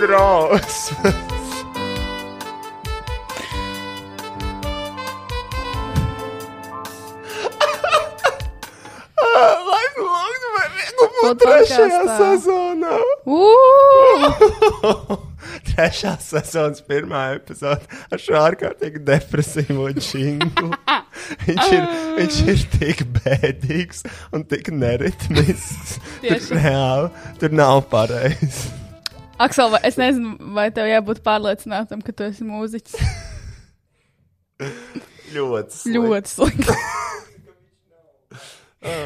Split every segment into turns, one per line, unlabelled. drausmas. Lai nu lūgtu, vai
Ko
iegūmu trešajā
podkastā?
sezonā.
Ū!
Trešā sezonas pirmā epizode ar šo ārkārtīgi depresīvo džinglu. viņš,
Ah.
ir, viņš ir tik bēdīgs un tik neritmisks. tur,
Tieši.
reāli, tur nav pareizi.
Aksel, vai, es nezinu, vai tev jābūt pārliecinātam, ka tu esi mūziķis.
Ļoti. slikti.
Ļoti slikti.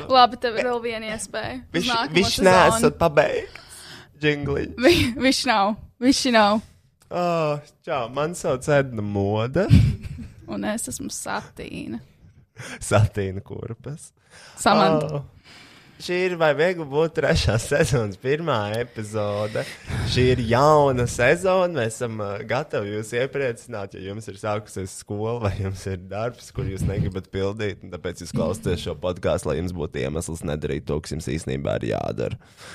Labi, tev ir vēl viena iespēja. Uz
Viņš,
nākamo
viņš
sezonu.
Uh. nesat pabeigts. Džingli.
Vi- Viņš nav. Viņš nav.
Oh, čau, man sauc Edna Moda.
Un es esmu satīna.
Satīna kurpes.
Samanta.
Oh. Šī ir vai viegli būt trešā sezonas pirmā epizode. Šī ir jauna sezona. Mēs esam uh, gatavi jūs iepriecināt, ja jums ir sākusies skola vai jums ir darbs, kur jūs negribat pildīt. un Tāpēc jūs klausāties šo podkāstu, lai jums būtu iemesls nedarīt to, kas jums īstenībā ir jādara.
Oh.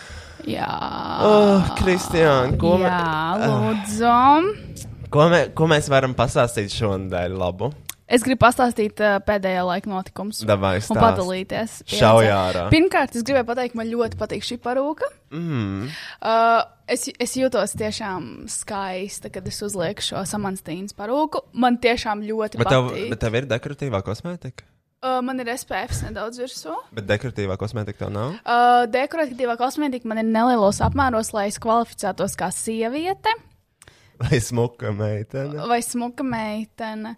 Jā.
Oh, Kristiāna, ko, Ah. mē,
Jā, lūdzu.
ko, mē, ko mēs varam pastāstīt šonadēļ? Labu,
Es gribu pastāstīt uh, pēdējā laika notikumus.
Davai,
Un
stāst.
padalīties. pieredzē.
Šauj ārā.
Pirmkārt, es gribēju pateikt, man ļoti patīk šī parūka.
mm.
Uh, es, es jūtos tiešām skaista, kad es uzlieku šo samanstīnas parūku. Man tiešām ļoti
bet, tev,
patīk.
bet tev ir dekoratīvā kosmētika.
Uh, man ir SPF nedaudz virsū.
Bet dekoratīvā kosmētika tev nav.
Uh, dekoratīvā kosmētika man ir nelielos apmēros, lai es kvalificētos kā sieviete
Vai smuka meitene?
vai smuka meitene.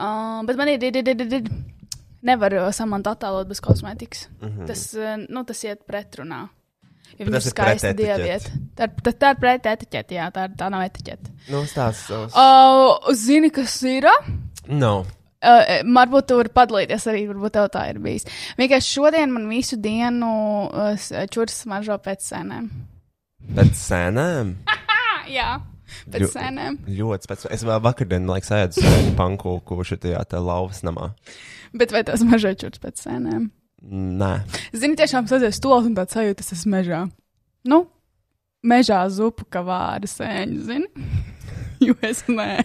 Uh, bet man ir. ir, ir, ir, ir. Nevaru samantu attēlot bez kosmētikas. Mm -hmm. tas, uh, nu, tas iet pretrunā. Ja
Mhm. Bet tas
viņš ir
ir pret
skaisti
etiķeti.
dieviete. Tā, ir- tā, tā ir pret etiķeti, jā, tā, ir- tā nav etiķeta.
Nu, stāsts savs.
Uh, zini, kas ir?
No.
Uh, varbūt tu vari padalīties arī, varbūt tev tā ir bijis. Vienkārši šodien man visu dienu uh, s- čuris smaržo pēc sēnēm.
Pēc sēnēm.
Ah, jā, pēc
Jo-
jo. sēnēm.
Ļoti pēc tam. Es vēl vakardienu, laikam, sēdu sēņu pankūku šajā te lauvas namā.
Bet vai tas mažai čuris pēc sēnēm?
Nē.
Zini, tiešām sadzies to un tāds sajūtas esmu mežā. Nu, mežā zupu kā vāra sēņu, zini? jo es nē.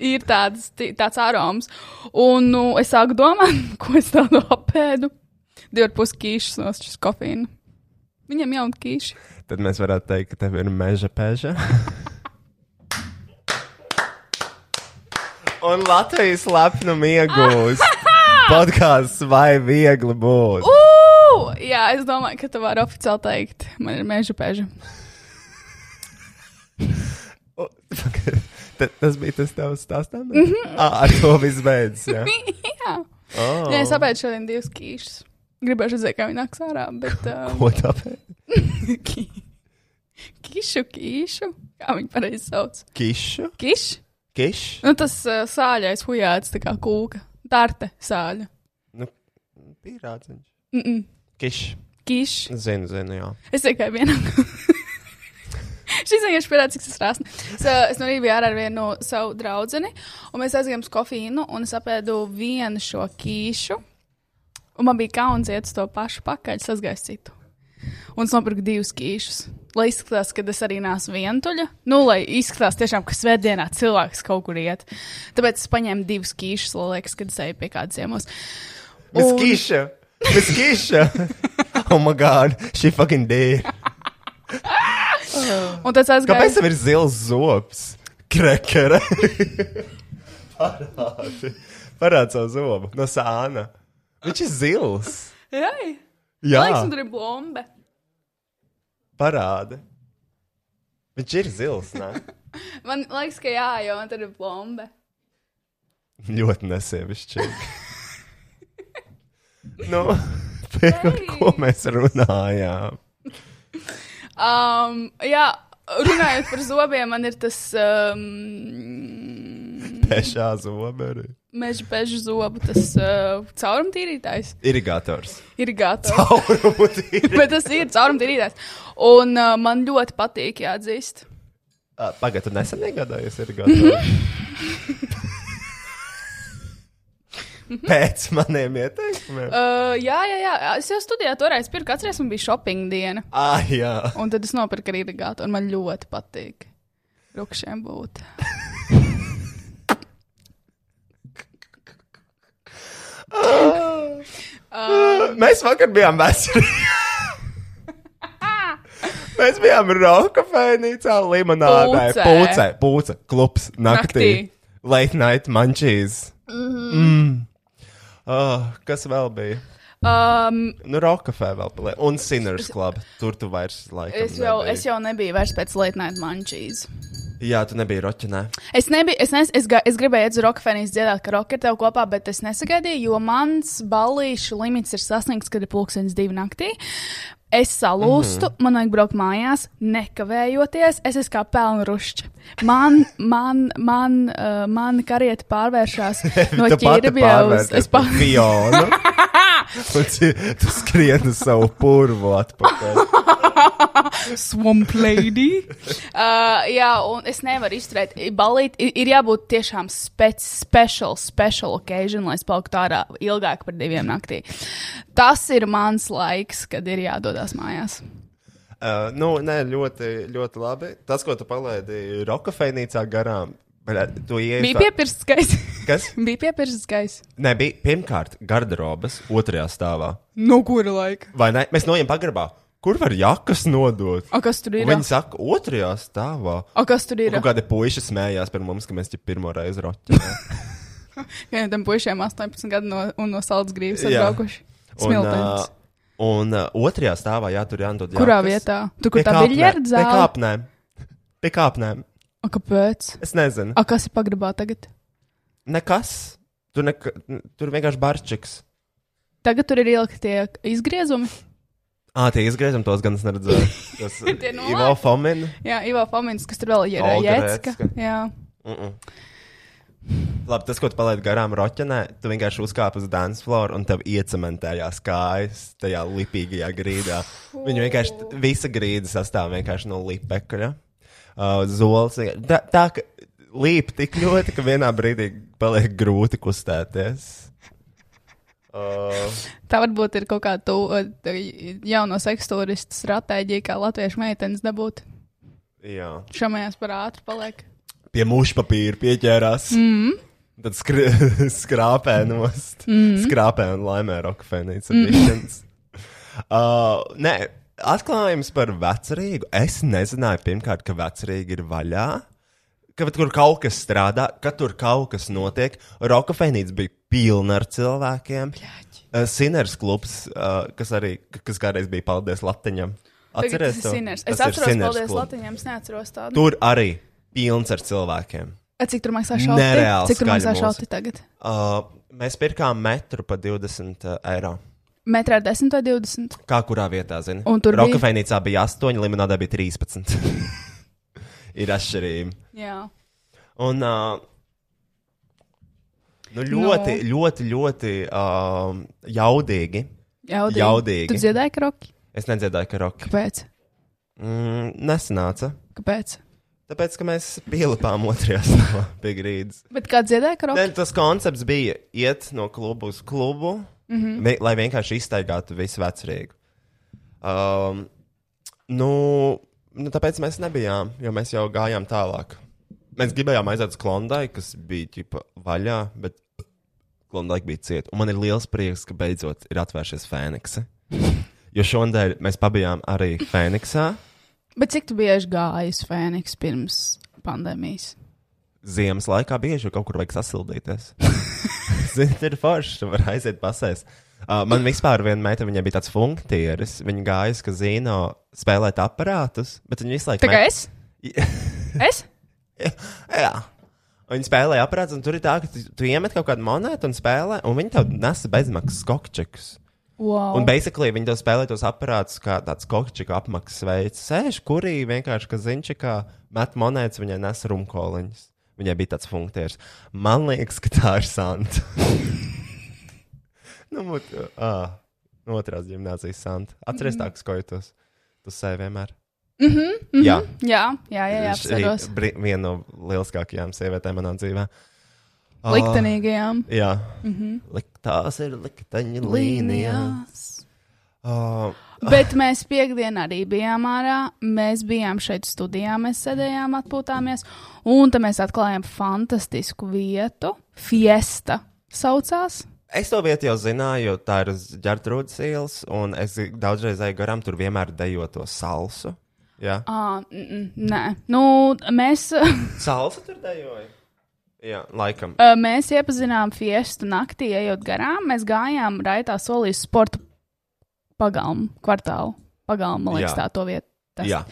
Ir tāds, ti- tāds aroms. Un nu, es sāku domāt, ko es tādu apēdu. Divi ar pus kīšas no šīs kofīna. Viņam jau ir kīši.
Tad mēs varētu teikt, ka tev ir meža peža. Un Latvijas lepnumu iegūst. Podkāsts vai viegli būt?
Ū! Jā, es domāju, ka tu vari oficiāli teikt, man ir meža peža.
U- Ta- Tas bija tas tavs stāstām? Mm
Mhm.
-hmm. Ar to viss beidzas. Jā.
jā.
Oh.
jā, es apēdu šodien divas kīšas. Gribēju redzēt, kā viņi nāks ārā, bet. Um,
Ko tāpēc?
Ki- Kišu, kišu. Kā viņi pareizi sauc?
Kišu?
Kiš?
Kišu?
Nu, tas uh, sāļais hujāts, tā kā kūka. Tarte sāļa.
Nu, pīrāds viņš.
Mm -mm.
Kišu.
Kiš.
Zinu, zinu, jā.
Es tikai vienam. Šis vienkārši pierāda, cik tas rāsni. Es, uh, es no rīta biju ārā ar vienu no savu draugu, un mēs aizgājām uz kofīnu, un es apēdu vienu šo kīšu. Un man bija kauns iet uz to pašu pakaļ, sasgājis citu. Un es nopirku divus kīšus. Lai izskatās, ka es arī nesu vientuļa. Nu, lai izskatās tiešām, ka svētdienā cilvēks kaut kur iet. Tāpēc es paņēmu divus kīšus, lai liekas, kad es eju pie kādas ciemos.
Miss
Un-
Keisha. Miss Keisha. oh my god, she fucking dead.
Un tad es aizgāju.
Kāpēc tam ir zils zobs? Krekere. Parādi. Parādi savu zobu. No sāna. Viņš ir zils.
Jai!
Jā,
Liekas, man tur ir bomba.
parādi. Viņš ir zils, ne?
Man liekas, ka jā, jo man tur ir bomba.
Ļoti nesievišķīgi. nu, pie ko mēs runājām?
Um, jā, runājot par zobiem, man ir tas um,
Pešā zoberi.
meža peža zobu, tas uh, caurumtīrītājs,
Irigators.
irigātājs.
Taurumu tīri.
Bet tas ir caurumtīrītājs. Un uh, man ļoti patīk, jāatzīst.
Ā, Pagaid, tu nesen iegādājies irigatoru. Pēc maniem ieteikumiem.
Uh, jā, jā, jā, es jau studijā toreiz pirku, atceries, man bija shopping diena.
Ah, jā.
Un tad es nopirku arī irigātu, un man ļoti patīk. rupšiem būt.
Mēs vakar bijām veseli. Mēs bijām roka fēnīcā, limonādē,
Pūcē.
pūcē, pūcē, klubs naktī.
Naktī.
Late night munchies. Mm. Ah, Kas vēl bija?
Um,
Nu, Rockafē vēl bija. Un Sinners Club. Tur tu vairs laikam.
es, jau,
nebiji.
es jau nebiju vairs pēc late night munchies.
Jā, tu nebija roķinē.
Es, nebiju, es, nes, es, ga- es gribēju iet uz Rockefeller's dziedāt, ka roka ir tev kopā, bet es nesagaidīju, jo mans balīšu limits ir sasniegts, kad ir pulkstenis divi naktī. Es salūstu, mm -hmm. man vajag braukt mājās, nekavējoties. Es esmu kā pelnrušķi. Man, man, man, uh, man karieta pārvēršās no ķīrbja uz. Es pa...
Fionu. Un ci- tu skrien uz savu purvu atpakaļ.
Swamp lady. uh, jā, un es nevaru izturēt. Balīt, ir, ir jābūt tiešām spec, special, special occasion, lai es paliktu ārā ilgāk par diviem naktī. Tas ir mans laiks, kad ir jādodas mājās.
Uh, nu, nē, ļoti, ļoti labi. Tas, ko tu palaidi Rockafēnīcā garām, bet tu iesi.
Bija piepirsts gaiss.
Kas?
Bija piepirsts gaiss.
Nē, bija pirmkārt garderobas otrajā stāvā.
No kura laika?
Vai ne? Mēs noejam pagrabā. Kur var jakas nodot?
O, kas tur ir?
Viņi saka, otrajā stāvā.
O, kas tur ir?
Kaut kādi puiši smējās par mums, ka mēs jau pirmo reizi roķinām.
Vienam tam puišiem 18 gadu no, un no saldas grības
Jā.
atbraukuši. Smiltens.
un uh, otrajā stāvā, jā, tur jāatdod.
Kurā vietā? Tu, kur tā biļjarda
Pie
zāle?
kāpnēm. Pie kāpnēm.
O, kāpēc?
Es nezinu.
O, kas ir pagrabā tagad?
Nekas. Tur, nek tur vienkārši barčiks.
Tagad tur ir ielikt tie izgriezumi.
Ā, tie izgriezumi tos gan es neredzēju. Tas
Tie
ir
no
Ivo Fomina.
Jā, Ivo Falks, kas tur vēl ir
Olga
Jēcka.
Recka.
Jā,
Mm -mm. Labi, tas, ko tu palaidi garām roķenē, tu vienkārši uzkāp uz dance floor un tev iecementējās kājas tajā lipīgajā grīdā. Viņa vienkārši visa grīda sastāv vienkārši no lipekļa. Uh, zols. vienkārši- Tā, tā ka līp tik ļoti, ka vienā brīdī paliek grūti kustēties. Uh,
tā varbūt ir kaut kāda tu- eh, jauno seksuālistu stratēģija, kā latviešu meitenes dabūt.
jā.
Šamējās par ātru paliek.
Pie muša papīra pieķērās. Mm. Tad skr skrāpē nost. Mm. Skrāpē un laimē rokafēnīts
Mm.
editions. Uh, nē, atklājums par vecerīgu. Es nezināju, pirmkārt, ka vecerīgi ir vaļā, ka tur kaut kas strādā, ka tur kaut kas notiek. Rokafēnīts bija pilna ar cilvēkiem. Uh, Sinners klubs, uh, kas arī kas kādreiz bija paldies Latiņam.
Tagad
Atceries
tas
to?
ir Sinners. Es
Tas ir
atceros,
Sinners
paldies
klubs.
Latvijam, es neatceros tādu.
Tur arī pilns ar cilvēkiem.
A, Cik tur maksā šauti?
Nereāli
Cik tur
skaļi
maksā
mūsu.
šauti tagad?
Uh, mēs pirkām metru par 20 eiro.
Metrā 10 vai 20?
Kā kurā vietā, zini?
Un tur bija-
Rokafēnīcā bija 8, limonādē bija 13. Ir atšķirība.
Jā.
Un, uh, nu, ļoti, no. ļoti, ļoti uh, jaudīgi.
Jaudīgi.
Jaudīgi.
Tu dziedāji kroki?
Es nedziedāju karoku.
Kāpēc?
Mm, nesanāca.
Kāpēc?
Tāpēc, ka mēs pielipām otrajā stāvā pie grīdas.
Bet kā dziedāji
Ne,
kroki?
tas koncepts bija iet no kluba uz klubu, mm -hmm. vi, lai vienkārši iztaigātu visu vecrīgu. Um, nu, nu, tāpēc mēs nebijām, jo mēs jau gājām tālāk. Mēs gribējām aiziet uz Klondaiku, kas bija ģipa, vaļā, bet Klondaika bija cieta. Un man ir liels prieks, ka beidzot ir atvēršies Fēniksa. Jo šonadēļ mēs bijām arī Fēniksā
Bet cik tu bieži gājis Fēniks pirms pandēmijas?
ziemas laikā bieži jau kaut kur vajag sasildīties. Zini, ir forši, tu vari aiziet pasēs. Uh, man vispār viena meita, viņai bija tāds funkcijas, viņa gāja uz kazino spēlēt aparātus, bet viņa visu laiku.
Tā kā es? Es?
Jā. Un Viņi spēlēja aparātus, un tur ir tā, ka tu, tu iemet kaut kādu monētu un spēlē, un viņi tev nesa bezmaksas kokčekus.
Wow.
Un basically viņi tev spēlē tos aparātus kā tāds kokčika apmaksas veids. Sēž, kurī vienkārši kazinčikā met monētas, viņai nes rumkoliņas. Viņai bija tāds funkcijas. Man liekas, ka tā ir Santa. nu, mut, ā, no otrās gimnāzijas Santa. Atceries
Mhm.
tā, kas kojotos. Tu sēji vienmēr. Mm -hmm, mm -hmm. Jā,
Jā, Mhm. jā, jā, jā
Šī
apsveros.
bri- viena no lieliskākajām sievietēm manā dzīvē. Ā,
Liktenīgajām Mhm.
Jā, mm -hmm. Lik, tās ir likteņa līnijā.
līnijās.
Uh,
Bet mēs piekdienā arī bijām ārā. Mēs bijām šeit studijā, mēs sēdējām, atpūtāmies. Un tad mēs atklājām fantastisku vietu. Fiesta saucās.
Es to vietu jau zināju, jo tā ir uz Gertrūdas ielas, un es daudzreiz gāju garām, tur vienmēr dejo to salsu. Jā,
À, n- n- nē, nu, mēs, ā,
salsa tur dejoja. Jā, laikam.
mēs iepazinām fiestu naktī, ejot garām. Mēs gājām raitā solī uz sporta pagalmu, kvartālu. Pagalmu, man liekas,
Jā.
tā to vietu. tas.
Jā,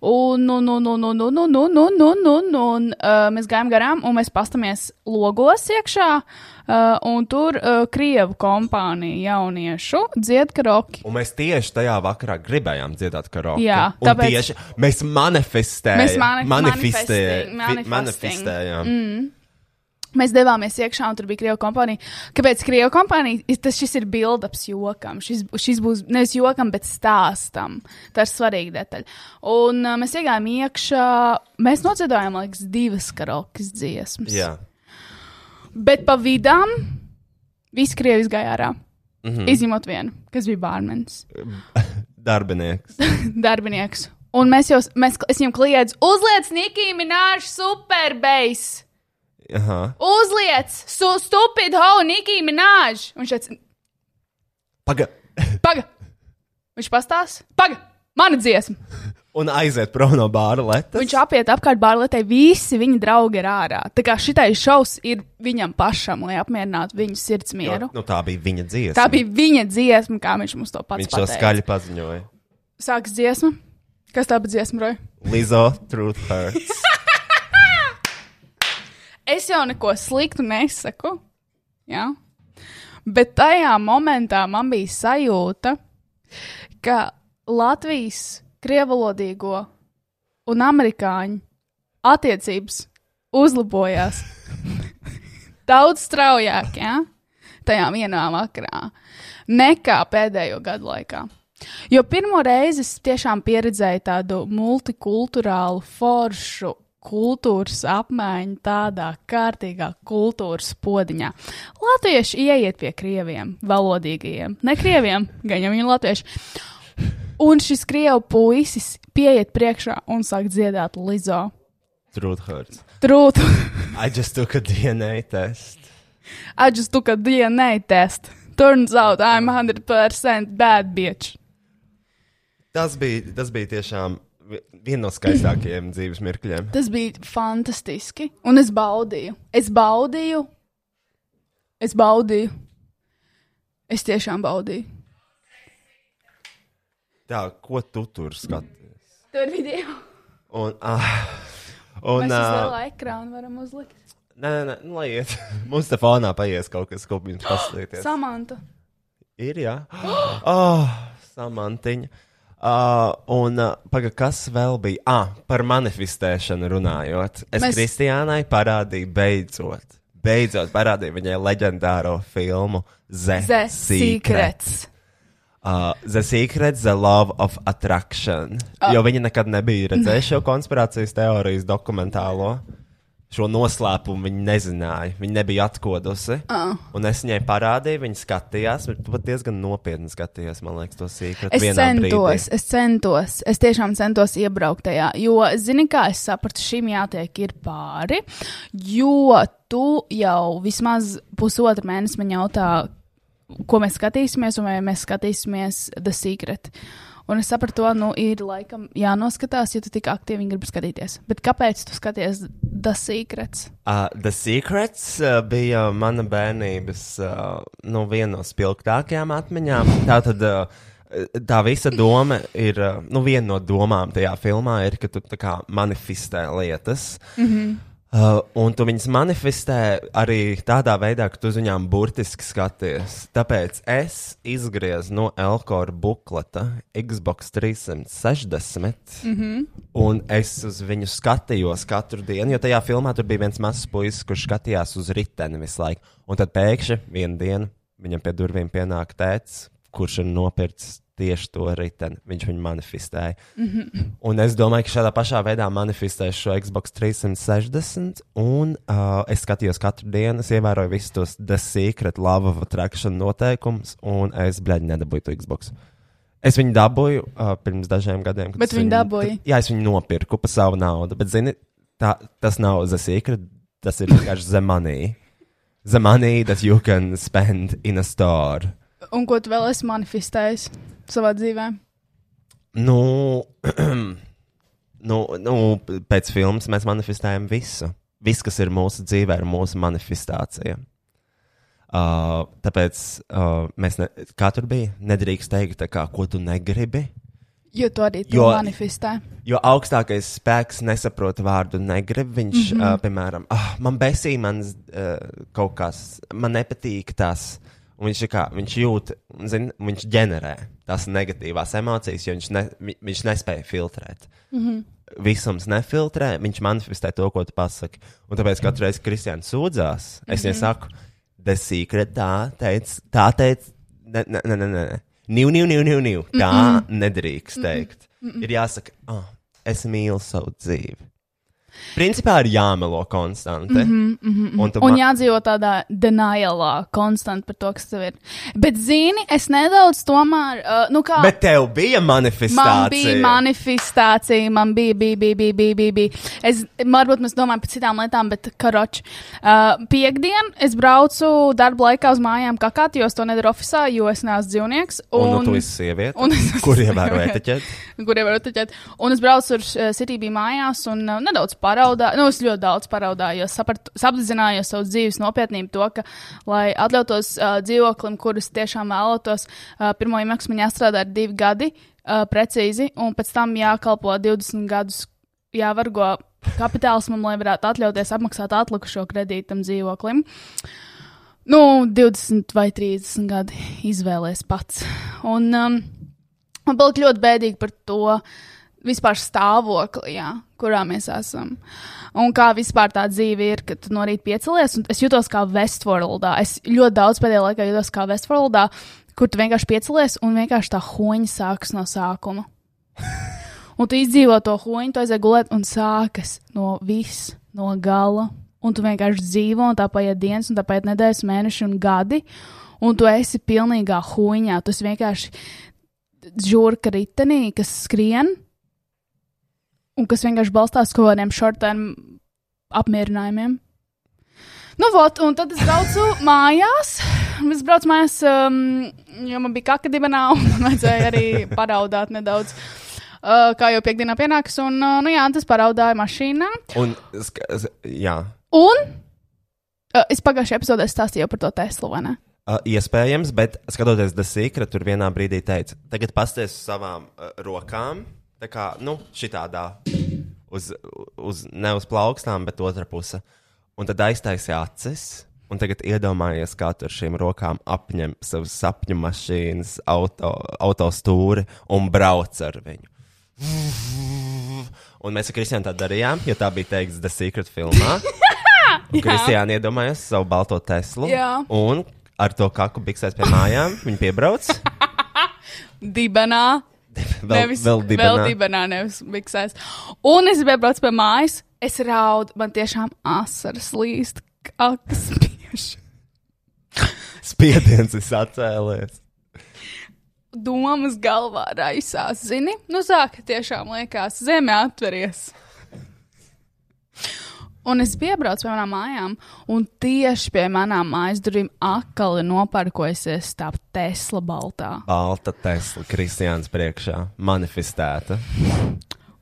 Un, nu, un, un, un, un, un, un, un, un, un, un, nu, un uh, mēs gājām garām, un mēs pastāmies logos iekšā, uh, un tur uh, krievu kompānija jauniešu dzied karoki.
un mēs tieši tajā vakarā gribējām dziedāt karaoke.
Jā,
Un
tāpēc-
tieši mēs manifestējām.
Mēs mani-
manifestējām.
manifesting-
Fi-
manifesting. Mm.
manifestējām.
Mēs devāmies iekšā, un tur bija krievu kompānija. Kāpēc krievu kompānija? I- Tas šis ir build-ups jokam. Šis, šis būs nevis jokam, bet stāstam. Tā ir svarīga detaļa. Un uh, mēs iegājām iekšā, mēs nociedājām, man liekas, divas karokas dziesmas.
Jā,
Bet pa vidām viss krievis gāja ārā. Mm -hmm. Izņemot vienu, kas bija bārmenis,
darbinieks.
darbinieks. Un mēs jau, mēs, es viņam kliedzu, uzliec Nikī Mināšu superbeis!
Aha.
Uzliec, su, stupid ho, Nikī Mināšu! Viņš teica,
Paga...
paga! Viņš pastāsta, paga! Mana dziesma!
Un aiziet prom no bāra letes.
Viņš apiet apkārt bārletē, visi viņa draugi ir ārā. Tā kā šitais šovs ir viņam pašam, lai apmierinātu viņa sirds
Jo,
mieru.
Nu, tā bija viņa dziesma.
Tā bija viņa dziesma, kā viņš mums to pats
Viņš to
pateica.
skaļi paziņoja.
sākas dziesma. Kas tā bija dziesma, Roja?
Lizo, truth hurts.
Es jau neko sliktu nesaku. Jā. Bet tajā momentā man bija sajūta, ka Latvijas krievalodīgo un amerikāņu attiecības uzlabojās daudz straujāk jā, tajā vienā vakarā nekā pēdējo gadu laikā. Jo pirmo reizi es tiešām pieredzēju tādu multikulturālu, foršu kultūras apmaiņu, tādā kārtīgā kultūras podziņā. Latvieši ieiet pie krieviem, valodīgajiem, ne krieviem, gan jau viņi ir latvieši. Un šis krievu puisis pieiet priekšā un sāk dziedāt Lizo.
truth hurts.
Trūtu,
I just took a DNA test.
atžas tu, ka DNA test. Turns out I'm 100% bad bitch.
Tas bija, tas bija tiešām vi- viens no skaistākajiem dzīves mirkļiem.
Tas bija fantastiski. Un es baudīju. Es baudīju. Es baudīju. Es tiešām baudīju.
Tā, ko tu tur skaties?
Tur ir video.
Un, ah, un,
Mēs uz
ah,
lielā ekrāna varam uzlikt.
nē, nē, nē, nu, lai iet. Mums te fonā paies kaut kas, ko jums paslīties.
Samanta.
Ir, jā. Oh, samantiņa. Uh, un uh, paga, kas vēl bija? Ah, par manifestēšanu runājot. Es
Mēs-
Mēs... Kristiānai parādīju beidzot. Beidzot parādīju viņai leģendāro filmu The,
The
Secret.
Secrets.
Uh, the Secret, The Love of Attraction.
Ah.
Uh. Jo viņi nekad nebija redzējuši šo konspirācijas teorijas dokumentālo. Šo noslēpumu viņi nezināja. Viņi nebija atkodusi.
Ah.
Uh. Un es viņai parādīju, viņa skatījās, bet pat diezgan nopietni skatījās, man liekas, to sīkumu.
Es centos, es centos, es tiešām centos iebraukt tajā, jo, zini, kā es sapratu, šim jātiek ir pāri, jo tu jau vismaz pusotru mēnesi man jautā, ko mēs skatīsimies, un vai mēs skatīsimies The Secret. Un es sapratu, to, nu, ir laikam jānoskatās, ja tu tik aktīvi gribi skatīties. Bet kāpēc tu skaties The Secrets?
Uh, The Secrets uh, bija mana bērnības uh, nu, viena no spilgtākajām atmiņām. Tā tad uh, tā visa doma ir, uh, nu, viena no domām tajā filmā ir, ka tu tā kā manifestē lietas. Mm -hmm. Uh, un tu viņus manifestē arī tādā veidā, ka tu uz viņiem burtiski skaties. Tāpēc es izgriezu no Elkora bukleta Xbox 360. Mm -hmm. Un es uz viņu skatījos katru dienu, jo tajā filmā tur bija viens mazs puisis, kurš skatījās uz riteni visu laiku. Un tad pēkšņi vienā dienā viņam pie durvīm pienāk tēvs, kurš ir nopircis tieši to riteni. Viņš viņu manifestēja. Un es domāju, ka šādā pašā veidā manifestēšu šo Xbox 360. Un uh, es skatījos katru dienu, es ievēroju visus tos The Secret, Love of Attraction noteikumus, un es, bļaigi, nedabūju to Xbox. Es viņu dabūju uh, pirms dažiem gadiem. kad
Bet
es
viņu dabūji?
Jā, es viņu nopirku par savu naudu. Bet, zini, tā, tas nav the secret, tas ir vienkārši the money. The money that you can spend in a store.
Un ko tu vēl esi manifestējis savā dzīvē?
Nu, nu, nu pēc filmas mēs manifestējam visu. Viss, kas ir mūsu dzīvē, ir mūsu manifestācija. Uh, tāpēc uh, mēs ne, kā tur bija, nedrīkst teikt, tā kā, ko tu negribi.
Jo tu arī to
Jo-
manifestē.
Jo augstākais spēks nesaprot vārdu negrib. Viņš, mm -hmm. uh, piemēram, oh, man besī, man uh, kaut kas, man nepatīk tas. Un Viņš, ir kā, viņš jūt, un, zin, viņš ģenerē tās negatīvās emocijas, jo viņš, ne, vi- viņš nespēja filtrēt. Mm -hmm. Visums nefiltrē, viņš manifestē to, ko tu pasaki. Un tāpēc
Mhm.
katru reizi, kad Kristians sūdzās, es viņai saku, The Secret tā teica, tā teica, ne, ne, ne, ne, ne. Niu, niu, niu, niu, niu. Tā mm -mm. nedrīkst teikt. Mm -mm. Ir jāsaka, oh, es mīlu savu dzīvi. Principā ir jāmelo konstanti. Mm -hmm, mm -hmm. Un, tu
Mhm, Un
ma-
jādzīvo tādā denialā, konstanti par to, kas tev ir. Bet, zini, es nedaudz tomēr, uh, nu kā.
Bet tev bija
Man
manifestācija.
bija manifestācija, man bija, bija, bija, bija, bija, bija, bija. Es, varbūt mēs domājam par citām lietām, bet karoči. Uh, piekdien es braucu darba laikā uz mājām, kā kādā, jo es to nedaru oficiālā, jo es neesmu dzīvnieks.
Un, un, un tu esi sieviete.
un es esmu
Kur ievēro
sieviete.
etiķeti?
kuriem var atteķēt. Un es braucu ar Citību mājās, un uh, nedaudz paraudāju, nu, es ļoti daudz paraudāju, apzinājos savu dzīves nopietnību, to, ka, lai atļautos uh, dzīvoklim, kurus tiešām vēlētos, uh, pirmo iemaksu man jāstrādā ir divi gadi, uh, precīzi, un pēc tam jākalpo 20 gadus, jāvargo kapitāls man, lai varētu atļauties apmaksāt atlikušo kredītu tam dzīvoklim. Nu, 20 vai 30 gadi izvēlēs pats. Un, um, Man bija ļoti bēdīgi par to vispār stāvokli, jā, kurā mēs esam. Un kā vispār tā dzīve ir, kad tu no rīta piecelies, un es jutos kā Westworldā. Es ļoti daudz pēdējā laikā jutos kā Westworldā, kur tu vienkārši piecelies un vienkārši tā hoņa sākas no sākuma. Un tu izdzīvo to hoņu, tu aizjūti gulēt un sākas no viss, no gala. Un tu vienkārši dzīvo, un tā paiet dienas, un tā paiet nedēļas, mēneši un gadi. Un tu esi pilnīgā huņā. Tu esi vienkārši žurka ritenī, kas skrien un kas vienkārši balstās uz kaut kādiem šortiem apmierinājumiem. Nu, vot, un tad es braucu mājās. Es braucu mājās, um, jo man bija kaka dibenā, un man vajadzēja arī paraudāt nedaudz. Uh, kā jau piekdienā pienāks, un uh, nu, jā, tas paraudāja mašīnā.
Un, sk- s- jā.
Un uh, es pagājušajā epizodē stāstīju par to Teslu. vai ne?
Uh, iespējams, bet skatoties The Secret, tur vienā brīdī teica, tagad pasties uz savām uh, rokām, tā kā, nu, šitādā, uz, uz, ne uz plaukstām, bet otra puse. Un tad aiztaisīja acis, un tagad iedomājies, kā tu ar šīm rokām apņem savu sapņu mašīnas, auto, autostūri un brauc ar viņu. Un mēs ar Kristiānu tā darījām, jo tā bija teikts The Secret filmā. Kristiāna iedomājās savu balto Teslu.
Jā.
Un ar to kaku biksēs pie mājām. Viņa piebrauc.
Dibenā.
Vēl,
nevis
vēl
Vēl
dibenā.
dibenā, nevis miksēs. Un es biju braucis pie mājas, es raudu, man tiešām asaras līst, kā spiež.
Spiediens ir atcēlies.
Domas galvā raisās, zini, nu sāka tiešām liekas, zeme atveries. Un es piebraucu pie manām mājām, un tieši pie manām mājas durvīm atkal ir noparkojusies tā Tesla baltā.
Balta Tesla Kristiāns priekšā. Manifestēta.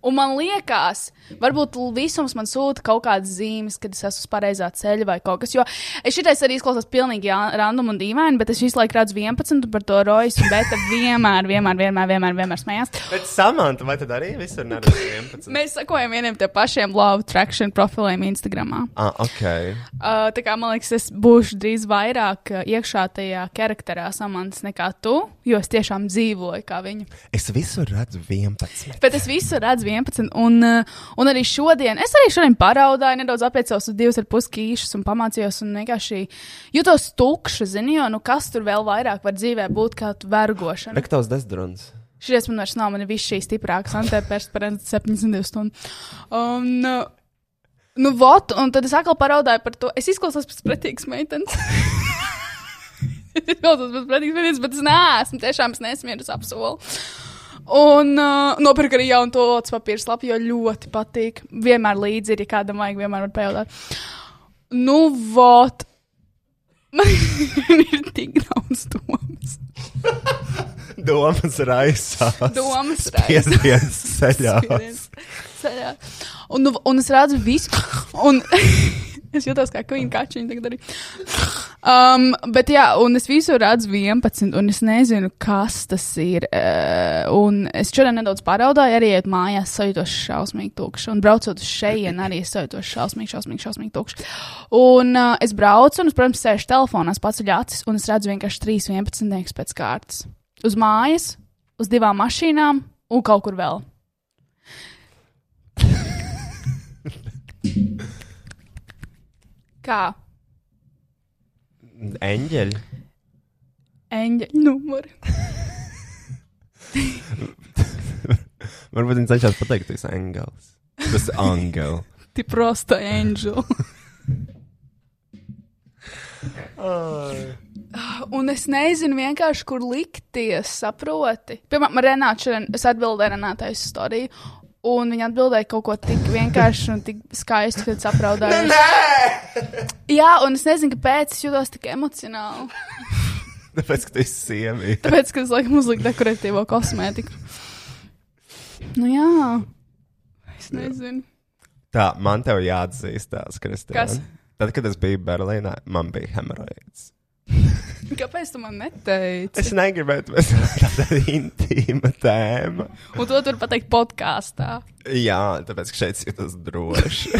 Un man liekas, varbūt visums man sūta kaut kādas zīmes, kad es esmu uz pareizā ceļa vai kaut kas. Jo es šitais arī izklausās pilnīgi jā- random un dīvaini, bet es visu laiku redzu 11 un par to rojas. Bet vienmēr, vienmēr, vienmēr, vienmēr, vienmēr smējās.
Bet samanta, vai tad arī visur neredzēja 11?
Mēs sakojam vieniem tiem pašiem love traction profiliem Instagram.
Ah, ok.
Uh, tā kā man liekas, es būšu drīz vairāk uh, iekšā tajā charakterā samants nekā tu, jo es tiešām dzīvoju kā viņa.
Es visur redzu 11.
Bet es visu redzu 11, un, uh, un arī šodien, es arī šodien paraudāju, nedaudz apliecos uz divas ar pus kīšas un pamācījos, un vienkārši jutos tukša, zini, jo nu kas tur vēl vairāk var dzīvē būt kā tu vergošana.
Rektors Desdruns.
Šis man vairs nav, man ir viss šīs stiprākas antiperspirants 72 stundu. Un, uh, nu, vot, un tad es atkal paraudāju par to, es izklausos pēc pretīgas meitenes. tas būs pretīgs brīdis, bet es neesmu, tiešām es nesmieru uz apsolu. Un uh, nopirku arī jaunu tolāts papīru slapu, jo ļoti patīk. Vienmēr līdzi ir, ja kādam vajag, vienmēr var pajautāt. Nu, vot. Man ir tik daudz domas.
Domas raisās.
Domas
Piesienas ceļā.
Spiediens. Ceļā. Un, nu- un es redzu visu. Un es jūtos kā kvīna kačiņa tagad arī. Um, bet jā, un es visu redzu 11, un es nezinu, kas tas ir. eh, Un es šodien nedaudz pāraudāju, arī ejot mājās, sajūtos šausmīgi tukšs. Un braucot uz šejien, arī es sajūtos šausmīgi, šausmīgi, šausmīgi tukšs. Un uh, es braucu, un, es, protams, sēžu telefonā, es paceļu acis, un es redzu vienkārši 3 11 pēc kārtas. Uz mājas, uz divām mašīnām un kaut kur vēl. Kā?
Eņģeļi.
Eņģeļa numuri.
Varbūt viņš cenšas pateikt, tas ir angels. Tas ir angels.
Ti prosta angela. Un es nezinu vienkārši, kur likties, saproti. Piemēram, Renāts šodien, es atbildēju Renātai uz storiju, un viņa atbildēja kaut ko tik vienkārši un tik skaistu, kad sapraudāju. Jā, un es nezinu, kāpēc es jūtos tik emocionāli.
Tāpēc, ka tu esi sievietes.
Tāpēc, ka es laikam uzliku dekoratīvo kosmētiku. Nu jā, es nezinu.
Tā, man tev jāatzīstās, Kristija.
Kas?
Tad, kad es biju Berlīnā, man bija hemorāģis.
Kāpēc tu man neteici?
Es negribēju, bet tā ir intīma tēma.
Un to tur pateikt podkāstā.
Jā, tāpēc, ka šeit jūtas droši.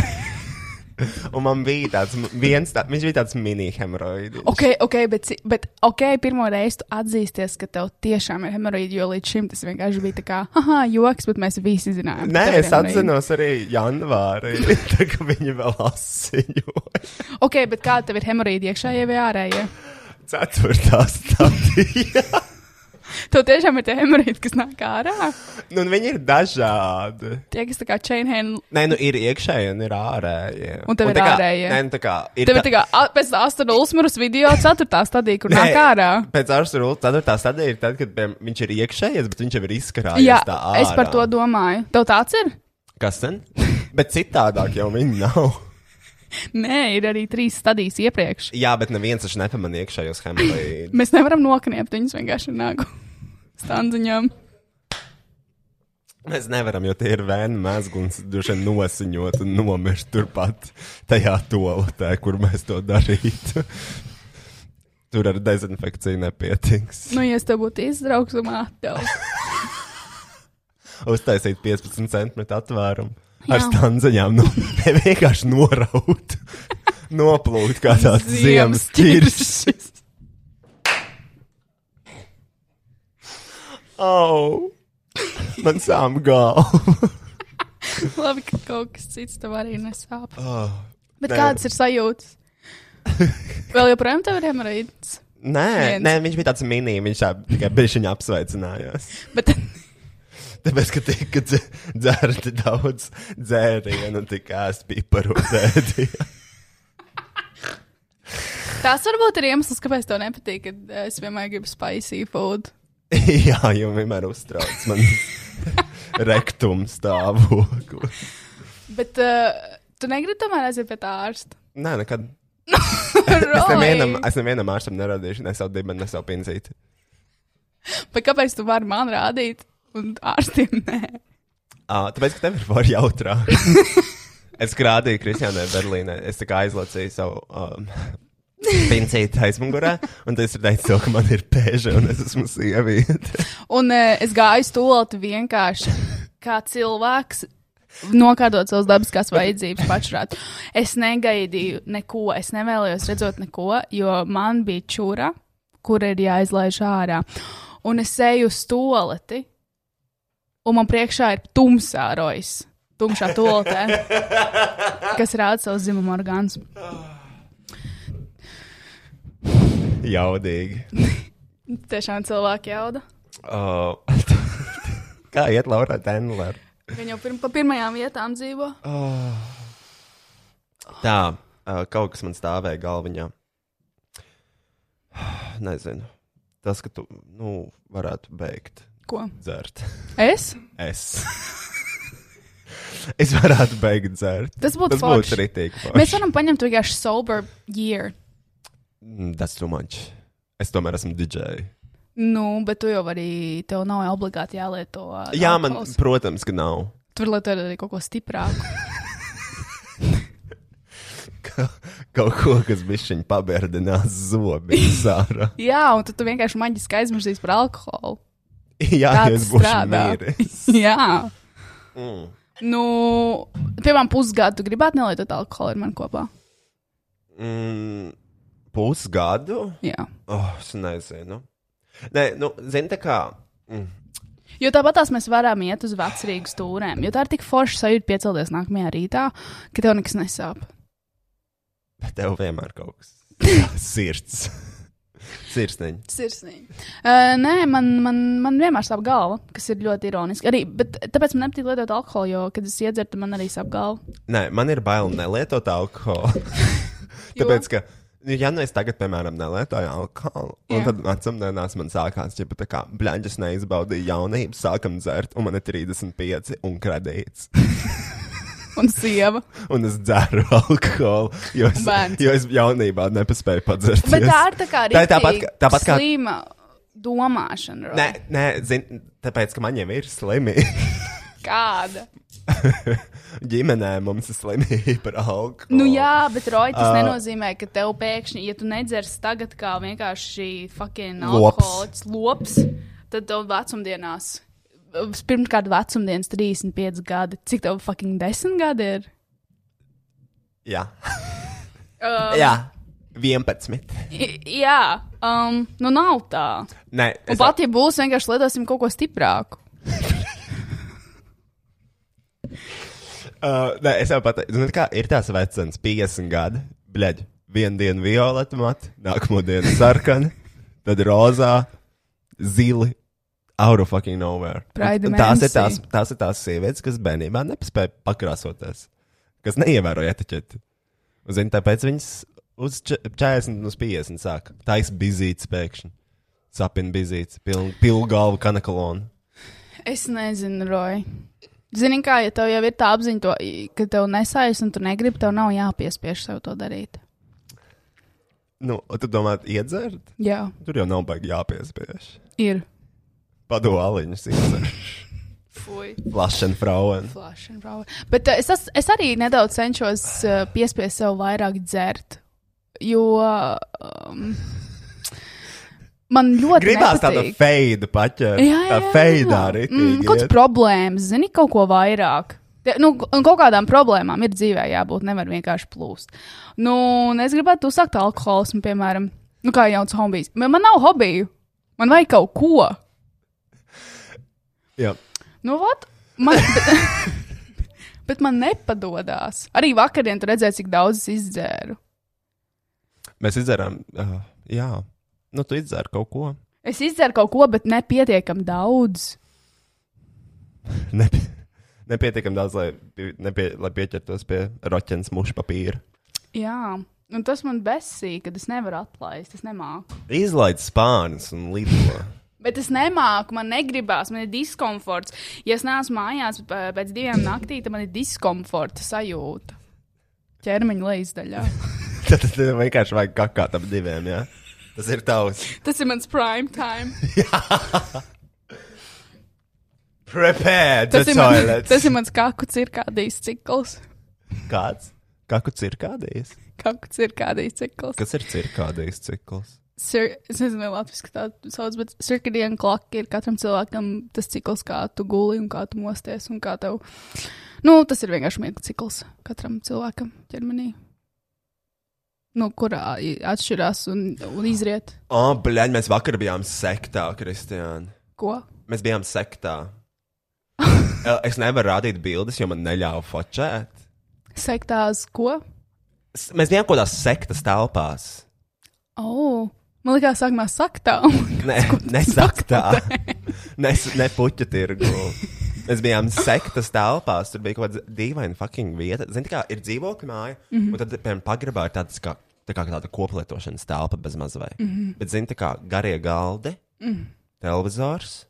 Un man bija tāds, viens tāds, viņš bija tāds mini-hemorāģis.
Ok, ok, bet, ci- bet ok, pirmo reizi tu atzīsties, ka tev tiešām ir hemoroīdi, jo līdz šim tas vienkārši bija tā kā, ah, joks, bet mēs visi zinājām.
Nē,
ka tev ir
es
hemoroīdi.
atzinos arī janvārī, tā, ka viņi vēl asiņoja.
Ok, bet kā tev ir hemoroīdi iekšējie vai ārējie?
Ceturtā stadijā.
Tev tiešām ir tie hemoroīdi, kas nāk ārā.
Nu, un viņi ir dažādi.
Tie, kas tā kā chain hand,
Nē, nu ir iekšēji un ir ārēji.
Un tev ir
tā kā-
ārējie.
Nē, nu, tā kā ir.
tev ir tā kā a- pēc astotā ulsmaras video ceturtā stadija, kur nāk ārā.
Pēc ārsta ceturtā stadija ir tad, kad piemēram, viņš ir iekšējies, bet viņš jau ir izkarājies.
Jā,
tā
es par
ārā.
to domāju. Tev tāds ir?
Kas ten? Bet citādāk jau viņi nav.
Nē, ir arī trīs stadijas iepriekš.
Jā, bet neviens taču nepamanīja iekšējos hemorāģijos.
Mēs nevaram nokniept viņus vienkārši ar nagu standziņām.
Mēs nevaram, jo tie ir vēja mēsguns, droši vien nosiņot un nomirst turpat tajā toaletē, kur mēs to darītu. Tur ar dezinfekciju nepietiks.
Nu, ja es te būtu izdraugs un attēls.
Uztaisīt 15 centimetru atvērumu ar
Jā.
stanziņām, no, ne vienkārši noraut, noplūkt kā tāds ziemas ķiršs. Au! Man sām galva!
Labi, ka kaut kas cits tev arī nesāp.
Oh.
Bet
Nē.
Nē. kādas ir sajūtas? Vēl joprojām tev ir hemorāģis.
Nē,
Viens.
nē, viņš bija tāds mini, viņš tā tikai bišķiņā apsveicinājās.
Bet
Tāpēc, ka tika dze- dzerti daudz dzērienu, tikā es biju parūpēti.
tās varbūt ir iemesls, kāpēc tev nepatīk, kad eh, es vienmēr gribu spicy food.
Jā, jau vienmēr uztrauc man rektum stāvoklis.
Bet uh, tu negribi tomēr aiziet pie tā ārsta.
Nē, nekad. Es nevienam,
Really?
es nevienam ārstam neradīšu ne savu dibenu, ne savu pinzīti.
Bet kāpēc tu vari man rādīt? Un ārstiem nē.
Ā, Tāpēc, ka tev ir var jautrāk. Es krādīju Kristiānai Berlīnē. Es tā kā aizlacīju savu um, pincīti aizmugurē, un tas ir teicis, to, ka man ir pēža un es esmu sieviete.
Un uh, es gāju stulti vienkārši kā cilvēks. Nokādot savas dabiskās vajadzības pašrāt. Es negaidīju neko, es nevēlējos redzēt neko, jo man bija čūra, kur ir jāizlaiž ārā. Un es eju uz toleti, un man priekšā ir tumsā rojas, tumšā toletē, kas rāda savu zimumu orgānu.
Jaudīgi.
Tiešām cilvēki jauda.
Uh, kā iet Laura Denlera?
Viņi jau pirm, pa pirmajām vietām dzīvo.
Tā, uh, kaut kas man stāvēja galviņā. nezinu, tas, ka tu nu, varētu beigt
Ko?
dzert.
Es?
Es. es varētu beigt dzert.
Tas būtu
Tas būtu
forši.
rītīgi.
Mēs varam paņemt vienkārši sober year.
Tas Mm, too much. Es tomēr esmu DJ.
Nu, bet tu jau arī, tev nav obligāti jālieto. ā,
Jā, man,
alkohols.
protams, ka nav.
Tur lietot arī kaut ko stiprāku.
Ka- Kaut ko, kas bišķiņ pabērdinās zobi sārā.
Jā, un tad tu vienkārši maģiski aizmirsīsi par alkoholu.
Jā,
Tā
ja es
tas
būšu
strādā.
mīris.
Jā.
Mm.
Nu, piemēram, pusgadu tu gribētu nelietot alkoholu ar mani kopā.
Mm, pusgadu?
Jā.
Oh, es nezinu. Nē, nu, zini, tā kā. Mm.
Jo tāpat tās mēs varam iet uz vecrīgas stūrēm, jo tā ir tik forša sajūta piecelties nākamajā rītā, ka tev nekas nesāp.
Bet tev vienmēr kaut kas sirds. Sirsniņa.
Sirsnīgi. Uh, nē, man, man, man vienmēr sāp galva, kas ir ļoti ironiski. Arī, bet tāpēc man nepatīk lietot alkoholu, jo, kad es iedzertu, man arī sāp galva.
Nē, man ir bail nelietot alkoholu.
Jo?
Tāpēc, ka, nu, ja nu es tagad, piemēram, nelietoju alkoholu, un
Jā.
tad vecumdienās man sākās, ja tā kā bļaņģis neizbaudīja jaunību, sākam dzert, un man ir 35 un kredīts.
Un sieva.
Un es dzeru alkoholu, jo es,
Bērns.
jo es jaunībā nepaspēju padzert.
Bet tā ir tā kā arī
Tā ir tāpat kā- tāpat kā-
slīma domāšana.
Nē, nē, zin, tāpēc, ka man jau ir slimi.
Kāda?
Ģimenē mums ir slimība par alkoholu.
Nu jā, bet Roja, tas uh,
Ā.
nenozīmē, ka tev pēkšņi, ja tu nedzers tagad kā vienkārši fucking
Lops.
alkoholiķis, lops, tad tev vecumdienās, pirmkārt, vecumdienas 35 gadi, cik tev fucking 10 gadi ir?
Jā,
Uh,
jā. 11.
jā, um, nu nav tā.
Nē,
Un
es
pat, ja būs, vienkārši lietosim kaut ko stiprāku.
Uh, nē, es jau pateicu, zini, kā ir tās vecums, 50 gadi. Bļaļ, vienu dienu violeta matē, nākamo dienu sarkana, tad rozā, zili. Out of fucking nowhere.
Pride
Un tās, ir
mēnesī.
tās, tās ir tās sievietes, kas bērnībā nespēja pakrāsoties, kas neievēroja etiķeti. Un, Zini, tāpēc viņas uz čet- 40, un uz 50 sāk taisīt bizītes pēkšņi. Sapņu bizītes, pilnu pil galvu kanakalonu.
Es nezinu, Roja. Zini, kā, ja tev jau ir tā apziņa, to, ka tev nesājas un tu negribi, tev nav jāpiespiež sev to darīt.
Nu, un tu domā, iedzert?
Jā,
Tur jau nav baigi jāpiespiež.
ir.
Padoāliņas ir
Fui.
plašs frauen.
Flash and Rower. Bet uh, es, es, es arī nedaudz cenšos uh, piespiest sev vairāk dzert. Jo um, man ļoti
Gribās tādu
nepatīk.
feidu paķēt.
Jā, jā,
tā
jā,
feidā
jā.
arī.
Mm, kaut kādas problēmas, zini, kaut ko vairāk. Te- Nu, un kaut kādām problēmām ir dzīvē jābūt. Nevar vienkārši plūst. Nu, un es gribētu uzsākt alkoholismu, piemēram, nu, kā jauns hobijs. Man man nav hobiju. Man vajag kaut ko.
Jā,
Nu, vat, man, bet, bet man nepadodas. Arī vakarā tur redzēju, cik daudz es izdzēru.
mēs izdarām. Uh, jā, nu tu izdzēri kaut ko.
Es izdzēru kaut ko, bet nepietiekami daudz.
Nepie... Nepietiekami daudz, lai, pi- nepie... lai pieķertos pie roķenes muša papīra.
Jā, un tas man besīk, kad es nevaru atlaist. Es nemāku.
Izlaid spārnus un lido.
Bet es nemāku, man negribās, man ir diskomforts. Ja es nāku mājās p- pēc divām naktīm, tad man ir diskomforta sajūta. Ķermeņa lejasdaļā.
Tad tev vienkārši vajag kakāt ap diviem. Jā. Tas ir tavs.
Tas ir mans prime time.
Prepare the
Tas ir, man,
toilet.
tas ir mans kaku cirkādijas cikls.
Kāds? Kāku cirkādijas?
Kaku cirkādijas cikls.
Kas ir cirkādijas cikls?
Cir- Es nezinu, Latvijas kā tā sauc, bet cirkadienu klaka ir katram cilvēkam tas cikls, kā tu guli un kā tu mosties. un Kā tev... nu, tas ir vienkārši miega cikls katram cilvēkam ķermenī. Nu, kurā i- atšķirās un, un izriet
O, oh, blēņ, mēs vakar bijām sektā, Kristiāna.
ko?
Mēs bijām sektā. Eh, es nevaru rādīt bildes, jo man neļāva fočēt.
Sektās, ko?
S- Mēs bijām kaut kādās sektas telpās.
Oh, man liekas, sākumā saktā.
Nē, nesaktā. Ne, s- ne puķa tirgu. Mēs bijām sektas telpās. Tur bija kaut kāda dīvaina fucking vieta. Zini, kā ir dzīvokļa māja, mm -hmm. un tad piemēram, pagrabā ir tādas kā tā kā tāda koplietošanas telpa bez mazvai. Mm -hmm. Bet, zini, tā kā garie galdi, mm. televizors,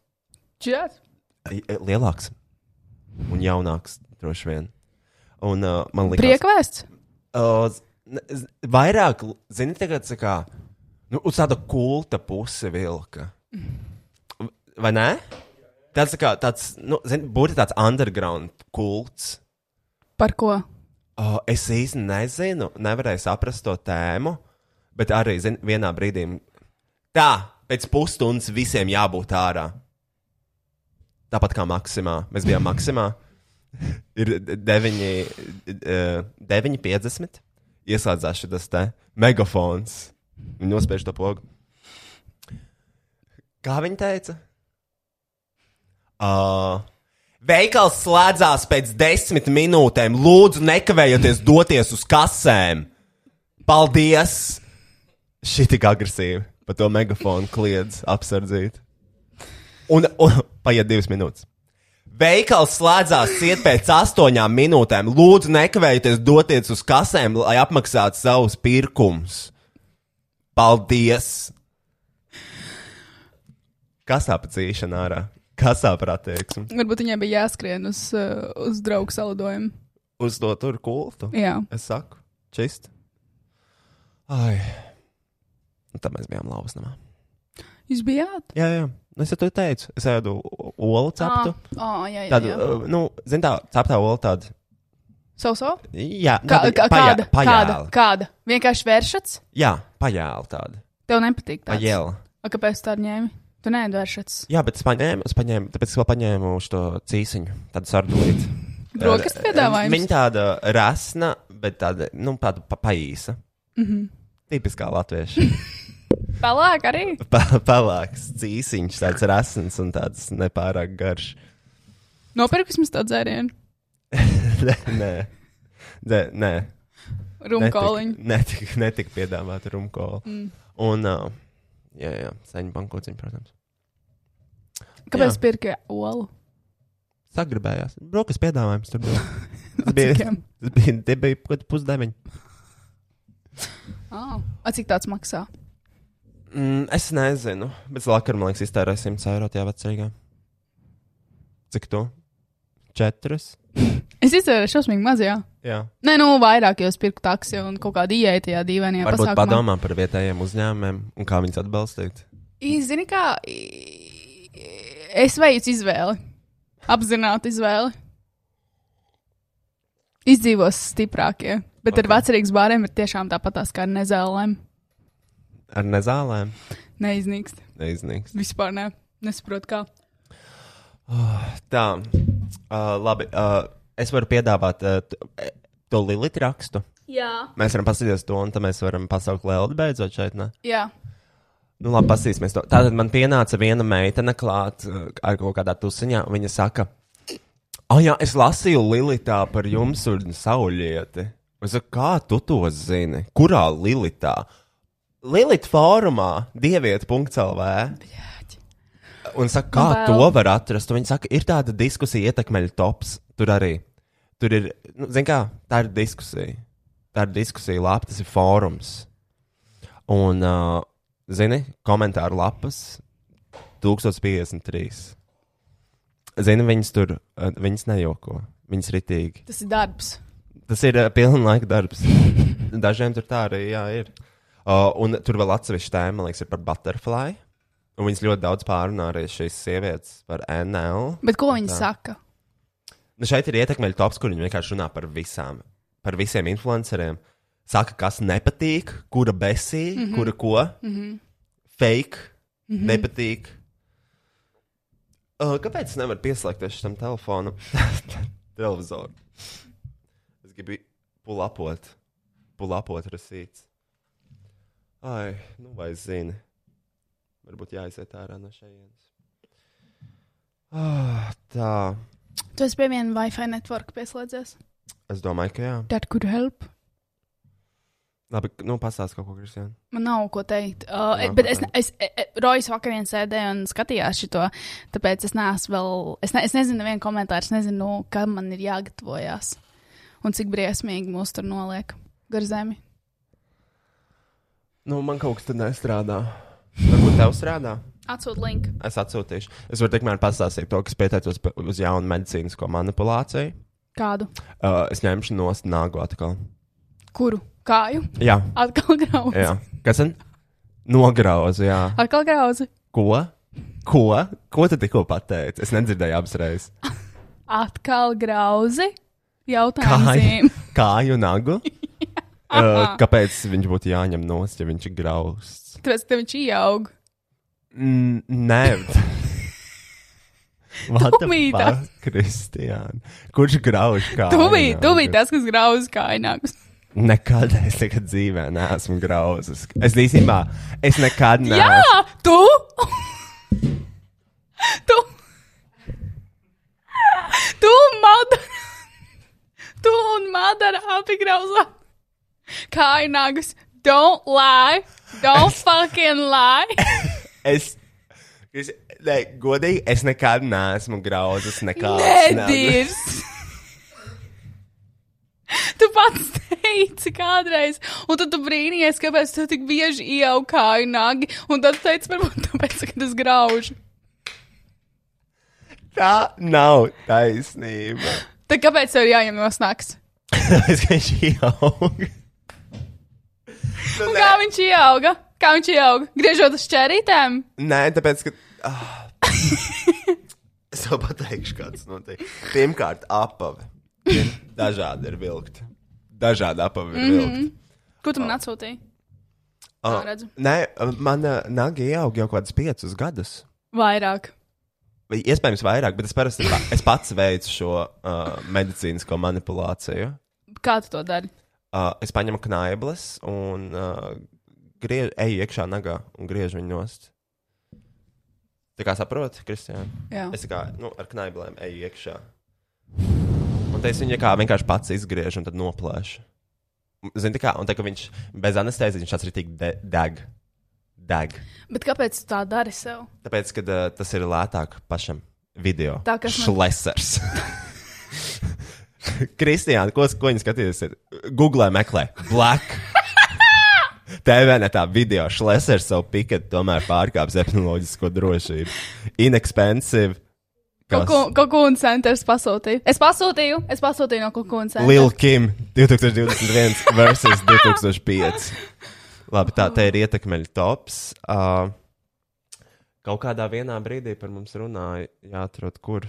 Čet?
i- i- lielāks un jaunāks droši vien. Un uh, man liekas,
Priekvēsts?
Uh, z- ne- z- vairāk, zini, tagad tā kā, nu, uz tāda kulta puse vilka. Vai ne? Tāds, tā kā, tāds, nu, zini, būtu tāds underground kults.
Par ko?
Uh, es īsti nezinu, nevarēju saprast to tēmu, bet arī, zini, vienā brīdī. Tā, pēc pusstundas visiem jābūt ārā. Tāpat kā Maksimā. Mēs bijām Maksimā. Ir 9,50. Ieslēdzās šis te megafons. Viņi nospiež to pogu. Kā viņi teica? Uh, veikals slēdzās pēc desmit minūtēm. Lūdzu, nekavējoties doties uz kasēm. Paldies! Šī tik agresīva. Pa to megafonu kliedz apsardzīt. Un, un paiet divas minūtes. Veikals slēdzās ciet pēc astoņām minūtēm. Lūdzu, nekavējoties doties uz kasēm, lai apmaksātu savus pirkumus. Paldies! Kas apcīšana ārā? Kas apratieksme?
Varbūt viņai bija jāskrien uz, uh, uz draugu salidojumu.
Uz to tur kultu?
Jā.
Es saku, čist. Ai. Un tad mēs bijām lausnamā.
Jūs bijāt?
Jā, jā. Nu, Es jau to teicu. Es ēdu o- olu ceptu.
Ah, jā, jā.
Tādu,
jā.
uh, nu, zin tā, ceptā olu tādu.
Savu savu?
Jā,
Kā,
tāda
kā,
pajā-
kāda? Kāda?
Pajēla.
Kāda? Vienkārši vēršats?
Jā, pajēla tāda.
Tev nepatīk tā.
Pajēla.
A, kāpēc tā ņēmi? Tu nē, vēršats.
Jā, bet es paņēmu, es paņēmu, tāpēc es vēl paņēmu šo cīsiņu, tādu sardulīti.
Brokastu piedāvājums.
Viņa tāda rasna, bet tāda, nu, tāda pa paīsa. Mm -hmm. Tipiskā latvieša.
Mhm. Pelēk arī.
Pa- Pelēks, cīsiņš, tāds rasns un tāds nepārāk garš.
Nopirkus mums tādu dzērienu.
nē, nē. Nē, nē.
Rumkoliņu.
Netika, netika piedāvāta rumkola. Mm. Un, uh, jā, jā, saņem bankociņu, protams.
Kāpēc
Jā.
pirki olu?
Sagribējās. Brokas piedāvājums tur bija. Tas bija,
Cikiem?
tas bija, tie bija kaut kādi pusdeviņi.
Ah, a, cik tāds maksā?
Mm, es nezinu, bet vakar, man liekas, iztērēju 100 eiro tajā vecajā. Cik to? Četras?
Es izdevu šausmīgi maz, jā.
Jā.
Nē, nu vairāk jau es pirku taksi un kaut kādu ieeju tajā dīvainajā
Varbūt
pasākumā.
padomā par vietējiem uzņēmumiem un kā viņus atbalstīt.
I- Zini, kā i- es veicu izvēli, apzinātu izvēli. Izdzīvos stiprākie, bet okay. ar vecerīgiem bāriem ir tiešām tāpatās kā ar nezālēm.
Ar nezālēm
Neiznīkst.
neiznīks.
Vispār ne. nesaprotu, kā.
Tā, uh, labi. Uh, es varu piedāvāt uh, t- eh, to Lilita rakstu.
Jā,
Mēs varam paskatīties to, un tad mēs varam pasaukt Lēlu beidzot šeit. Ne?
Jā.
Nu, labi, paskatīsimies to. Tātad man pienāca viena meitene klāt uh, ar kaut kādā tusiņā, un viņa saka, ah, jā, es lasīju Lilitā par jums un saulieti. Es saku, kā tu to zini? Kurā Lilitā? Lilita fórumā, dieviet.lv. Un saka, kā
Man bail.
to var atrast? Un Viņa saka, ir tāda diskusija, ietekmeļa tops. Tur arī. Tur ir, nu, zin kā, tā ir diskusija. Tā ir diskusija lapa, tas ir fórums. Un, uh, zini, komentāru lapas 1053. Zini, viņas tur, uh, viņas nejoko, viņas ritīgi.
tas ir darbs.
Tas ir uh, pilnlaika darbs. Dažiem tur tā arī jā, ir. Uh, un tur vēl atsevišķa tēma, man liekas, ir par butterfly. Un viņas ļoti daudz pārunā arī šīs sievietes par NL.
Bet ko viņi saka?
Nu, šeit ir ietekmeļa tops, kur viņi vienkārši runā par visām, par visiem influenceriem. Saka, kas nepatīk, kura besī, mm -hmm. kura ko. Mm -hmm.
Mhm.
Fake, mm -hmm. nepatīk. Uh, kāpēc es nevaru pieslēgties tam telefonam? Televizoru. Es gribu pulapot, pulapot rasīts. Ai, nu vai zini. Varbūt jāiziet ārā no šejienes. Ah, tā.
Tu esi pie viena Wi-Fi networka pieslēdzies.
Es domāju, ka jā.
That could help.
Labi, nu pastāsti kaut ko, Kristija.
Man nav ko teikt. Uh,
Nav
bet
ko
es, ne- es, es Rojas vakarā sēdēju un skatījās šo, tāpēc es neesmu vēl. Es, ne, es nezinu, vienu komentāru, es nezinu, nu, kam man ir jāgatavojas. Un cik briesmīgi mūs tur noliek gar zemi.
Nu, man kaut kas tāds nestrādā. Varbūt tev strādā.
Atsūtu linku.
Es atsūtīšu. Es varu tikmēr pastāstīt to, kas pieteicos pa- uz jaunu medicīnisko manipulāciju.
Kādu?
Uh, es ņemšu no snāgu atkal.
Kuru? Kāju?
Jā,
Atkal grauzi.
jā. Kas tad? Nograuzu, jā.
Atkal grauzi.
Ko? Ko? Ko tu tikko pateici? Es nedzirdēju abas reizes.
Atkal grauzi. Jautājums.
Kāju,
zīme.
kāju nagu? Uh, kāpēc viņš būtu jāņem nost, ja viņš ir grausts?
Tāpēc, ka tev viņš ieaug.
Mm, Nē,
Tuvītā.
Vatā, Kristiāna. Kurš grauž kā?
Tu biji, tu biji tas, kas grauzi kājnākus.
Nekad es nekad dzīvē neesmu grauzis. Es īstenībā, es nekad
Jā,
neesmu.
tu! tu! Tu un Madara! Tu un Madara abi grauzā! Kājnākus! Don't lie! Don't fucking lie!
Es, es, ne, godīgi, es nekad neesmu grauzis nekādas nav-
Nedirs! Tu pats teici kādreiz, un tad tu brīnījies, kāpēc tev tik bieži ieaug kāju nagi, un tad tu teici, varbūt tāpēc, ka tas grauž.
Tā nav taisnība.
Tad kāpēc tev ir jāņem no snaks?
Es kā viņš ieaug. Nu,
Un
nē.
kā viņš ieauga? Kā viņš ieauga? Griežot uz čērītēm?
Nē, tāpēc, ka. Ah. es jau pateikšu, kāds notiek. Pirmkārt, apavi. Pirm- Dažādi ir vilkti. Dažādi apavi
Mhm.
ir vilkti. Mm -hmm.
Ko tu man atsūtīji? tā redzu.
Ah, nē, man eh, nagi ieaug jau kaut kādus piecus gadus.
Vairāk.
Vai Iespējams, vairāk, bet es parasti pa- es pats veicu šo uh, medicīnisko manipulāciju.
Kā tu to dari?
Uh, es paņemu knaibles un uh, griežu, eju iekšā nagā un griežu viņu nost. Tā kā saproti, Kristija?
Jā.
Es tā kā nu, ar knaiblēm eju iekšā. Un tas viņa kā vienkārši pats izgriež un tad noplēš. Zini, tā kā, un tā kā viņš bez anestēzijas viņš tāds ir tik de deg. deg.
Bet kāpēc tu tā dari sev?
Tāpēc, ka uh, tas ir lētāk pašam video.
Tā, kas man-
šlesers. Kristija, ko, ko viņa skatījās? Google meklē Black. TV netā video šlesers savu piketu tomēr pārkāpj epidemioloģisko drošību. Inexpensive. kas-
Kokūna centrs pasūtīja. Es pasūtīju, es pasūtīju no kokūna centra.
Lil Kim 2021 versus 2005. Labi, tā te ir ietekmeļa tops. Uh, kaut kādā vienā brīdī par mums runāja, jāatrod, kur.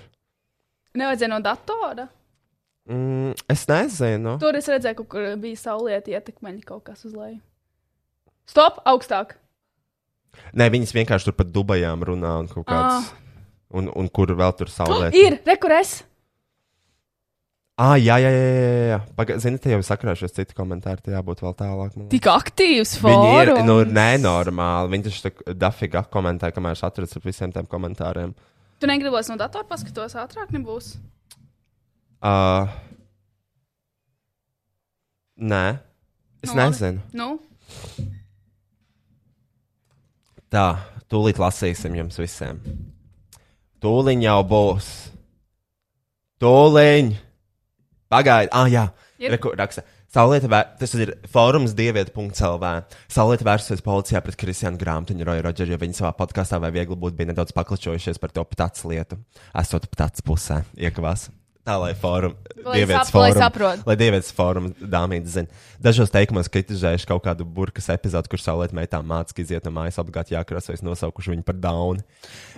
Nevajadzēja no datora.
Mm, es nezinu.
Tur es redzēju, ka kur bija saulrieta ietekmeņa kaut kas uz leju. Stop! Augstāk!
Nē, viņas vienkārši tur par dubajām runā un kaut kāds.
Ah.
Un, un kur vēl tur saulē?
Ir! Rekurēs!
Ah, jā, jā, jā, jā, jā. Paga, zini, te jau sakrāšies citi komentāri, te jābūt vēl tālāk. man liekas.
Tik aktīvs
Viņi ir
fórums!
nu, nenormāli. Viņi taču tā dafīgi komentē, kamēr es atradu ar visiem tiem komentāriem.
Tu negribos no datora paskatos ātrāk, nebūs.
Uh, nē, es
Nu,
nu, nezinu.
Nu,
Tā, tūlīt lasīsim jums visiem. Tūlīt jau būs. Tūlīt. Pagaidiet, ah, jā.
Ir.
Reku, raksta. Saulrieta, vēr... tas ir fórums dieviete.clv. Saulrieta vērsusies policijā pret Kristiānu Grāmatiņu, Roju Rodžeru, jo viņi savā podkāstā vai viegli būtu bija nedaudz paklačojušies par to pats lietu. Esot pats pusē, iekavās. Tā lai fórum,
Lai
dievietes
sap- lai
fórum-
saprot.
Lai dievietes fórums dāmītas zina. Dažos teikumos kritizējuši kaut kādu burkas epizodu, kur saulēt meitām mācīja, ka iziet no mājas apgāzt jākrāsojas, nosaukuši viņu par dauni.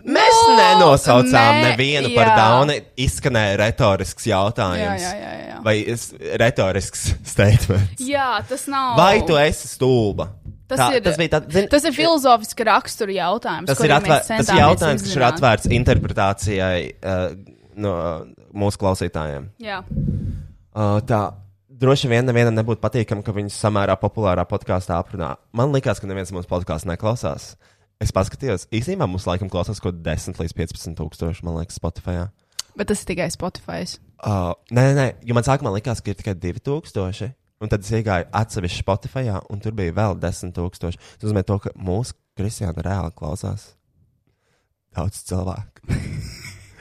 Mēs
Nu,
nenosaucām
ne-
nevienu
jā.
par dauni. Izskanēja retorisks
jā,
jautājums.
jā, jā. jā.
Vai es, retorisks statements.
jā tas nav.
Vai tu esi stulba?
Tas
tā,
ir-
tas bija tāds. Zin,
Tas ir filozofiska rakstura jautājums.
tas
kuru
ir,
mēs
atvēr, tas ir
centāmies
jautājums, kas ir
izzināt.
atvērts interpretācijai uh, no uh, mūsu klausītājiem.
Jā,
Uh, tā. Droši vien nevienam nebūtu patīkami, ka viņu samērā populārā podkāstā aprunā. Man liekas, ka neviens mūsu podkāstu neklausās. Es paskatījos, īstenībā mums laikam klausās kaut kāda 10 līdz 15 tūkstoši, man liekas, Spotify.
bet tas ir tikai Spotify.
Uh, nē, nē, nē, jo man sākumā likās, ka ir tikai 2000, un tad es iegāju atsevišķi Spotify, un tur bija vēl 10,000. Tas nozīmē, to, ka mūsu kristiāna reāli klausās daudz cilvēku.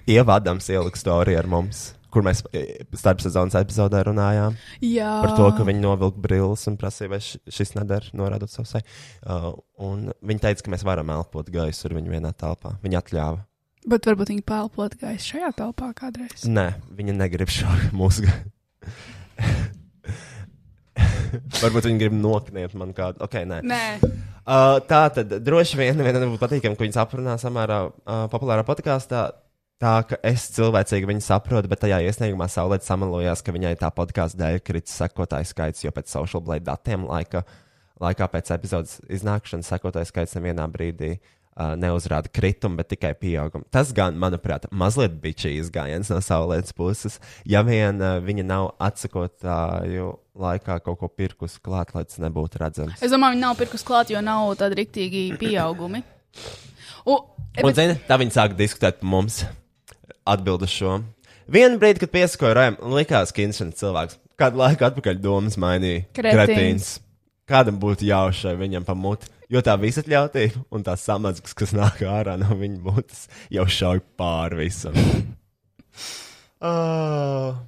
Ievadams ielikt storiju ar mums. kur mēs e, starp sezonas epizodē runājām.
Jā,
Par to, ka viņi novilka brilles un prasīja, vai š- šis nedara, norādot savu seju. Uh, un viņa teica, ka mēs varam elpot gaisu ar viņu vienā telpā. Viņa atļāva.
Bet varbūt viņi pelpot gaisu šajā telpā kādreiz.
Nē, viņa negrib šo mūsu gaisu. Varbūt viņi grib nokniet man kādu. Okay, nē.
Nē,
Uh, tā tad droši vien vienam būtu patīkami, ka viņas aprunā samērā uh, populārā podkāstā. Tā ka es cilvēcīgi viņu saprotu, bet tajā iesniegumā saulēta samalojās, ka viņai tā podkāstu dēļ kritis sekotāju skaits, jo pēc social blade datiem laika, laikā pēc epizodes iznākšanas sekotāju skaits nevienā brīdī uh, neuzrāda kritumu, bet tikai pieaugumu. Tas gan, manuprāt, mazliet bija šī izgājiens no saulētas puses, ja vien uh, viņa nav atsakotāju laikā kaut ko pirkus klāt, lai tas nebūtu redzams.
es domāju, viņi nav pirkus klāt, jo nav tādi riktīgi pieaugumi. U, e,
Un,
bet,
zini, tā viņi sāka diskutēt par mums. Atbildu šo. Vienu brīdi, kad piesakoju Rēm, likās, ka interesants cilvēks. Kādu laiku atpakaļ domas mainīja.
Kretīns.
Kādam būtu jaušai viņam pamūt, jo tā visatļautība un tā samazgas, kas nāk ārā no viņa mutes, jau šauj pāri visam. Ah.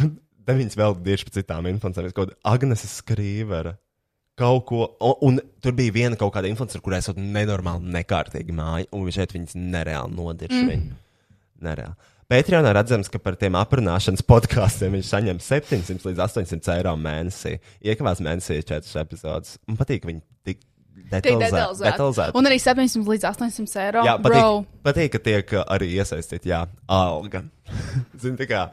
Un Te viņas vēl tieši par citām influenceriem. Kaut kāda Agnese Skrīvera kaut ko, un, un tur bija viena kaut kāda influencer, kurai esot nenormāli nekārtīgi māja, un viņš šeit viņas nereāli nodirš. Mm. Viņu. Nereāli. Patreonā redzams, ka par tiem aprunāšanas podkāstiem viņš saņem 700 līdz 800 eiro mēnesī. Iekavās mēnesī 4 epizodes. Man patīk, ka viņi tik
Tik
detalizēti.
detalizēti.
detalizēti.
Un arī 700 līdz 800 eiro.
Jā,
bro.
patīk, patīk, ka tiek uh, arī iesaistīta jā, alga. Zini, tā kā.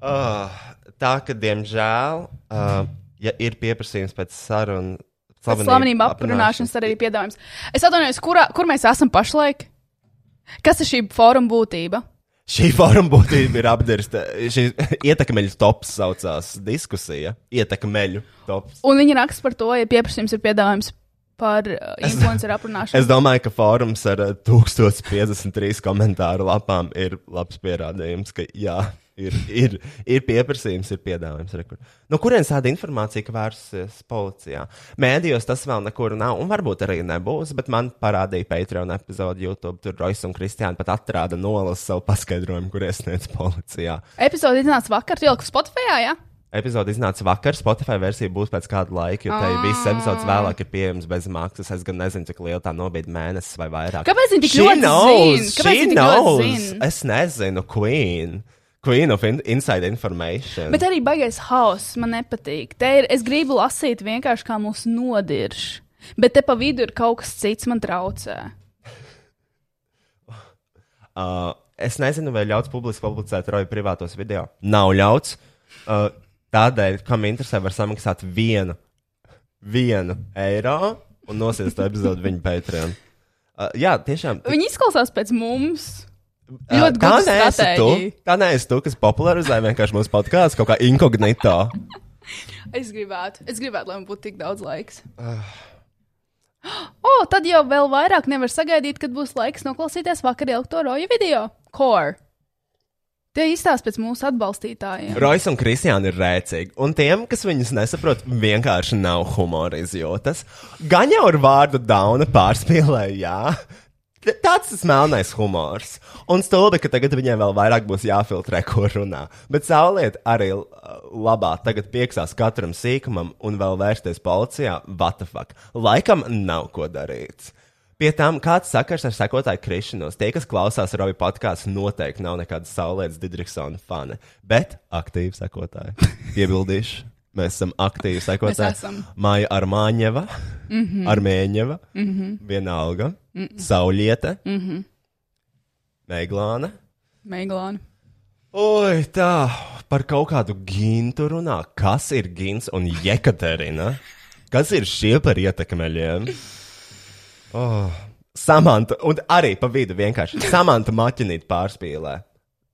Uh, tā ka, diemžēl, uh, ja ir pieprasījums pēc sarunu,
Pēc slavenību aprunāšanas arī ir piedāvājums. Es atvainojos, kurā- kur mēs esam pašlaik? Kas ir šī fóruma būtība?
Šī forma būtība ir apdirsta. Šī ietekmeļu tops saucās diskusija. Ietekmeļu tops.
Un viņi raksta par to, ja pieprasījums ir piedāvājums par uh, influenceru aprunāšanu.
Es domāju, ka fórums ar uh, 1053 komentāru lapām ir labs pierādījums, ka jā, ir, ir, ir pieprasījums, ir piedāvājums. Re, kur. No kurienes tāda informācija, ka vērsusies policijā? Mēdījos tas vēl nekur nav, un varbūt arī nebūs, bet man parādīja Patreon epizodi YouTube, tur Roisas un Kristiāna pat atrada nolasa savu paskaidrojumu, kur iesniedz policijā.
Epizode iznāca vakar, tu ieliki Spotify, jā?
Epizode iznāca vakar, Spotify versija būs pēc kāda laika, jo
Ah.
tai viss epizodes vēlāk ir pieejams bez maksas. Es gan nezinu, cik liela tā nobīda mēnesis vai vairāk.
Kāpēc viņi tik
She
ļoti
knows,
zin? Kāpēc
she
viņi tik ļoti
knows.
zin?
Es nezinu, Queen. Queen of in Inside Information.
Bet arī baigais hauss man nepatīk. Te ir, es gribu lasīt vienkārši kā mūsu nodirš. Bet te pa vidu ir kaut kas cits, man traucē.
Uh, es nezinu, vai ļauts publiski publicēt roju privātos video. Nav ļauts. Uh, tādēļ, kam interesē, var samaksāt vienu, vienu eiro un nosiest epizodu viņa Patreon. Uh, jā, tiešām.
Viņi izklausās pēc mums.
Uh,
Ļoti
tā
gudra
neesi tu.
stratēģija.
Tā neesi tu, kas popularizē vienkārši mūsu podkāstu kaut kā inkognito.
Es gribētu, es gribētu, lai man būtu tik daudz laiks. O, tad jau vēl vairāk nevar sagaidīt, kad būs laiks noklausīties vakar ieliekto roju video. Core. Tie izstāsta pēc mūsu atbalstītājiem.
Rois un Kristiāna ir rēcīgi, un tiem, kas viņus nesaprot, vienkārši nav humora izjūtas. Gan jau ar vārdu dauna pārspīlēja, jā. T- Tāds tas melnais humors. Un stulbi, ka tagad viņiem vēl vairāk būs jāfiltrē, ko runā. Bet saulriet arī l- labā tagad pieksās katram sīkumam un vēl vērsties policijā. What the fuck? Laikam nav ko darīt. Pie tam, kāds sakars ar sekotāju krišanos, tie, kas klausās Robi podkāstu, noteikti nav nekāda saulētas Digriksona fani. Bet aktīvi sekotāji. Iebildīšu, mēs esam aktīvi sekotāji.
esam.
Māja Armāņeva, mm -hmm. Armēņeva, mm -hmm.
Mm-hmm.
vienalga, mm -hmm. Saulieta, mm -hmm. Meglāna.
Meiglāni.
Oi, tā par kaut kādu gintu runā. Kas ir gins un jekaterina? Kas ir šie par ietekmeļiem? Oh. Samanta, un arī pa vidu vienkārši samanta maķinīt pārspīlē.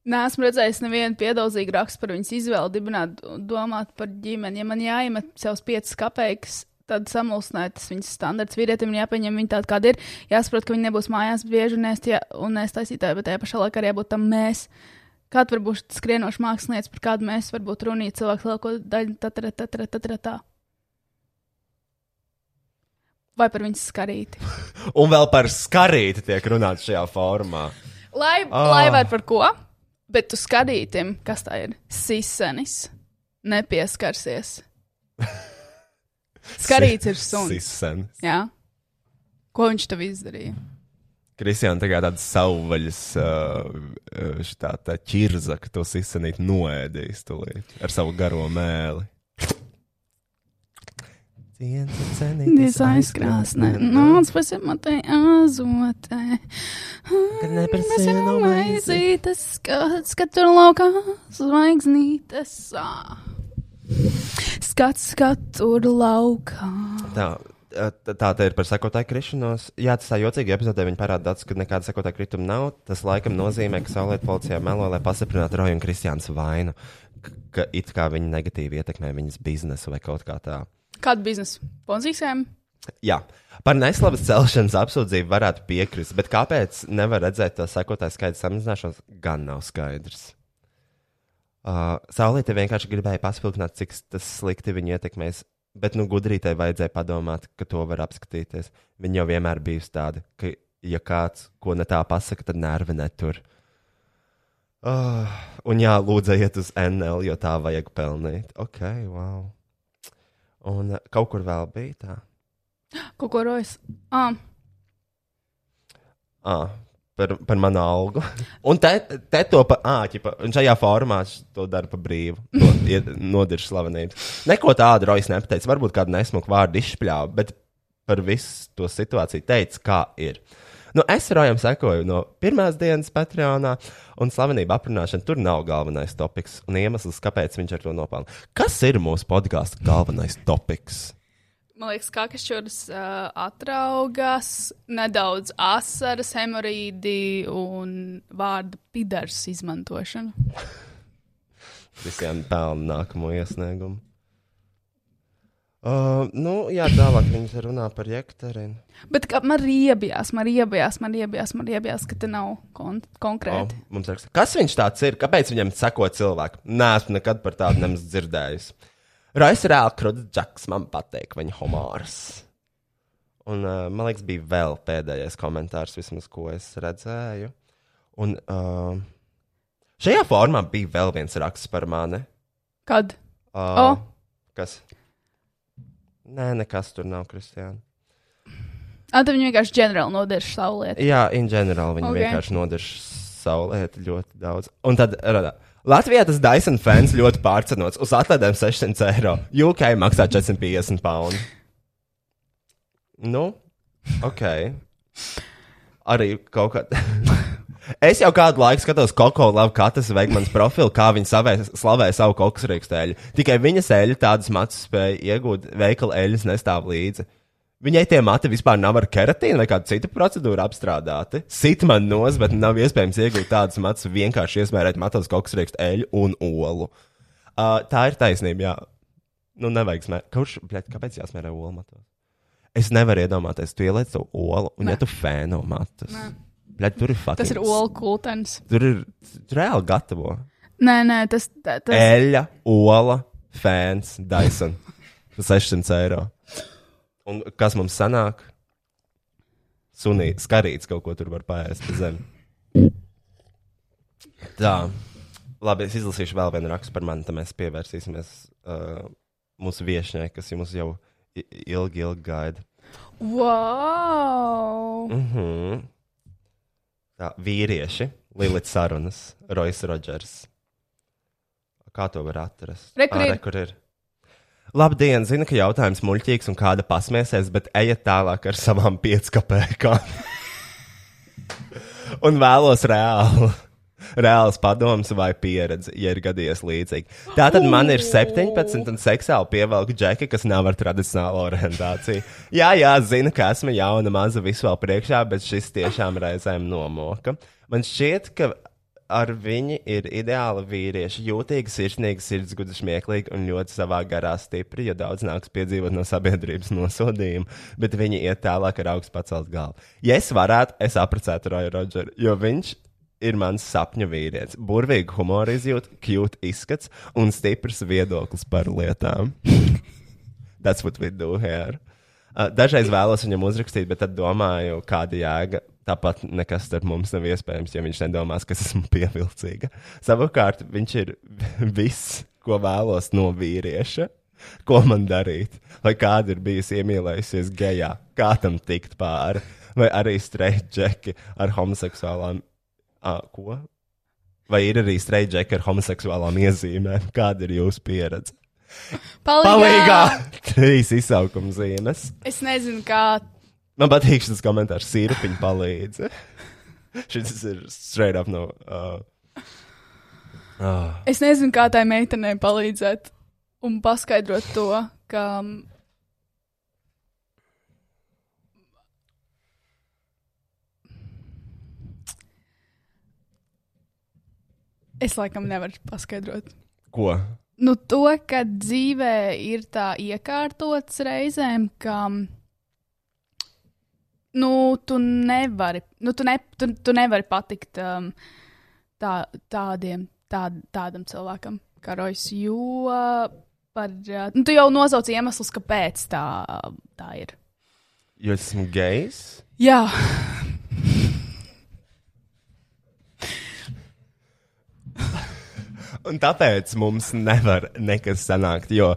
Nē, esmu redzējis nevienu piedozīgu rakstu par viņas izvēli, dibināt, domāt par ģimeni. Ja man jāiemet savus piecas kapeikas, tad samulsināt tas viņas standarts. Vīrietim ir jāpieņem viņa tāda, kāda ir. Jāsaprot, ka viņi nebūs mājās bieži un ēst, ja- un ēst taisītāji, bet tajā pašā laikā arī jābūt tam mēs. Kāda var būt skrienoša mākslinieca, par kādu mēs varbūt runājam, cilvēku lielāko daļu tatra, tatra, tatra, tā. Vai par viņas skarīti?
Un vēl par skarīti tiek runāts šajā formā.
Lai,
Ah.
lai var par ko? Bet tu skatītim, kas tā ir? Sisenis nepieskarsies. Skarīts ir suns.
Sisen.
Jā. Ko viņš tev izdarīja?
Kristiāna tagad tāda savvaļas uh, šitā tā ķirza, ka tos izsanīt noēdīs tūlīt ar savu garo mēli. Dienas ir cenītas
Diez aizkrāsnē, nāc pasimatai azotē.
Kad
Mēs
neprasīja
jau
no maizes.
maizītas, skats, kad tur laukā zvaigznītes. ā. Skats, kad tur laukā.
Tā, tā, tā te ir par sekotāju krišanos. Jā, tas tā jocīgi epizodē viņa parāda datus, ka nekāda sekotāja krituma nav. Tas laikam nozīmē, ka saulēta policijā melo, lai pastiprinātu Roju un Kristiānas vainu, ka, ka it kā viņa negatīvi ietekmē viņas biznesu vai kaut kā tā.
Kāda biznesa? Ponzīsēm?
Jā, par neslavas celšanas apsūdzību varētu piekrist, bet kāpēc nevar redzēt to sekotāju skaitu samazināšanos, gan nav skaidrs. Uh, Saulīte vienkārši gribēja paspildināt, cik s- tas slikti viņu ietekmēs, bet nu gudrītai vajadzēja padomāt, ka to var apskatīties. Viņa jau vienmēr bijusi tāda, ka, ja kāds ko ne tā pasaka, tad nervi netur. Uh, un jā, lūdzu, iet uz NL, jo tā vajag pelnīt. Ok, wow. Un uh, kaut kur vēl bija tā.
Ko ko rojas? Ah,
Ah, par, par manu algu. Un te, te to pa, ah, ķipa, un šajā formā es to daru pa brīvu. To ied- Nodirž slavenības. Neko tādu Rojas nepateica. Varbūt kādu nesmuku vārdu izšpļāva, bet par visu to situāciju teica, kā ir. Nu, es Rojam sekoju no pirmās dienas Patreonā, un slavenība aprunāšana tur nav galvenais topoks un iemesls, kāpēc viņš ar to nopelna. Kas ir mūsu podkāstu galvenais topoks?
man liekas, kā kašķurs uh, atraugas, nedaudz asaras, hemorīdi un vārdu pidars izmantošana.
Visiem pelna nākamo iesniegumu. Uh, nu, jā, tālāk viņas runā par jektarinu.
Bet kā, man riebjās, man riebjās, man riebjās, man riebjās, ka te nav kon
Oh,
konkrēti.
mums raksta, kas viņš tāds ir? Kāpēc viņam sako cilvēki? Nē, esmu nekad par tādu nemaz dzirdējis. Raisa Rēlkruds, Džeks, man patīk viņa humors. Un, uh, man liekas, bija vēl pēdējais komentārs, vismaz, ko es redzēju. Un uh, šajā formā bija vēl viens raksts par mani.
Oh. Kad?
Uh,
O.
Kas? Nē, nekas tur nav, Kristiāna.
Ah, tad viņi vienkārši ģenerāli nodež savu lietu.
Jā, in general, viņi
Ok.
okay. vienkārši nodež savu lietu ļoti daudz. Un tad radā. Latvijā tas Dyson fans ļoti pārcenots. Uz atlaidēm 600 eiro. UK maksā 450 pounds. Nu, ok. Arī kaut kā. Es jau kādu laiku skatos Koko Lapa katras veikmanas profilu, kā viņa savē, slavē savu kokus rīkstēļu. Tikai viņas eļļa tādas matus spēja iegūt, veikala eļļas nestāv līdzi. Viņai tie mati vispār nav ar keratīnu vai kādu citu procedūru apstrādāti. Sit man nos, bet nav iespējams iegūt tādas matus, vienkārši iesmērēt matos kokus rīkstu eļļu un olu. Uh, tā ir taisnība, jā. Nu, nevajag smērēt. Kurš, bļaļ, kāpēc jāsmērē olu matos? Es nevaru iedomāties, tu ieliec to olu un
Nē.
Nē. ja tu fēno matus. Bļaļ, tur ir faktiski.
Tas ir olu kultens.
Tur ir tur reāli gatavo.
Nē, nē, tas, tā- tas
Eļļa, ola, fans, Dyson. 600 eiro. Un kas mums sanāk? Sunīts, skarīts kaut ko tur var pāriest pa zemi. Tā. Labi, es izlasīšu vēl vienu rakstu par mani, tad mēs pievērsīsimies uh, mūsu viesņai, kas mums jau i- ilgi, ilgi gaida.
Wow!
Mm -hmm. Tā, vīrieši, Lilita Sarunas, Roisas Rodžers. Kā to var atrast?
Re, kur
Ā,
ir.
re, kur ir. Labdien, zinu, ka jautājums muļķīgs un kāda pasmieties, bet ejiet tālāk ar savām pieckapēkām. un vēlos reāli. Reāls padoms vai pieredze, ja ir gadījies līdzīgi. Tā tad man ir 17, un seksuāli pievelku džeki, kas nav ar tradicionālo orientāciju. Jā, jā, zinu, ka esmu jauna, maza, visu vēl priekšā, bet šis tiešām reizēm nomoka. Man šķiet, ka ar viņu ir ideāli vīrieši. Jūtīgi, sirsnīgi, sirdsgudri, smieklīgi un ļoti savā garā stipri, jo daudz nāks piedzīvot no sabiedrības nosodījuma, bet viņi iet tālāk ar augstu pacelt galvu. Ja es varētu, es apprecētu Roju Rodžeru, jo viņš ir mans sapņu vīrietis. Burvīgi humora izjūta, cute izskats un stiprs viedoklis par lietām. That's what we do here. Uh, Dažreiz vēlos viņam uzrakstīt, bet tad domāju, kāda jēga Tāpat nekas starp mums nav iespējams, ja viņš nedomās, ka es esmu pievilcīga. Savukārt, viņš ir viss, ko vēlos no vīrieša. Ko man darīt? Vai kāda ir bijusi iemīlējusies gejā? Kā tam tikt pāri? Vai arī streidžeki ar homoseksuālām. À, ko? Vai ir arī streidžeki ar homoseksuālām iezīmēm? Kāda ir jūsu pieredze? Palīgā! Trīs izsaukuma zīmes.
Es nezinu, kā.
Man patīk šis komentārs, sīrupiņa palīdz. šis ir straight up no. Uh, uh,
Es nezinu, kā tai meitenei palīdzēt un paskaidrot to, ka. mm, Es laikam nevaru paskaidrot.
ko?
Nu, to, ka dzīvē ir tā iekārtots reizēm, ka nu, tu nevari, nu, tu ne, tu, tu nevari patikt um, tā, tādiem, tā, tādam cilvēkam, kā Rojas. Jo uh, par, uh, nu, tu jau nosauc iemeslus, kāpēc tā, tā ir.
Jo es esmu gejs.
Jā,
Un tāpēc mums nevar nekas sanākt, jo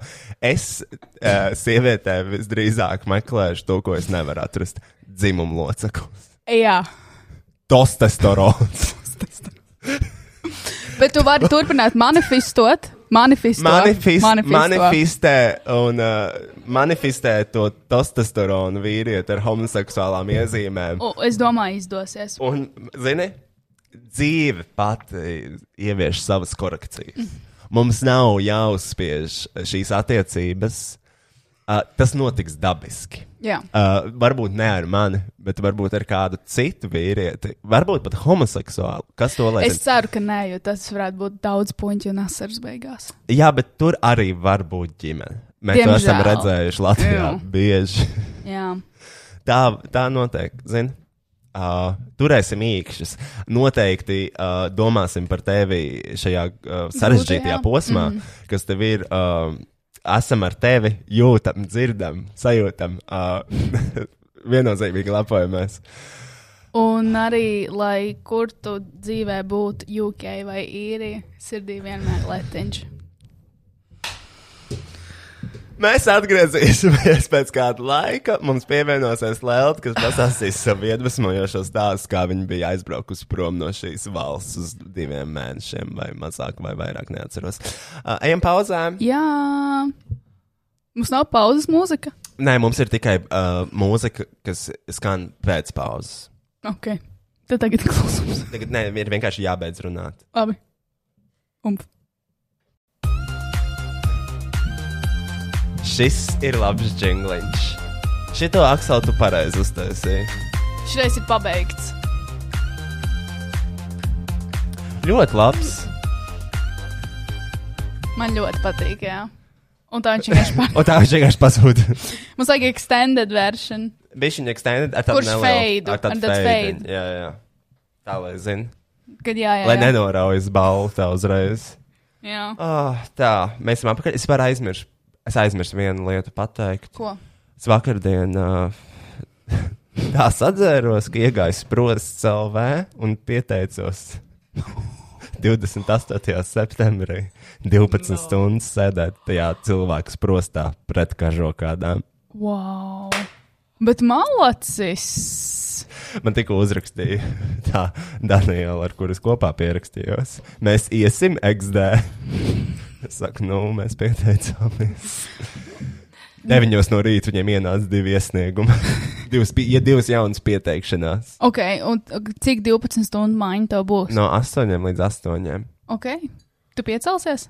es uh, sievietē visdrīzāk meklēšu to, ko es nevaru atrast. Dzimumu loceklis.
jā.
Tostesterons.
Bet tu vari turpināt manifestot. Manifestot.
Manifest,
manifesto.
manifestē, un, uh, manifestē to testosteronu vīrieti ar homoseksuālām iezīmēm.
O, Es domāju, izdosies.
Un, zini, dzīve pati ievieš savas korekcijas. Mums nav jāuzspiež šīs attiecības. Uh, tas notiks dabiski.
Jā.
Uh, varbūt ne ar mani, bet varbūt ar kādu citu vīrieti. Varbūt pat homoseksuālu. Kas to lai
Es
zina?
ceru, ka nē, jo tas varētu būt daudz puņu un asaras beigās.
Jā, bet tur arī var būt ģimene. Mēs to esam
Diemžēl.
redzējuši Latvijā
Jā.
bieži.
Jā,
tā, tā notiek. Zini? Uh, turēsim īkšķus. Noteikti uh, domāsim par tevi šajā uh, sarežģītajā
Grūtajā.
posmā, mm. kas tev ir. Uh, esam ar tevi, jūtam, dzirdam, sajūtam. Uh, viennozīmīgi lepojamies.
un arī, lai kur tu dzīvē būtu, UK vai īrija, sirdī vienmēr letiņš.
Mēs atgriezīsimies pēc kāda laika. Mums pievienosies Lēlta, kas pastāstīs savu iedvesmojošo stāstu, kā viņa bija aizbraukusi prom no šīs valsts uz diviem mēnešiem, vai mazāk, vai vairāk, neatceros. Uh, ejam pauzēm.
Jā, mums nav pauzes mūzika.
Nē, mums ir tikai uh, mūzika, kas skan pēc pauzes.
Ok, tad tagad klausās.
Tagad nē, ir vienkārši jābeidz runāt.
Labi. Umf.
Šis ir labs jingliņš. Šito Akselu tu pareizi uztaisīji.
Šreiz ir pabeigts.
Ļoti labs.
Man ļoti patīk, jā. Un tā viņš vienkārši pārāk.
Un tā viņš vienkārši pazūda.
Mums vajag extended version.
Bija viņa extended ar tādu
Kurš feidu,
nelielu- ar
ar
tādu
tādu
feidu.
feidu.
Jā, jā. Tā lai zinātu.
Kad jā, jā.
Lai
jā.
nenoraujas balta uzreiz.
jā.
Oh, tā, mēs esam apakaļ. Es varu aizmirst. Es aizmirsu vienu lietu pateikt.
Ko?
Es vakardien uh, tā sadzēros, ka iegāju sprosts CLV un pieteicos 28. septembrī 12 no. stundas sēdēt tajā cilvēku sprostā pret kažokādām.
Wow! Bet malacis!
Man tikko uzrakstīja tā Daniela, ar kuras kopā pierakstījos. Mēs iesim XD. Es saku, nu, mēs pieteicāmies. Deviņos no rīta viņiem ienāca divi iesniegumi. divas, pi- ja divas jaunas pieteikšanās.
Ok, un cik 12 stundu maiņa tev būs?
No astoņiem līdz astoņiem.
Ok, tu piecelsies?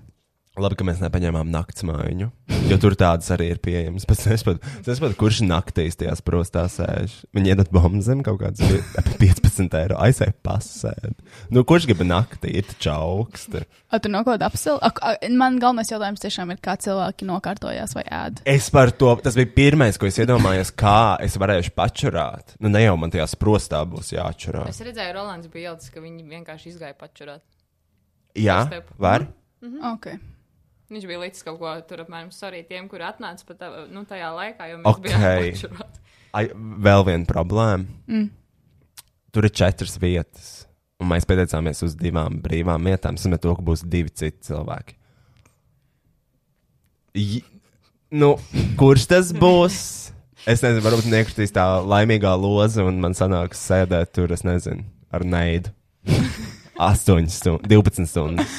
Labi, ka mēs nepaņēmām naktas mājiņu, jo tur tādas arī ir pieejamas. Bet Es saprotu, kurš naktīs tajās prostā sēž. Viņi iedod bombu zem kaut kādas pie- 15 eiro aizēju pasēdi. Nu, kurš grib naktī? Ir taču augsti.
A, tu nokod apsil? A, a, man galvenais jautājums tiešām ir, kā cilvēki nokārtojās vai ēd.
Es par to, tas bija pirmais, ko es iedomājos, kā es varēšu pačurāt. Nu, ne jau man tajā prostā būs jāčurā.
Es redzēju, Rolands bija ielicis, ka viņi vienkārši izgāja pačurāt.
Jā, var?
Mhm.
Mm. Ok.
Viņš bija līdz kaut ko tur apmēram sorry tiem, kur atnāca pat tā, nu, tajā laikā, jo mēs
Ok.
okay. bijām pačurāt.
Ai, vēl viena problēma. Mm. tur ir četras vietas. Un mēs pieteicāmies uz divām brīvām vietām. Es domāju, ka būs divi citi cilvēki. J nu, kurš tas būs? Es nezinu, varbūt nekritīs tā laimīgā loza, un man sanāks sēdēt tur, es nezinu, ar neidu. 8 stundas, 12 stundas.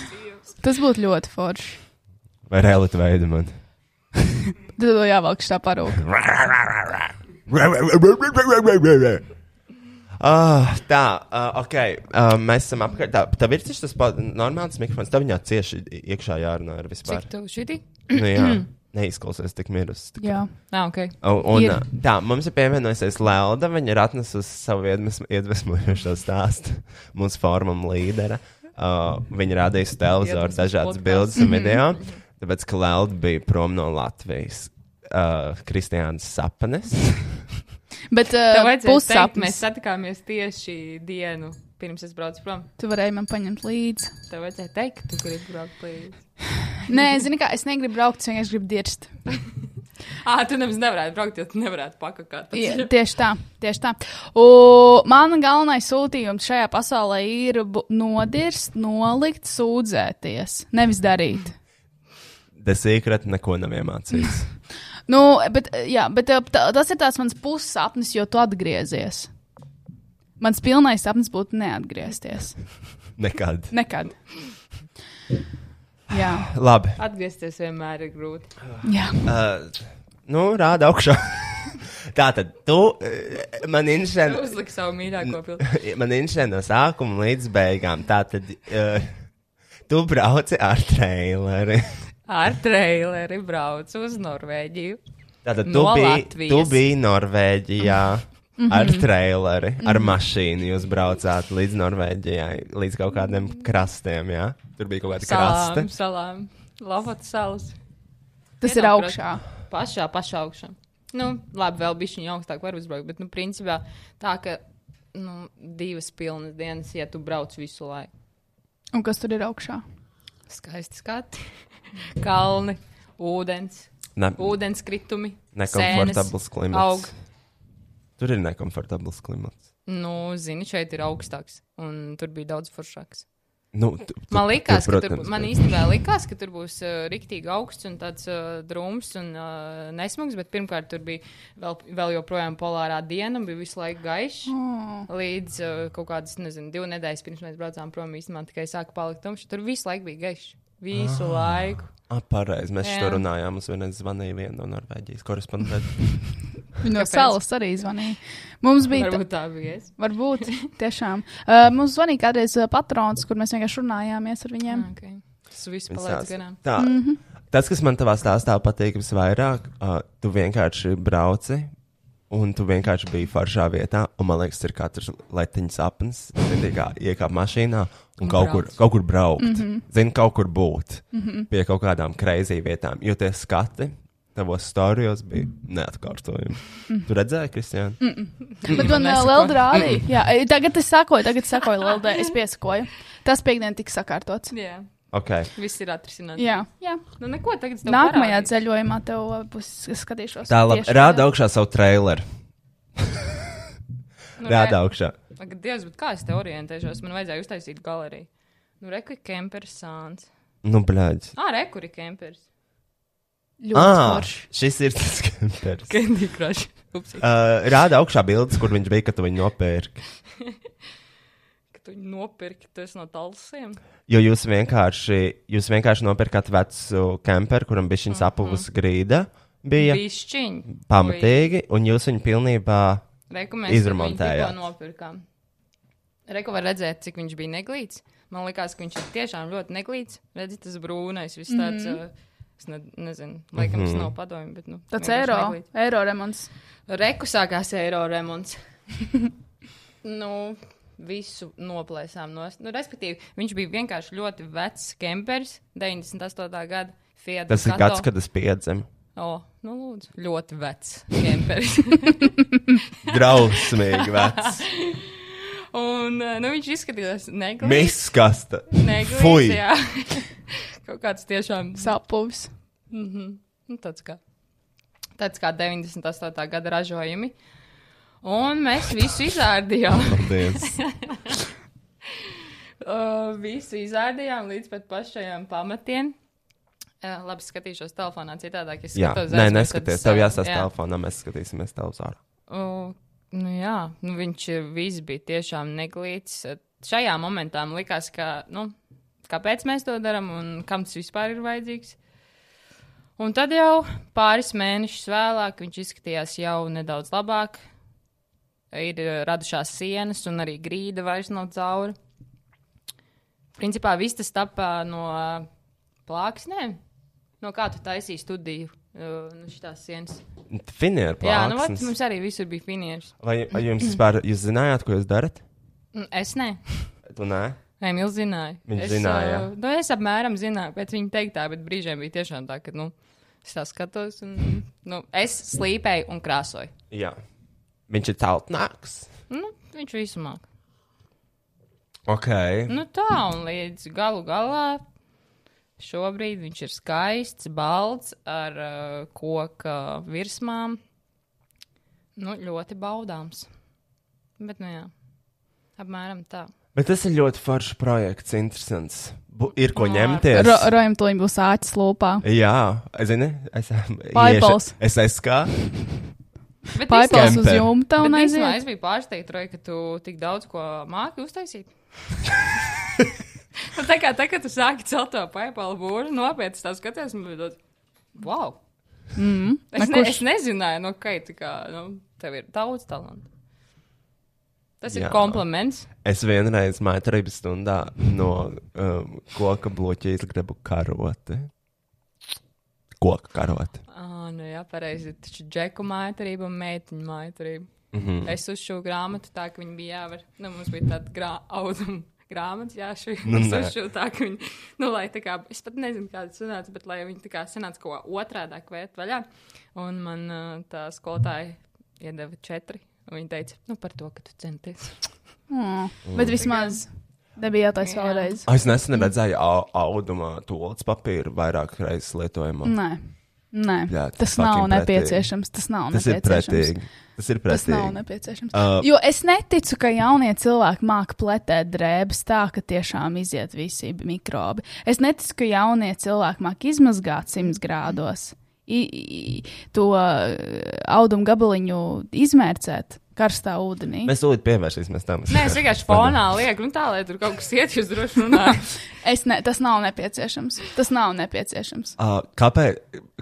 Tas būtu ļoti forši.
Vai reāli tu veidi man?
Tad to jāvelk šitā parūka.
Ah, tā, uh, ok. Uh, mēs esam apkārt. Tā, tev ir tas pats normāls mikrofons. Tev viņā cieši iekšā jārunā ar vispār.
Cik tu šitī?
Nu, jā, neizklausās tik mirus. tik
Jā.
Nā, ok.
Un, un,
Ir.
ā, tā, mums ir pievienojusies Lelda. Viņa ir atnesusi savu iedvesm- iedvesmojošo stāstu mūsu formam, līdera. Uh, viņa rādīja uz televizora
Iedvesmas
dažādas
podcasts.
bildes un video. Tāpēc, ka Lelda bija prom no Latvijas. Uh, Kristiāns Sapanis.
Bet
Tev
uh,
vajadzēja teikt, mēs
pussapnis.
satikāmies tieši dienu pirms es braucu prom.
Tu varēji man paņemt līdzi.
Tev vajadzēja teikt, ka tu gribi braukt līdzi.
Nē, zini kā, es negribu braukt, es vienkārši gribu dirst.
Ā, tu nemaz nevarētu braukt, jo tu nevarētu pakakāt.
Jā, tieši tā, tieši tā. U, man galvenais sūtījums šajā pasaulē ir bu- nodirst, nolikt, sūdzēties, nevis darīt.
The Secret neko nav iemācījis.
Nu, bet, jā, bet eh, tā, tas ir tāds mans pussapnis, jo tu atgriezies. Mans pilnais sapnis būtu neatgriezties.
Nekad.
Nekad. Jā,
Labi.
Atgriezties vienmēr ir grūti.
jā.
Uh, nu, rāda augšā. tā tad tu uh, man inšēni.
Uzlik savu mīļāko filmu.
Man interesē no sākuma līdz beigām. Tā tad uh, tu brauci ar traileri.
Ar traileri braucu uz Norvēģiju.
Tātad tu
No
biji,
Latvijas. Mhm.
tu biji Norvēģijā ar traileri, ar mašīnu. Jūs braucāt līdz Norvēģijai, līdz kaut kādiem
Mhm.
krastiem. Jā? Tur bija kaut kāda krasta.
Salām, salām. Lavotas salas.
Tas ir augšā.
Pašā, pašā augšā. Nu, labi, vēl bija viņa augstāk, var uzbraukt, bet, nu, principā tā, ka nu, divas pilnas dienas, ja tu brauc visu laiku.
Un kas tur ir augšā?
Skaisti skati, kalni, ūdens,
Ne,
ūdens kritumi.
nekomfortabls
sēnes,
klimats.
Aug.
Tur ir nekomfortabls klimats.
Nu, zini, šeit ir augstāks, un tur bija daudz foršāks.
Nu, tu, tu,
Man liekas,
tu,
ka tur,
protams,
man
ka-
īstenībā likās, ka tur būs uh, rīktīgi augsts un tāds uh, drūms un uh, nesmags, bet pirmkārt tur bija vēl, vēl joprojām polārā diena un bija visu laiku gaišs.
Oh.
Līdz uh, kaut kādas, nezinu, divu nedēļas pirms mēs braucām prom, īstenībā tikai sāka palikt tumšs. Tur visu laiku bija gaišs. Visu ah. laiku.
Ah, pareizi. Mēs
Jā.
šeit runājām. Mums vienreiz zvanīja viena no Norvēģijas korespondentiem.
No
Kāpēc?
salas arī zvanīja. Mums bija.
Varbūt tā bija es.
Varbūt, tiešām. Uh, mums zvanīja kādreiz uh, patrons, kur mēs vienkārši runājāmies ar viņiem.
Okay. Tas viss
Viņa
paliec
stāsta.
garām.
Tā, mm -hmm. Tas, kas man tavā stāstā patīk visvairāk, uh, tu vienkārši brauci. Un tu vienkārši biji foršā vietā, un man liekas, ir katrs letiņš sapnis. Tad kā iekāp mašīnā un kaut kur,
brauc.
kaut kur braukt. Mm -hmm. Zini, kaut kur būt. Mm -hmm. Pie kaut kādām kreizī vietām. Jo tie skati tavos stārijos bija neatkārtojami. Mm. Tu redzēji, Kristija? Mm.
Bet man uh,
Nesako.
Lelda rādīja. Jā, e, tagad es sakoju, tagad es sakoju Leldai, es piesakoju. Tas piekdien tiks sakārtots.
Jā,
Okay.
viss ir atrisināts.
Jā, jā.
Nu, neko tagad. es tev
Nākamajā
parādīšu.
ceļojumā tev uh, būs es skatīšos.
Tā labi.
tieši-
Rāda augšā savu traileru.
Nu, re-
Rāda augšā.
Ak, Dievs, bet kā es te orientēšos? Man vajadzēja uztaisīt galeriju. Nu, reku ir kempers sāns.
Nu, blēģi.
Ā, reku ir kempers.
Ļoti
Ah,
forši.
šis ir tas kempers.
Candy Crush. Upsi.
Uh, rāda augšā bildes, kur viņš bija, kad tu viņu nopērki.
Ka tu viņu nopirki, tas no talsiem.
Jo jūs vienkārši, jūs vienkārši nopirkat vecu kemperu, kuram bija
Mhm.
šis apavus grīda. Bija
Bišķiņi.
pamatīgi, un jūs viņu pilnībā.
Reku mēs
Izremontējāt.
to nopirkām. Reku var redzēt, cik viņš bija neglīts. Man liekas, ka viņš ir tiešām ļoti neglīts. Redzi, tas brūnais, viss tāds.
Mhm.
Mm -hmm. Es ne, nezinu, laikam
Mhm.
tas nav padomju, bet. Nu,
Tāds
vienkārši
eiro,
neglīts.
eiro remonts.
Reku sākās eiro remonts. nu, visu noplēsām no. Nu, respektīvi, viņš bija vienkārši ļoti vecs kempers, 98. gada Fiat.
Tas ir gads, kad es piedzimu.
O, nu, lūdzu, ļoti vecs kempers.
Drausmīgi vecs.
Un eh, nu, viņš izskatījās neglīts.
Miskasta.
neglīts,
Fui.
jā. Kaut kāds tiešām
Sapuvis.
Nu, tāds kā, tāds kā 98. gada ražojumi. Un mēs visu izārdījām.
Paldies.
Uh, visu izārdījām līdz pat pašajām pamatiem. Uh, labi, skatīšos telefonā citādāk. Es
jā,
skatos
nē,
aizmugurē,
neskaties.
tad
Tev
sa-
jāstāsta
jā.
telefonā, mēs skatīsimies tev uz ārā.
Uh, nu, jā, nu, viņš ir- viss bija tiešām neglīts. Uh, Šajā momentā man likās, ka, nu, kāpēc mēs to darām un kam tas vispār ir vajadzīgs. Un tad jau pāris mēnešus vēlāk viņš izskatījās jau nedaudz labāk. Ir uh, radušās sienas, un arī grīda vairs nav cauri. Principā viss tas tapā no uh, plāksnēm. No kā tu taisīji studiju? Uh, nu, šitās sienas.
Finieru
Jā, nu, vat,
plāksnes.
mums arī visur bija finieris.
Vai, vai jums vispār, jūs zinājāt, ko jūs darat?
Mm, Es ne.
Tu nē?
Emīls zināja.
Viņš
es,
zināja,
uh, Nu, es apmēram zināju, pēc viņa teiktā, bet brīžiem bija tiešām tā, ka, nu, es tā skatos. Un, nu, es slīpēju un krāsoju.
Jā. Viņš ir celtnāks.
Nu, viņš visu māca.
Ok.
Nu, tā un līdz galu galā. Šobrīd viņš ir skaists, balts, ar uh, koka virsmām. Nu, ļoti baudāms. Bet, nu, jā, apmēram tā.
Bet tas ir ļoti foršs projekts, interesants. Bu ir ko
Ā,
ņemties.
Ro, rojam, to viņa būs āķis lūpā.
Jā, zini, es
Paipals.
iešu- Es esmu kā.
Bet
Paipels uz
Kemper.
jumta un
Bet īstenībā
aiziet.
Es biju pārsteigts, Roja, ka tu tik daudz ko māki uztaisīt. Nu, tā kā tagad tu sāki celt to paipalu būru, nopietni tā skaties, man bija tāds, wow!
Mm,
Es,
ne
ne,
kurš?
es nezināju, no kā tā kā, nu, tev ir daudz talantu. Tas Jā.
Jā.
ir kompliments.
Es vienreiz mācīju stundā no um, koka bloķa izgrebu karoti. Koka karoti.
Ah, nu jā, pareizi. Taču džeku mājturība un meitiņu mājturība. Mm -hmm.
Mhm.
Es uzšūju grāmatu tā, ka viņi bija jāvar. Nu, mums bija tāda grā, auduma grāmata, jā, šī.
Nu,
Nu, es
nē.
uzšūju tā, ka viņi, nu, lai tā kā, es pat nezinu, kā tas sanāca, bet lai viņi tā kā sanāca ko otrādāk vērt vaļā. Un man uh, tā skolotāja iedeva četri. un Viņa teica, nu, par to, ka tu centies.
Mm. Bet vismaz debijā taisa
Jā.
vēlreiz.
Es nesen redzēju au- audumā tolts papīru vairāk reizes lietojumu.
Nē, Nē.
Bļāt,
tas
fucking
nav
pretīgi.
nepieciešams. Tas nav
Tas ir
nepieciešams.
pretīgi. Tas ir
Tas nav
pretīgi.
nepieciešams.
Uh,
Uh, jo es neticu, ka jaunie cilvēki māca pletēt drēbes tā, ka tiešām iziet visi mikrobi. Es neticu, ka jaunie cilvēki māca izmazgāt simts grādos, i, i, to uh, audumu gabaliņu izmērcēt karstā ūdenī.
Mēs tūlīt pievērsīsimies tam.
Nē, es vienkārši fonā lieku, nu, tā, lai tur kaut kas iet, jūs droši runājat.
Es ne, tas nav nepieciešams. Tas nav nepieciešams.
Uh, kāpēc?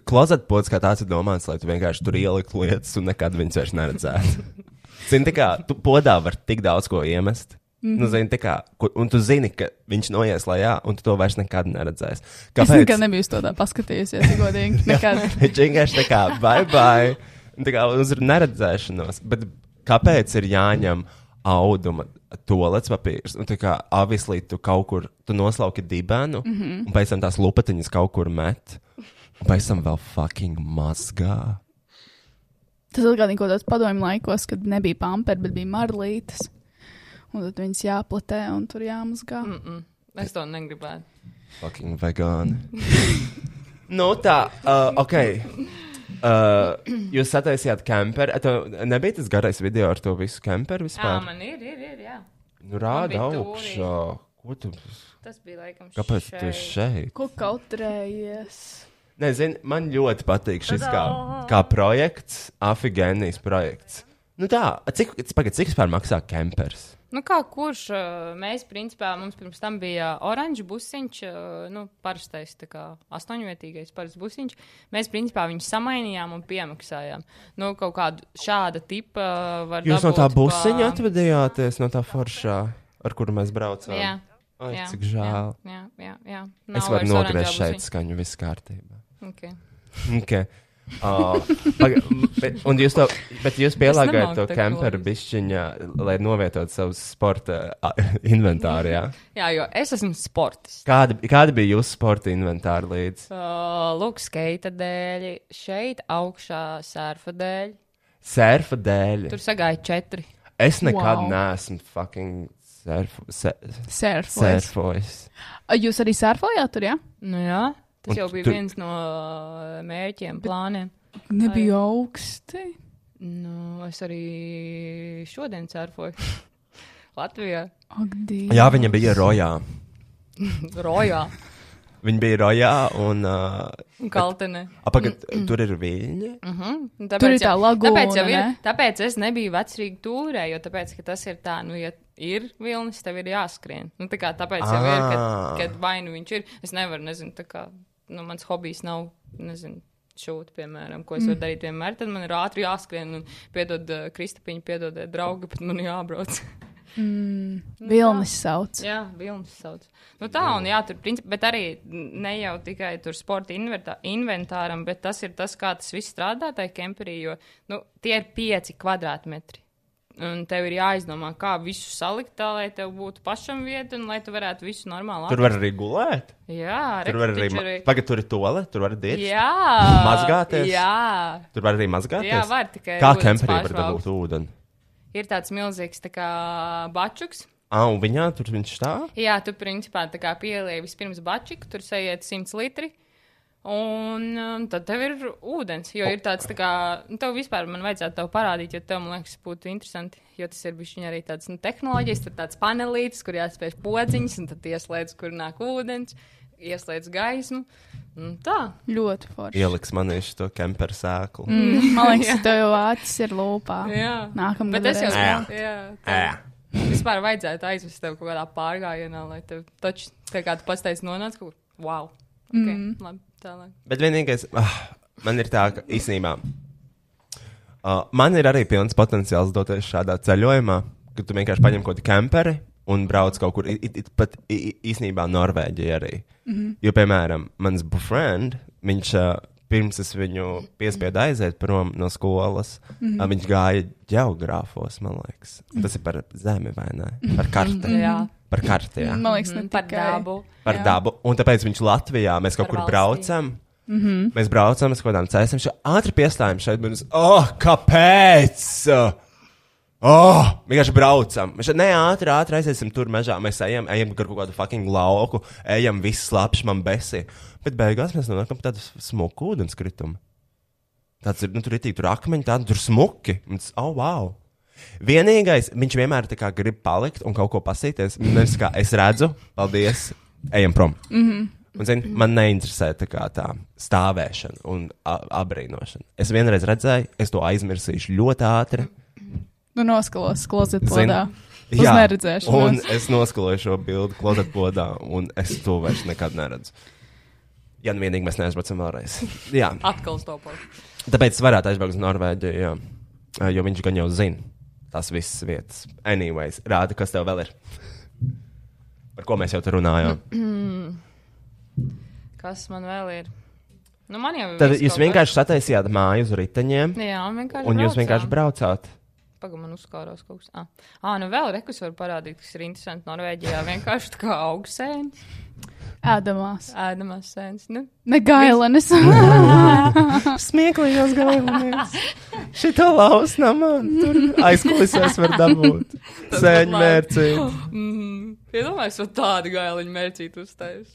Klozetpods kā tāds ir domāts, lai tu vienkārši tur ieliktu lietas un nekad viņas vairs neredzētu. zini, tā kā tu podā var tik daudz ko iemest. Mm
Mhm.
-hmm. nu, zini, tā kā, ku- un tu zini, ka viņš noies lejā, un tu to vairs nekad neredzēsi.
Es nekad nebiju uz to tā paskatījusies, ja godīgi. Nekad.
Viņš vienkārši tā kā bye bye. un Tā kā uz neredzēšanos. Bet kāpēc ir jāņem auduma toalets papīrs? Un tā kā avislī tu kaut kur tu noslauki dibenu, mm -hmm.
Mhm.
un pēc tam tās lupatiņas kaut kur met, un pēc tam vēl fucking mazgā.
Tas atgādina kaut kādos padomju laikos, kad nebija pamperi, bet bija marlītes. Un tad viņas jāplatē un tur jāmazgā. Mm.
Es to negribētu.
Fucking vegāni. nu tā, uh, ok. Uh, jūs sataisījāt kemperi. Tev Nebija tas garais video ar to visu kemperi
Jā,
vispār?
man ir, ir, ir, jā.
Nu, rāda
Man bija
augšā. Ko tu?
Tas bija laikam.
Kāpēc tu esi šeit?
Ko kautrējies?
Nezinu, man ļoti patīk šis kā, kā projekts, afigēnijas projekts. Nu tā, cik, pagad, cik vispār maksā kempers?
Nu, kā kurš uh, mēs, principā, mums pirms tam bija oranžs busiņš, uh, nu, parastais, tā kā astoņvietīgais parasts busiņš. Mēs, principā, viņu samainījām un piemaksājām. Nu, kaut kādu šāda tipa uh, var
Jūs no tā
dabūt pa-
busiņa atvedījāties, no tā foršā, ar kuru mēs braucām.
Jā,
Ai,
jā,
cik žēl.
Jā, jā, jā, jā.
Jā. Es
Nav
varu
vairs oranžā
nogriezt šeit
busiņa.
skaņu, viss kārtībā.
Okay.
Okay. Oh, paga, bet, un jūs to, bet jūs pielāgājat
nemāku
to
tā
kemperu
klausīt.
bišķiņā, lai novietotu savus sporta ā, inventārijā.
Jā, jo es esmu sportists.
Kāda, kāda bija jūsu sporta inventāra līdzi?
Uh, lūk, skaita dēļ, šeit augšā sērfa dēļ.
Sērfa dēļ.
Tur sagāja četri.
Es nekad wow.
Wow.
neesmu fucking sērfu, se,
Surfojis.
sērfojis.
Jūs arī surfojāt tur, jā?
Nu, jā,
Un
tas un jau bija eh,
tu-
tu... viens no ā, mērķiem, plāniem.
Nebija augsti.
Nu, es arī šodien cērfoju Latvijā,
Ak, Dievs.
Jā, viņa bija rojā.
Rojā
Viņa bija rojā un uh,
un Kaltenē.
apakšā
Mm,
tur ir viļņi.
Mhm. Un
Tur ir
jau-
tā lagūna,
Tāpēc, jau ir,
ne?
tāpēc es nebiju vecrīgi tūrē, jo tāpēc, ka tas ir tā, nu, ja ir vilnis, tev ir jāskrien. Nu, tā kā, tāpēc jau ir,
Ah.
kad, kad vainu viņš ir. Es nevaru, nezinu, tā kā, nu, mans hobijs nav, nezinu. Šūt, piemēram, ko es
Mm.
varu darīt vienmēr, tad man ir ātri jāskrien. Un, piedod, uh, Kristapiņa, piedodiet, draugi, bet man jābrauc.
Mm. Vilnis sauc.
Jā, vilnis sauc. Nu tā, un jā, tur, princip, bet arī ne jau tikai tur sporta invertā- inventāram, bet tas ir tas, kā tas viss strādā tajā kemperī, jo nu, tie ir pieci kvadrātmetri. Un tev ir jāizdomā, kā visu salikt tā, lai tev būtu pašam vieta un lai tu varētu visu normāli
Tur var arī gulēt.
atrast. Jā,
Tur var arī. ma- Pagad, tur ir tole, tur var diet.
Jā,
mazgāties.
Jā,
Tur var arī mazgāties.
jā var tikai.
Kā
ūdens
kemperī var
pārsvalkt.
dabūt ūdeni?
Ir tāds milzīgs tā kā bačuks.
Ah, un viņā tur viņš tā?
Jā, tu principā tā kā pielieji vispirms bačiku, tur sajiet 100 litri. Un um, tad tev ir ūdens, jo ir tāds, tā kā, nu, tev vispār man vajadzētu tev parādīt, jo tev, man liekas, būtu interesanti, jo tas ir bijis arī tāds, nu, tehnoloģijas, tur tāds panelītis, kur jāatspēj podziņas, un tad ieslēdz, kur nāk ūdens, ieslēdz gaismu. Un tā,
Ļoti forši.
Ieliks manī šo kemperu sēklu.
Mm, man liekas, tev jau acis ir lūpā.
jā.
Nākamgad
Bet es jau,
varēs.
jā,
Jā.
jā tā.
Ē.
Vispār vajadzētu aizvest tevi kaut kādā pārgājienā, lai tev taču, tā kā tu pastais nonāc kaut kur, wow. Okay, mm. Labi, tālāk.
Bet vienīgais, ah, man ir tā, ka īsnībā uh, man ir arī pilns potenciāls doties šādā ceļojumā, kad tu vienkārši paņem kaut kādu kemperi un brauc kaut kur. It, it, it, pat i- i- īsnībā Norvēģija arī. Mm -hmm. Jo, piemēram, mans boyfriend, viņš uh, pirms es viņu piespiedu aiziet prom no skolas, mm -hmm. uh, viņš gāja geogrāfos, man liekas. Un tas ir par zemi vai ne? Par karti.
Mm-hmm. Jā. Mm,
Par karti, jā.
Man liekas, ne
par
tikai.
dabu.
par jā. dabu. Un tāpēc viņš Latvijā mēs kaut
Par
kur
valsti.
braucam. Mm -hmm. Mēs braucam uz kaut kādām cēlēm, jau ātri pieslēdzam šeit, un mēs, oh, kāpēc? Oh, vienkārši braucam. Mēs šeit ne ātri, ātri aiziesim tur mežā. Mēs ejam, ejam gar kaut kādu fucking lauku, ejam, viss slapjš man besi. Bet beigās mēs nonākam pie tāda smuka ūdenskritumu. Tāds ir, nu, tur ir tik tur akmeņi, tādi tur smuki. Un tas, oh, wow! Vienīgais, viņš vienmēr tā kā grib palikt un kaut ko pasīties. Nevis kā es redzu, paldies, ejam prom. Mm -hmm. Un, zin, man neinteresē tā, kā tā stāvēšana un a- abrīnošana. Es vienreiz redzēju, es to aizmirsīšu ļoti ātri.
Nu, noskalos, klozet
Zini,
podā. Uz neredzēšanos.
un es noskaloju šo bildi klozetbodā, un es to vairs nekad neredzu. Ja nu vienīgi mēs neaizbraucam vēlreiz. Jā.
Atkal stopot.
Tāpēc es varētu aizbraukt uz Norvēģiju, jā. Eh, jo viņš gan jau zina tās visas vietas. Anyways, rāda, kas tev vēl ir. Par ko mēs jau tur runājām.
Mm. Kas man vēl ir? Nu, man jau ir.
Tad
viss
jūs
kaut
vienkārši sataisījāt māju uz riteņiem,
kas. Jā, un vienkārši.
un jūs vienkārši
braucām.
braucāt.
Pagaidām, man uzkārās kaut kas. Ah, ah nu vēl rekus var parādīt, kas ir interesanti Norvēģijā. Vienkārši tā kā augstsēns,
Ēdamās.
ēdamās sēns. Nu,
Ne gailenes.
Smieklīgās galvenais. Šitā lausnamā tur aizkulisēs var dabūt. Sēņmērcī.
mm, iedomājieties, ja tādu gailiņu mērcīt uztais.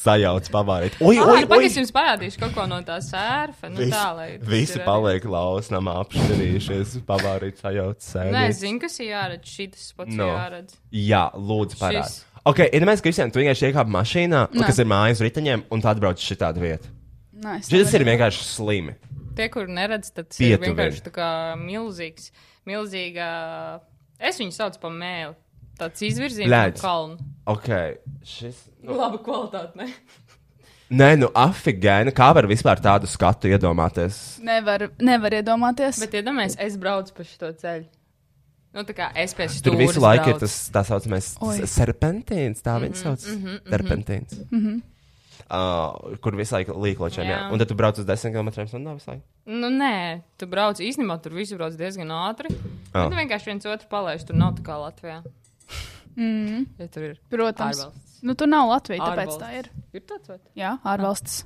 Sajauc pavārīt. Ui, ui,
Ah, Pagaidām,
ui.
jums parādīšu kaut ko no tā sērfa. Nu, tā, lai
Visi,
tas
visi
ir arī-
paliek lausnamā apšķirījušies, pavārīt sajauc
Nē, es
sēņmērcī.
zinu, kas ir jāredz. Šis pats no.
No.
jāredz.
Jā, lūdzu, parādi.
Šis.
Ok, iedomājieties, Kristian, tu vienkārši iekāp mašīnā,
Nē.
kas ir mājas riteņiem, un tā atbrauc šī tāda vieta.
Nē, es
Šis ir
nevaru.
vienkārši slimi.
Tie, kur neredz, tad ir
Pietuveni.
vienkārši tā kā milzīgs, milzīga. Es viņu saucu par mēli. Tāds izvirzījums
Lēdz.
no kalna.
Ok, šis. Nu.
Laba kvalitāte, ne?
Nē, nu afigēna, kā var vispār tādu skatu iedomāties?
Nevar, nevar iedomāties.
Bet iedomājieties, es braucu pa šo ceļu. Nu, tā kā es pēc
Tur
tam
visu laiku ir tas tā saucamais
Oi.
s- serpentīns, tā
Mhm,
viņš sauc. Serpentīns. Uh, Kur visu laiku līkločiem, jā.
Jā.
Un tad tu brauc uz 10 km stundā visu laiku.
Nu, nē, tu brauc īstenībā, tur viss brauc diezgan ātri.
Jā.
Oh. Tad vienkārši viens otru palaiž. Tur nav tā kā Latvijā. Mm. Ja tur ir
Protams.
ārvalsts.
Nu, tur nav Latvija, tāpēc
Ārvalsts.
tā ir.
Ir tāds vai?
Jā, ārvalstis.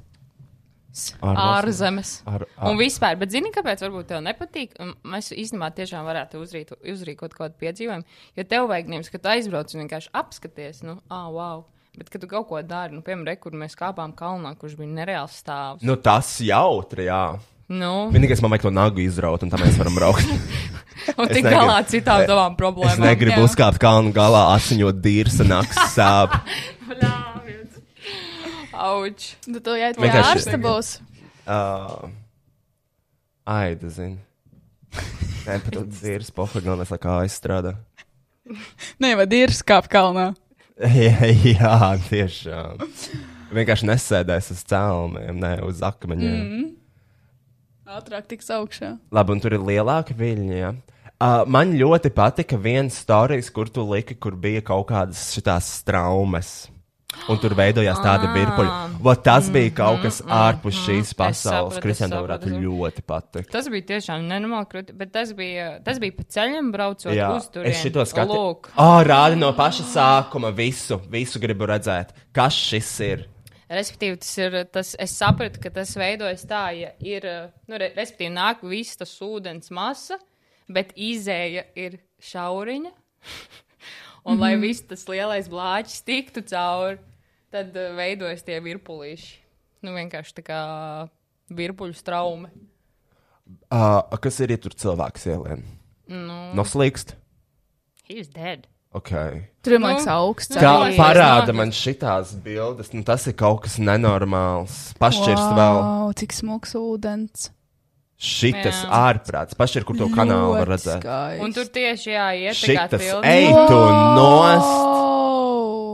Ārvalsts.
Ārzemes.
Ar,
Un
ar,
vispār, bet zini, kāpēc varbūt tev nepatīk? Un Mēs īstenībā tiešām varētu uzrīt, uzrīkot kaut kādu piedzīvojumu, jo tev vajag nevis, ka tu aizbrauc un vienkārši apskaties, nu, ah, wow. Bet, kad tu kaut ko dari, nu, piemēram, re, kur mēs kāpām kalnā, kurš bija nereāls stāvs.
nu tas jautri, jā.
Nu,
Vienīgais, man vajag to nagu izraut, un tā mēs varam braukt.
un tik
negribu.
galā ar citām tavām
es
problēmām.
negribu
jā.
uzkāpt kalnu galā, asiņot dīrs un naktas sāp.
Bļāviens. Auč.
Tad Nu, tu jāiet pie
Vienkārši-
ārsta būs.
Uh, Aida zina. Nē, pat tad dīrs pohagonēs, kā aizstrādā.
Nē, vai ir skāp kalnā?
jā, jā, tiešām. Vienkārši nesēdēs uz cēloniem, ne uz akmeņiem. Mm.
Ātrāk tiks augšā.
Labi, un tur ir lielāka viļņa. Ja? Uh, man ļoti patika viens stāstījums, kur tu liki, kur bija kaut kādas šitās traumas. Un tur veidojās tāda virpuļa. Vot
Mhm,
tas bija kaut kas ārpus šīs pasaules.
sapratu,
Kristiāna
es
varētu
sapratu.
ļoti patikt.
Tas bija tiešām nenormāli krūti, bet tas bija, tas bija pa ceļam braucot
Jā,
uz turieni.
es šito skatu.
Lūk,
Oh, rādi no paša sākuma visu, visu gribu redzēt. Kas šis ir?
respektīvi, tas ir, tas, es sapratu, ka tas veidojas tā, ja ir, nu, re, respektīvi, nāk viss tas ūdens masa, bet izēja ir šauriņa, un lai viss tas lielais blāķis tiktu cauri, tad eh, veidojas tie virpulīši. Nu, vienkārši tā kā virpuļu trauma.
Uh, kas ir, ja tur cilvēks ielien? Nu. Noslīkst?
He's dead.
Okay.
Tur ir man liekas augsts.
Kā
Nolīdz,
parāda
nolīdz.
man šitās bildes, nu tas ir kaut kas nenormāls. Pašķirst vēl
Vau, cik smags ūdens.
šitas
Jā.
ārprāts. Pašķir, kur to kanālu var redzēt.
Un tur tieši jāiet
Šitas,
pilns.
ej, tu nost!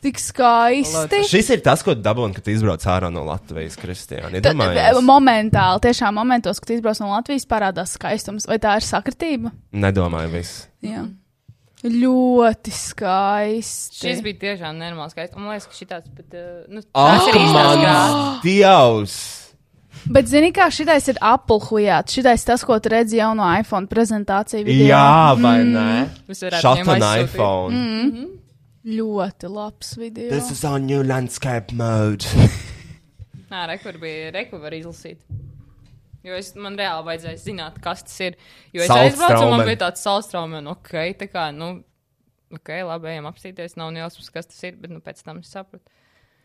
Tik skaisti.
Šis ir tas, ko dabūjām, kad izbrauc ārā no Latvijas, Kristiāna.
Tad, eh,
Iedomājies?
Momentāli, tiešām momentos, kad izbrauc no Latvijas, parādās skaistums. Vai tā ir sakritība?
Nedomāju, viss.
Jā. Ļoti skaisti.
Šis bija tiešām nenormāls skaists. Un Man liekas, ka šī tāds pat. eh, Nu,
Ak,
tas ir īstais grāmatas.
mans dievs!
Bet, zini, kā šitais ir apelhujāts. Šitais tas, ko tu redzi jau no iPhone prezentāciju video.
Jā, vai nē?
Mēs varētu
Shot
viņiem
on
aizsūtīt.
iPhone.
Ļoti labs video.
This is our new landscape mode.
Nē, rekur bija rekuver izlasīt. Jo es, man reāli vajadzēja zināt, kas tas ir. Jo es
Salts
aizbraucu, un man
traumen.
bija tāds salstraume, un ok, tā kā, nu, ok, labi, ejam apstīties, nav nejausmas, kas tas ir, bet, nu, pēc tam es sapratu.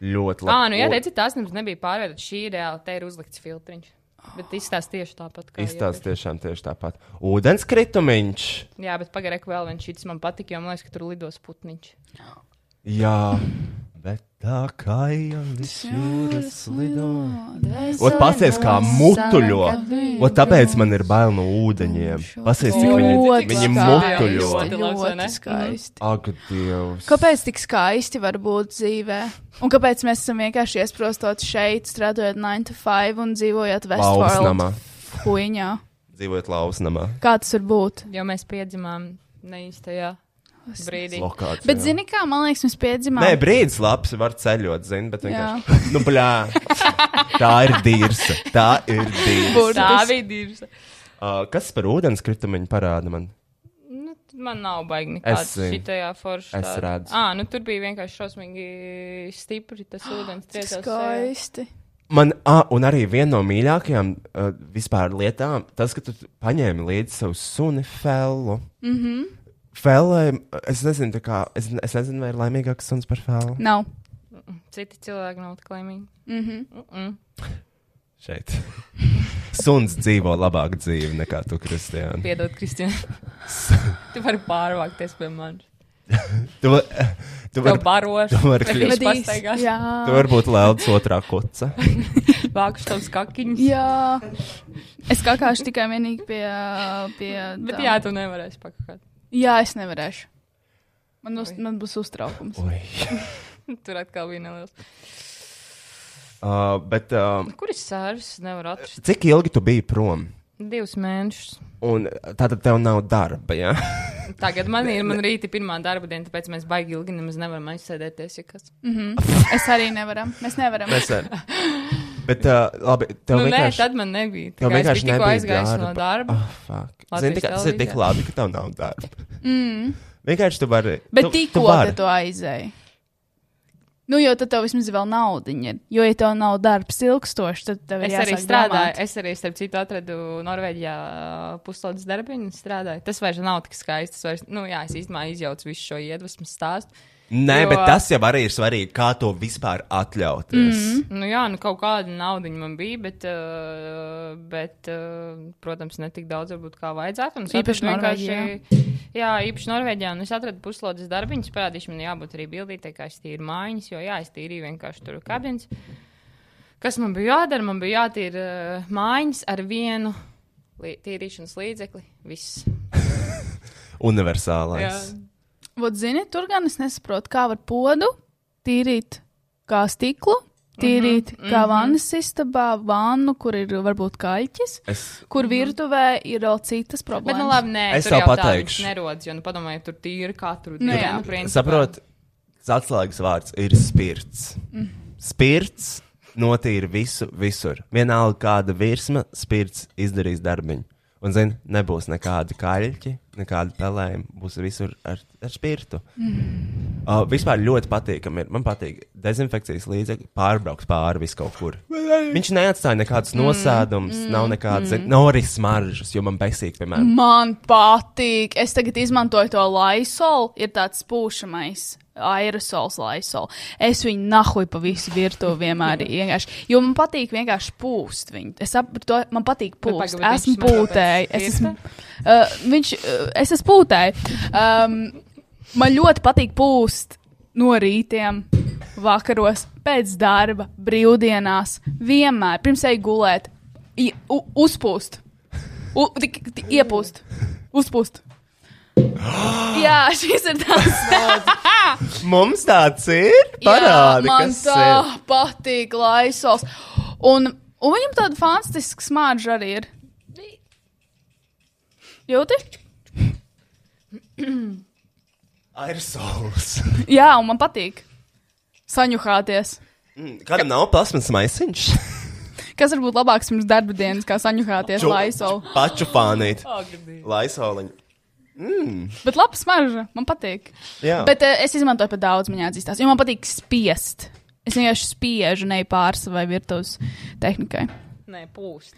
Ļoti labi.
Ā, nu, jā, teici, tās nemaz nebija pārvietot, šī reāli te ir uzlikts filtriņš. Bet izstāst tieši tāpat, kā
Izstāsta tiešām tieši tāpat. Ūdenskritumiņš.
iepriekš. Jā, bet pagaidi, reku vēl viens šis man patika, jo man liekas, ka tur lidos putniņš.
Jā, bet tā kā jau viss jūras lido. Ot,
Ot,
pasies kā mutuļo. Ot, tāpēc man ir bail no ūdeņiem. Pasies, cik viņi,
Ļoti
viņi
skaisti,
mutuļo.
Ļoti labs, vai ne?
Ļoti skaisti.
Ak, Dievs.
Mhm. Kāpēc tik skaisti var būt dzīvē? Un kāpēc mēs esam vienkārši iesprostot šeit, strādājot 9 to 5 un dzīvojot Westfālē?
Lausnamā.
Huiņā.
Dzīvojot lausnamā.
Kā tas var būt?
Jo mēs piedzimām neīstajā brīdī.
Lokācijā.
Bet, zini, kā man liekas, mēs piedzimām.
Nē, brīdis labs, var ceļot, zini, bet
Jā.
vienkārši. Nu, bļā. Tā ir dīrsa. Tā ir dīrsa.
Burtiski.
Tā vidīrs.
Uh, kas par ūdenskritumiem parāda man?
Nu, t- man nav
Es
baigi nekāds
zinu.
šitajā foršā.
Es redzu.
Ā, nu tur bija vienkārši šausmīgi stipri tas ūdens
Cik
trieciens. sejā.
skaisti.
Man, ah, un arī viena no mīļākajām uh, vispār lietām, tas, ka tu paņēmi līdzi savu suni Fellu. Mm
Mhm.
-hmm. Fellai, es nezinu, tā kā, es, es nezinu, vai ir laimīgāks suns par Fellu.
Nav. Mhm.
Citi cilvēki nav tik laimīgi.
Šeit. Suns dzīvo labāku dzīvi nekā tu, Kristiāna.
Piedod, Kristina. tu vari pārvākties pie manis.
Tu, va- tu,
Tev
var,
barošu.
tu vari
Bet
kļūt-
viņš
Medīs.
pastaigās.
Jā.
tu vari būt Lēldas otrā kuca.
Vākšu tavus kakiņus.
Jā, es kakāšu tikai vienīgi pie. pie
Bet
tām.
jā, tu nevarēsi pakakāt.
jā, es nevarēšu. Man, uz, man būs uztraukums.
Ui.
Tur atkal bija neliels.
Uh, bet uh,
Kur ir sārs? Nevar atrast.
cik ilgi tu biji prom?
Divus mēnešus.
Un tātad tev nav darba, jā? Ja?
Tagad man ir man rīta pirmā darba diena, tāpēc mēs baigi ilgi nemaz nevaram aizsēdēties. Ja kas.
Mhm. Es arī nevaru. Mēs nevaram.
Mēs ar... Bet, uh, labi, tev
Nu, nē,
vienkārši...
tad man nebija. Tā
Tev
kā es
vienkārši
biju tikko
nebija
aizgājusi no darba.
Oh, fuck. Zini,
Latvijas
tikai tas ir tik
televīzijā.
labi, ka tev nav darba. Mm. Vienkārši tu vari.
Bet
tu, tu
tikko
vari.
te to aizēji. Nu, jo tad tev vismaz vēl naudiņa ir. Jo, ja tev nav darbs ilgstoši, tad tev ir
Es arī
jāsāk
strādāju,
domāt.
es arī, starp citu, atradu Norvēģijā uh, ā, pusstundas darbiņu un strādāju. Tas vairs nav tik skaisti. Tas vairs, nu, jā, es īstenībā izjaucu visu šo iedvesmu stāstu.
Nē,
Jo-
jo... bet tas jau arī ir svarīgi, kā to vispār atļauties.
Mhm.
Mm.
Nu, jā, nu kaut kāda nauda man bija, bet, uh, bet uh, protams, ne tik daudz, varbūt, kā vajadzētu. Un es
Īpaši
atradu
Norvēģijā.
vienkārši- Jā, īpaši Norvēģijā. Un es atradu puslodes darbiņus, parādīšu, man jābūt arī bildītē, kā es tīru mājiņas, jo jā, es tīrīju vienkārši tur kabinas. Kas man bija jādara? Man bija jātīra uh, mājiņas ar vienu lī tīrīšanas līdzekli. Viss.
Universālais.
Jā.
Jā.
Vot, zini, tur gan es nesaprotu, kā var podu tīrīt kā stiklu,
Mhm,
tīrīt mm -hmm, kā mm -hmm. vannas istabā, vannu, kur ir varbūt kaļķis,
Es
kur virtuvē ir vēl citas problēmas.
Mhm. Bet, nu, labi, nē,
Es
tur
tev
jau tādas
pateikšu.
Nerodas, jo, nu, padomājiet, tur tīri katru
Nu,
dienu.
jā.
principā.
saprotu, tas atslēgas vārds ir spirts. Mm. Spirts notīra visu, visur. Vienalga kāda virsma, spirts izdarīs darbiņu. Un, zini, nebūs nekādi kaļķi, nekādi pelējumi. Būs visur ar, ar spirtu. Mm. Uh, vispār ļoti patīkami. ir. Man patīk dezinfekcijas līdzekļi, pārbraukt pāri visam kaut kur. Viņš neatstāja nekādus nosēdumus, mm. nav nekādas mm. norises maržas, jo man besīk, piemēram,
Man patīk. Es tagad izmantoju to laisolu, ir tāds spūšamais. Aerosols, laisola. Es viņu nahuju pa visu virtuvi vienmēr. vienkārši. Jo man patīk vienkārši pūst viņu. Es saprotu, man patīk
Bet
pūst.
pagaidi,
Esmu
bet viņš smaržo pēc
pūtēji. Es esmu,
virta?
uh, viņš, uh, es esmu pūtēji. Um, man ļoti patīk pūst no rītiem, vakaros, pēc darba, brīvdienās. Vienmēr pirms eju gulēt, i- u- uzpūst. U, tik, tik, iepūst, uzpūst. Jā, šis ir tas
Mums tāds ir. Parādi,
Jā, man
kas
tā
ir.
patīk, laisols. Un, un viņam tāda fantastiska smārža arī ir. Jūti?
Aerosols.
Jā, un man patīk. Saņuhāties.
Mm, Kādam nav plasmas maisiņš?
Kas var būt labāks pirms darba dienas, kā saņuhāties laisols?
Paču pānīt.
Agrīt.
Laisoliņu.
Bet laba smarža, man patīk.
Jā.
Bet uh, es izmantoju pat daudz, man jāatzīstās, jo man patīk spiest. Es vienkārši spiežu, neju pāri savai virtuves tehnikai.
Nē, pūst.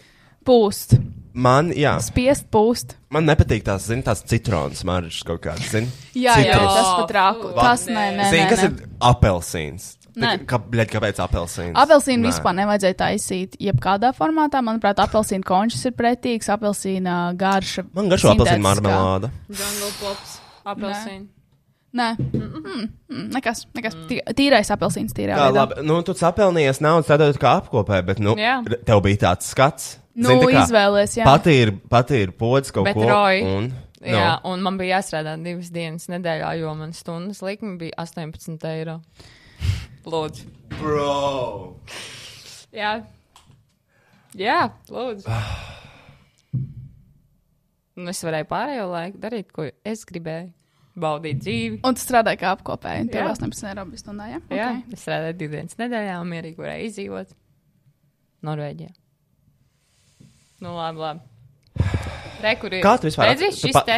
Pūst,
Man, jā,
spiest, pūst.
man nepatīk tās, zin, tās citronas maržas kaut kādas, zin.
Jā, jā,
Citrus.
tas pat rāku.
Va-
Tas nē, nē,
Zin,
nē,
kas
nē.
ir apelsīns?
Nē.
Kā, bļaļ, kāpēc apelsīns?
Apelsīnu
Nē.
vispār nevajadzēja taisīt jebkādā formātā. Manuprāt, apelsīna končs ir pretīgs, apelsīna garša.
Man garšo apelsīnu
sintētiskā.
marmelāde.
Jungle pops, apelsīna.
Nē, mm -mm. nekas, nekas. Tī- Tīrais apelsīns, tīrā.
Kā
veidā.
labi, nu, tu sapelnījies naudu, tad tu kā apkopē, bet, nu,
Jā.
re- tev bija tāds skats.
Nu,
Zini, tā kā
izvēlies, jā.
Patīr, patīr pods kaut
Bet
ko.
Roy,
un, nu,
Jā, un man bija jāstrādā divas dienas nedēļā, jo man stundas likme bija 18 eiro. Lūdzu.
Bro.
Jā, Jā lūdzu. Un es varēju pārējo laiku darīt, ko es gribēju. Baudīt dzīvi.
Un tu strādāji kā apkopēji. Tev
Jā.
18 eiro bija stundā, jā?
Jā,
Ok.
es strādāju divas dienas nedēļā un mierīgi varēju izdzīvot Norvēģijā. Nu, labi, labi. Re, kur ir?
Kā tu vispār
Redzi,
at- tu
šis
pa-
te.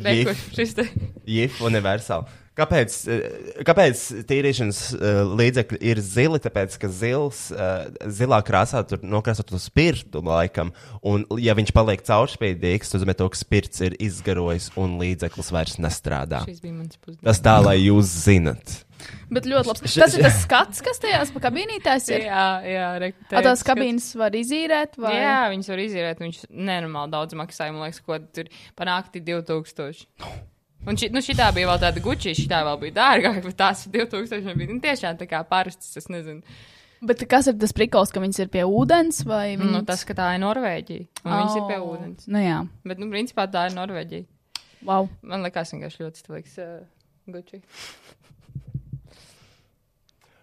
Re,
Jif.
kur, šis te.
Jif universāli. Kāpēc, eh, kāpēc tīrīšanas eh, līdzekļi ir zili? Tāpēc, ka zils, eh, zilā krāsā tur nokrāsot to spirtu laikam, un ja viņš paliek caurspīdīgs, tad nozīmē, to, ka spirts ir izgarojis un līdzeklis vairs nestrādā.
Šis bija mans pusdienas.
Tas tā, lai jūs zinat.
Bet ļoti labs. Tas ir tas skats, kas tajās pa kabīnītēs ir.
Jā, jā, re,
A,
teicu,
tās
ka-
kabīnes var izīrēt vai?
Jā, viņas var izīrēt, viņš nenormāli daudz maksāja. Man liekas, ko tur panākti 2000. Un šī, nu, šitā bija vēl tāda gučī, šitā vēl bija dārgāka, bet tās 2000 man bija nu, tiešām tā kā parastas, es nezinu.
Bet kas ir tas prikols, ka viņas ir pie ūdens vai?
Nu,
viņas-
tas, ka tā ir Norvēģija, un viņas ir pie
Au.
ūdens.
Nu jā,
Bet, nu, principā tā ir Norvēģija.
wow.
Man liekas, vienkārši ļoti stilīgs uh, gučī.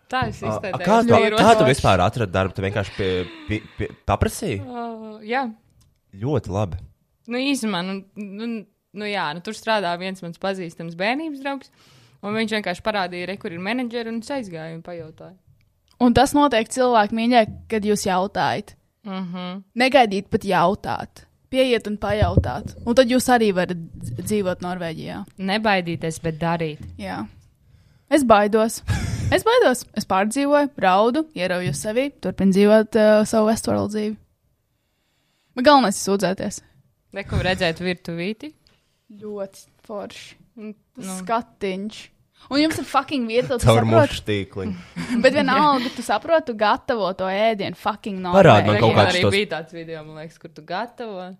Tā es
A,
izteicu.
a, Kā tu, kā tu vispār atradi darbu? Tu vienkārši pie, pie, pie, paprasīji?
Uh, jā.
Ļoti labi.
Nu, īsumā, nu, nu, nu, jā, nu, tur strādā viens mans pazīstams bērnības draugs. Un viņš vienkārši parādīja, re, kur ir menedžeri, un es aizgāju un pajautāju.
Un tas notiek cilvēku mīļā, kad jūs jautājat.
Mm -hmm.
Negaidīt, bet jautāt. Pieiet un pajautāt. Un tad jūs arī varat dz- dzīvot Norvēģijā.
Nebaidīties, bet darīt.
Jā. Es baidos. Es baidos. Es pārdzīvoju, raudu, ierauju sevi, turpinu dzīvot uh, savu Westworld dzīvi. Bet galvenais ir sūdzēties.
Neko redzēt virtuvīti.
Ļoti forši.
Un,
Tas
Nu.
skatiņš. Un jums ir fucking vieta, tas
Caur
saprot,
mušu tīkliņu.
bet vienalga, tu saproti, tu gatavo to ēdienu, fucking no.
Parādi man kaut
Kaut
kāds
arī
tos-
tos... bija tāds video, man liekas, kur tu gatavo.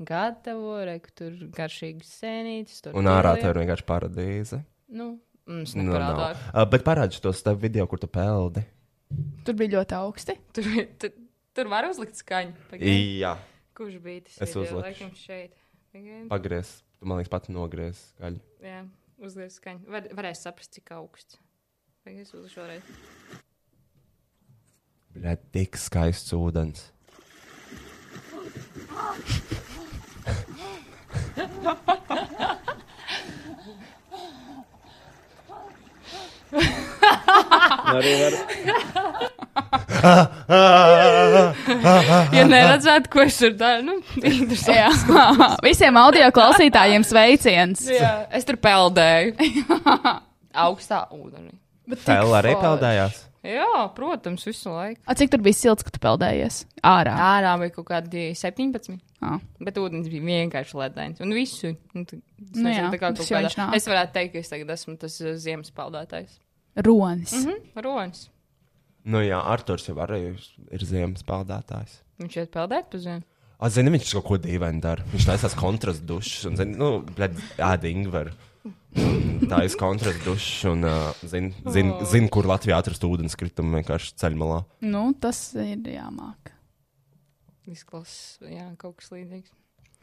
Gatavo, re, ka tur garšīgi sēnītas. tur
Un ārā
pilieni.
tā ir vienkārši paradīze.
Nu, mums
Nu, nav.
neparādā.
Uh, bet parādi to stāv video, kur tu peldi.
Tur bija ļoti augsti.
Tur, tur, tur var uzlikt skaņu. Pagaid,
Jā,
Kurš bija tas?
Es
video?
uzlikšu.
Laikam šeit. Pagaid,
pagriez. Man liekas, pati nogriez. Gaļu.
Jā, uzliek skaņu. Var, varēs saprast, cik augsts. Pagaid, es uzliku šoreiz.
Bļa, tik skaists ūdens.
Arī var.
Ja neredzētu, ko es tur daru, nu, interesanti.
Jā, visiem audio klausītājiem sveiciens.
Jā, es tur peldēju. Augstā ūdenī.
Bet tik
Pēl arī
forši.
peldējās.
Jā, protams, visu laiku.
A, cik tur bija silts, ka tu peldējies? Ārā.
Ārā bija kaut kādi 17.
Ā.
Bet ūdens bija vienkārši ledājums. Un visu. Nu, tu, es,
Nu
nezinu,
jā,
tā kā
tas
kaut
jau
kādā-
viņš nāk.
es varētu teikt, ka es tagad esmu tas uh, ziemas peldētājs.
Ronis.
Mm -hmm. Ronis.
Nu jā, Arthurs jau arī ir ziemas peldētājs.
Viņš iet peldēt pa zemi.
A, zini, viņš kaut ko dīvaini dara. Viņš taisās kontrastu dušas un, zini, nu, blēd, ēda ingveru. Tā ir kontrastu dušas un, uh, zini, zin, zin, kur Latvijā atrast ūdenskritumu vienkārši ceļmalā.
Nu, tas ir jāmāk.
Izklausās, jā, kaut kas līdzīgs.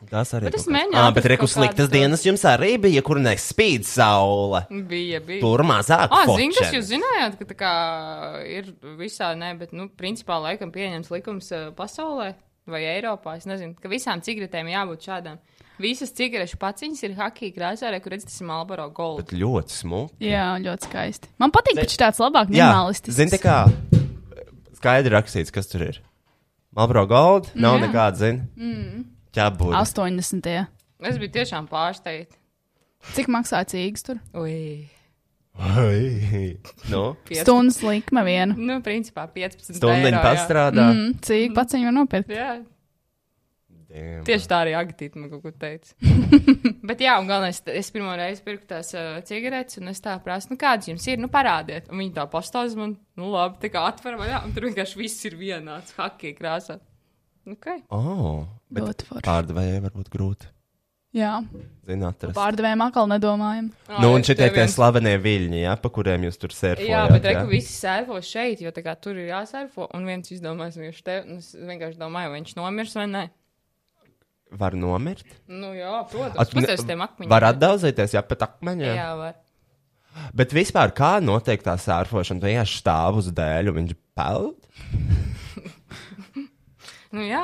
Tas arī
Bet es
kaut kas-
mēģināju
Ā,
atrast
bet reku
kaut kādu
sliktas
tādu-
dienas jums arī bija, kur nespīd saule.
Bija, bija.
Tur mazāk.
Ah, zinu, kas
fočenes.
jūs zinājāt, ka tā kā ir visā, ne, bet, nu, principā laikam pieņems likums eh, pasaulē vai Eiropā, es nezinu, ka visām cigaretēm jābūt šādām. Visas cigarešu paciņas ir hakī krāsārē, kur redzat, tas ir Malboro Gold.
Bet ļoti smuki.
Jā, ļoti skaisti. Man patīk, ka šis tāds labāk minimalistisks.
zini, tā kā skaidri rakstīts, kas tur ir. Malbro Gold nav mm, nekāda, zini. Mm. Ķēpūri.
80.
Es biju tiešām pārsteigta.
Cik maksā cīgs tur?
Ui,
nu,
Piec-
Stundas likme viena.
Nu, principā 15
stundiņu
eiro, jā.
pastrādā. Mm.
Mm, cik paciņu var nopirkt?
Jā,
Damn.
tieši tā arī Agatīte man kaut ko teica. Bet, jā, un galvenais, es pirmo reizi pirku tās uh, cigaretes, un es tā prasu, nu, kādas jums ir, nu, parādiet. Un viņi tā pastāsta man, nu, labi, tā kā atver, vai jā, un tur vienkārši viss ir vienāds, hakī krāsā. Ok,
Oh,
Ļoti forši.
Pārdevējai var būt grūti.
Jā,
Zināt, atrast.
pārdevējiem atkal nedomājam.
Nu, un
Ai,
šitie
tev
tie
viens-
slavenie viļņi, ja, pa kuriem jūs tur sērfojat.
Jā, bet reku visi sērfo šeit, jo tā kā tur ir jāsērfo, un viens izdomās, viņš te, un es vienkārši domāju, vai viņš nomirs vai nē.
Var nomirt.
Nu, jā, protams,
At-
tas ir tiem akmeņiem.
Var atdauzīties, jā, pat akmeņiem.
Jā, var.
Bet vispār kā notiek tā sērfošana? Tu vienkārši stāv uz dēļu, viņš peld.
Nu, jā.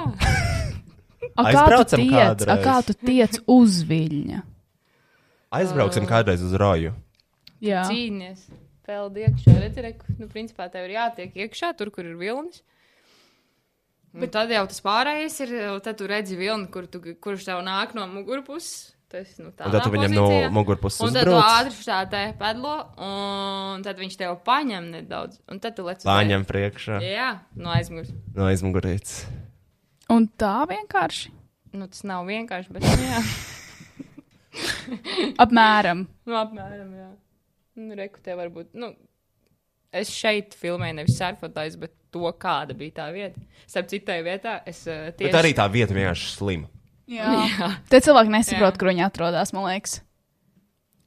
A, kā, tu
Aizbraucam
tiec, a,
kādreiz.
kā tu tiec uz viļņa?
Aizbrauksim kādreiz uz roju.
Jā,
cīnīties. Peld iekšā, redzi, re, ku- nu, principā tev ir jātiek iekšā, tur, kur ir vilnis. Bet tad jau tas pārējais ir, eh, tad tu redzi vilni, kur tu, kurš tev nāk no mugurpuses. Tas, nu,
Un tad tu viņam no mugurpuses
Un tad tu
uzbrauc.
ātri šā te pedlo, un tad viņš tev paņem nedaudz. Un tad tu lec uz leju.
Pāņem priekšā
Jā, no aizmugures.
no aizmugurītes.
un tā vienkārši.
Nu, tas nav vienkārši, bet, nu, jā.
Apmēram.
Nu, apmēram, jā. Nu, reku te varbūt. Nu, es šeit filmēju nevis sarfotājs, bet to, kāda bija tā vieta. Starp citai vietā es uh, tieši.
Bet arī tā vieta vienkārši slima.
Jā. Te cilvēki nesaprot,
Jā.
kur viņi atrodas, man liekas.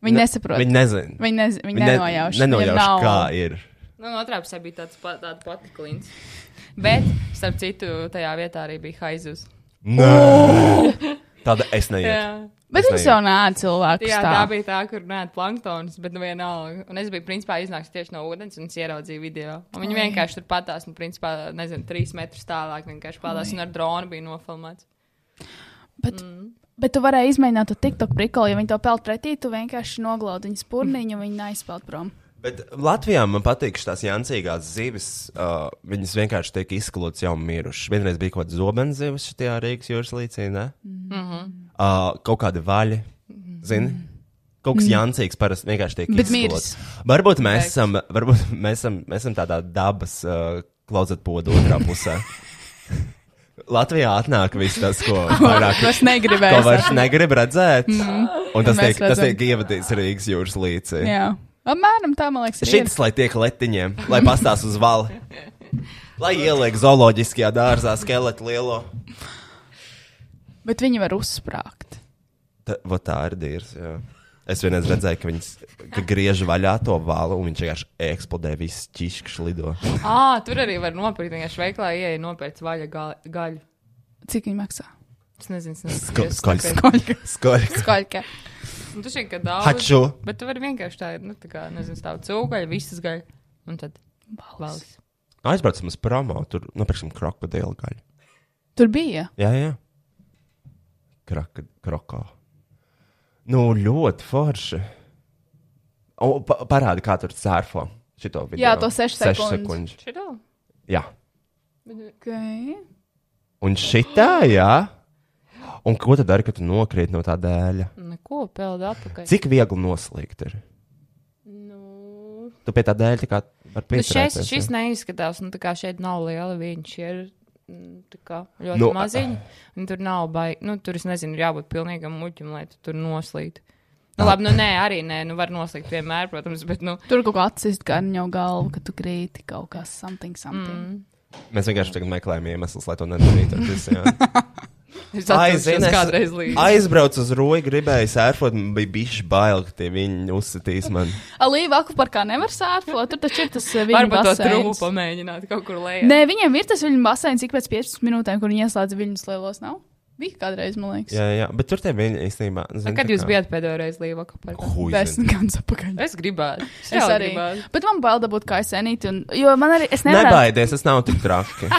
Viņi nesaprot.
Viņi nezina.
Viņi, nez, viņi ne, nenojauš.
nenojauš, kā ir.
Nu, no otrā pusē bija tāds pa, tāda pati klints. Bet, starp citu, tajā vietā arī bija haizus.
Nē. Tāda es neietu.
Jā.
Bet
Es
viņš
neietu.
jau nē, cilvēks.
Jā, tā bija tā, kur nē, planktonus, bet nu vienalga. Un es biju, principā, iznācis tieši no ūdens un es ieraudzīju video. Un viņi vienkārši tur patās, nu, principā, nezinu, trīs metrus tālāk vienkārši patās un ar dronu bija nofilmēts.
Bet, mm. bet tu varēji izmēģināt to TikTok brīkoli, ja viņi to peld pretī, tu vienkārši noglaudi viņas purniņu, un viņi aizpeld prom.
Bet Latvijā man patīk šīs jancīgās zivis. Uh, viņas vienkārši tiek izskalotas jau mirušas. Vienreiz bija kaut kāda zobena zivis šajā Rīgas jūras līcī. Mm -hmm. uh, kaut kādi vaļi. Zini? Kaut kas jancīgs parasti vienkārši tiek
Bet
izskalots. Varbūt mēs esam, varbūt mēs esam, mēs esam tādā dabas uh, klauzet podu otrā pusē. Latvijā atnāk viss tas, ko vairāk
Es
Ko
negribēju.
vairs negrib redzēt. Mm. Un tas
Mhm. Mēs
tiek, tas
redzam.
tiek ievadīts Rīgas jūras līcī.
Jā, Apmēram tā, man liekas, ir.
Šis, lai tiek letiņiem, lai pastās uz vali. Lai ieliek zooloģiskajā dārzā skeletu lielo.
viena. Bet viņi var uzsprāgt.
Ta, va tā ir dīrs. Jā. Es vienreiz redzēju, ka viņas ka griež vaļā to vālu, un viņš vienkārši eksplodē, viss ķīškas lido.
Ā, tur arī var nopirkt. Vienkārši veiklā ieeja nopirkt vaļa ga- gaļu.
Cik viņi maksā?
Es nezinu, kas
Sko- Skoļs.
Skoļka.
Skoļs.
Skoļka.
Tu šeit kā daudz.
Haču.
Bet tu vari vienkārši tā, nu, tā kā, nezinu, stāv cūgaļa, visas gaļa. Un tad valsts.
Aizbraucam uz promo, tur nopirksim krokodilu gaļu.
Tur bija.
Jā, jā. Kraka, krokā. Nu, ļoti forši. O, pa, parādi, kā tur cērfo. Šito video.
Jā, to sešu
Sešu
sekundes.
sekundžu.
Šitā?
Jā.
Okay.
Un šitā, jā. Un ko tad dari, kad tu nokrīt no tā dēļa?
Neko, peld atpakaļ.
Cik viegli noslīgt ir?
Nu,
Tu pie tā dēļa tā kā ar
nu
piesprādzienu.
šis, šis neizskatās, nu, tā kā šeit nav liela viņš ir. mm, tā Kā, ļoti
Nu,
nu, maziņi. un Tur nav baigi. Nu, tur es nezinu, ir jābūt pilnīgam muļķim, lai tu tur noslīd. Nu, labi, nu nē, arī nē, nu var noslīgt vienmēr, protams, bet nu.
Tur kaut kā atsist garņo galvu, ka tu krīti kaut kā something, something. Mm.
Mēs vienkārši tagad meklējam iemeslus, lai to nedarītu. ar visiem.
Es
Aizvien
atceros
es-
kādreiz līdzi.
Aizbraucu uz roju, gribēju sērfot, man bija bišķi bail, ka tie viņi uzsitīs man.
Līva aku par kā nevar sērfot, tur taču ir tas eh, viņa
Varbūt to trūku
baseins.
pamēģināt kaut kur lejā.
Nē, viņiem ir tas viņa baseins ik pēc 15 minūtēm, kur viņi ieslēdz viņus lielos, nav? Bija kādreiz, man liekas.
Jā, jā, bet tur tie viņi īstenībā. Zin,
Kad jūs bijat pēdējo reizi līvā kapelā?
Huizin.
Desmit gadus atpakaļ.
Es gribētu. Es,
Es arī.
Gribētu.
Bet man bail dabūt kaisenīti, un, jo man arī, es nevaru,
Nebaidies, tas nav tik traki.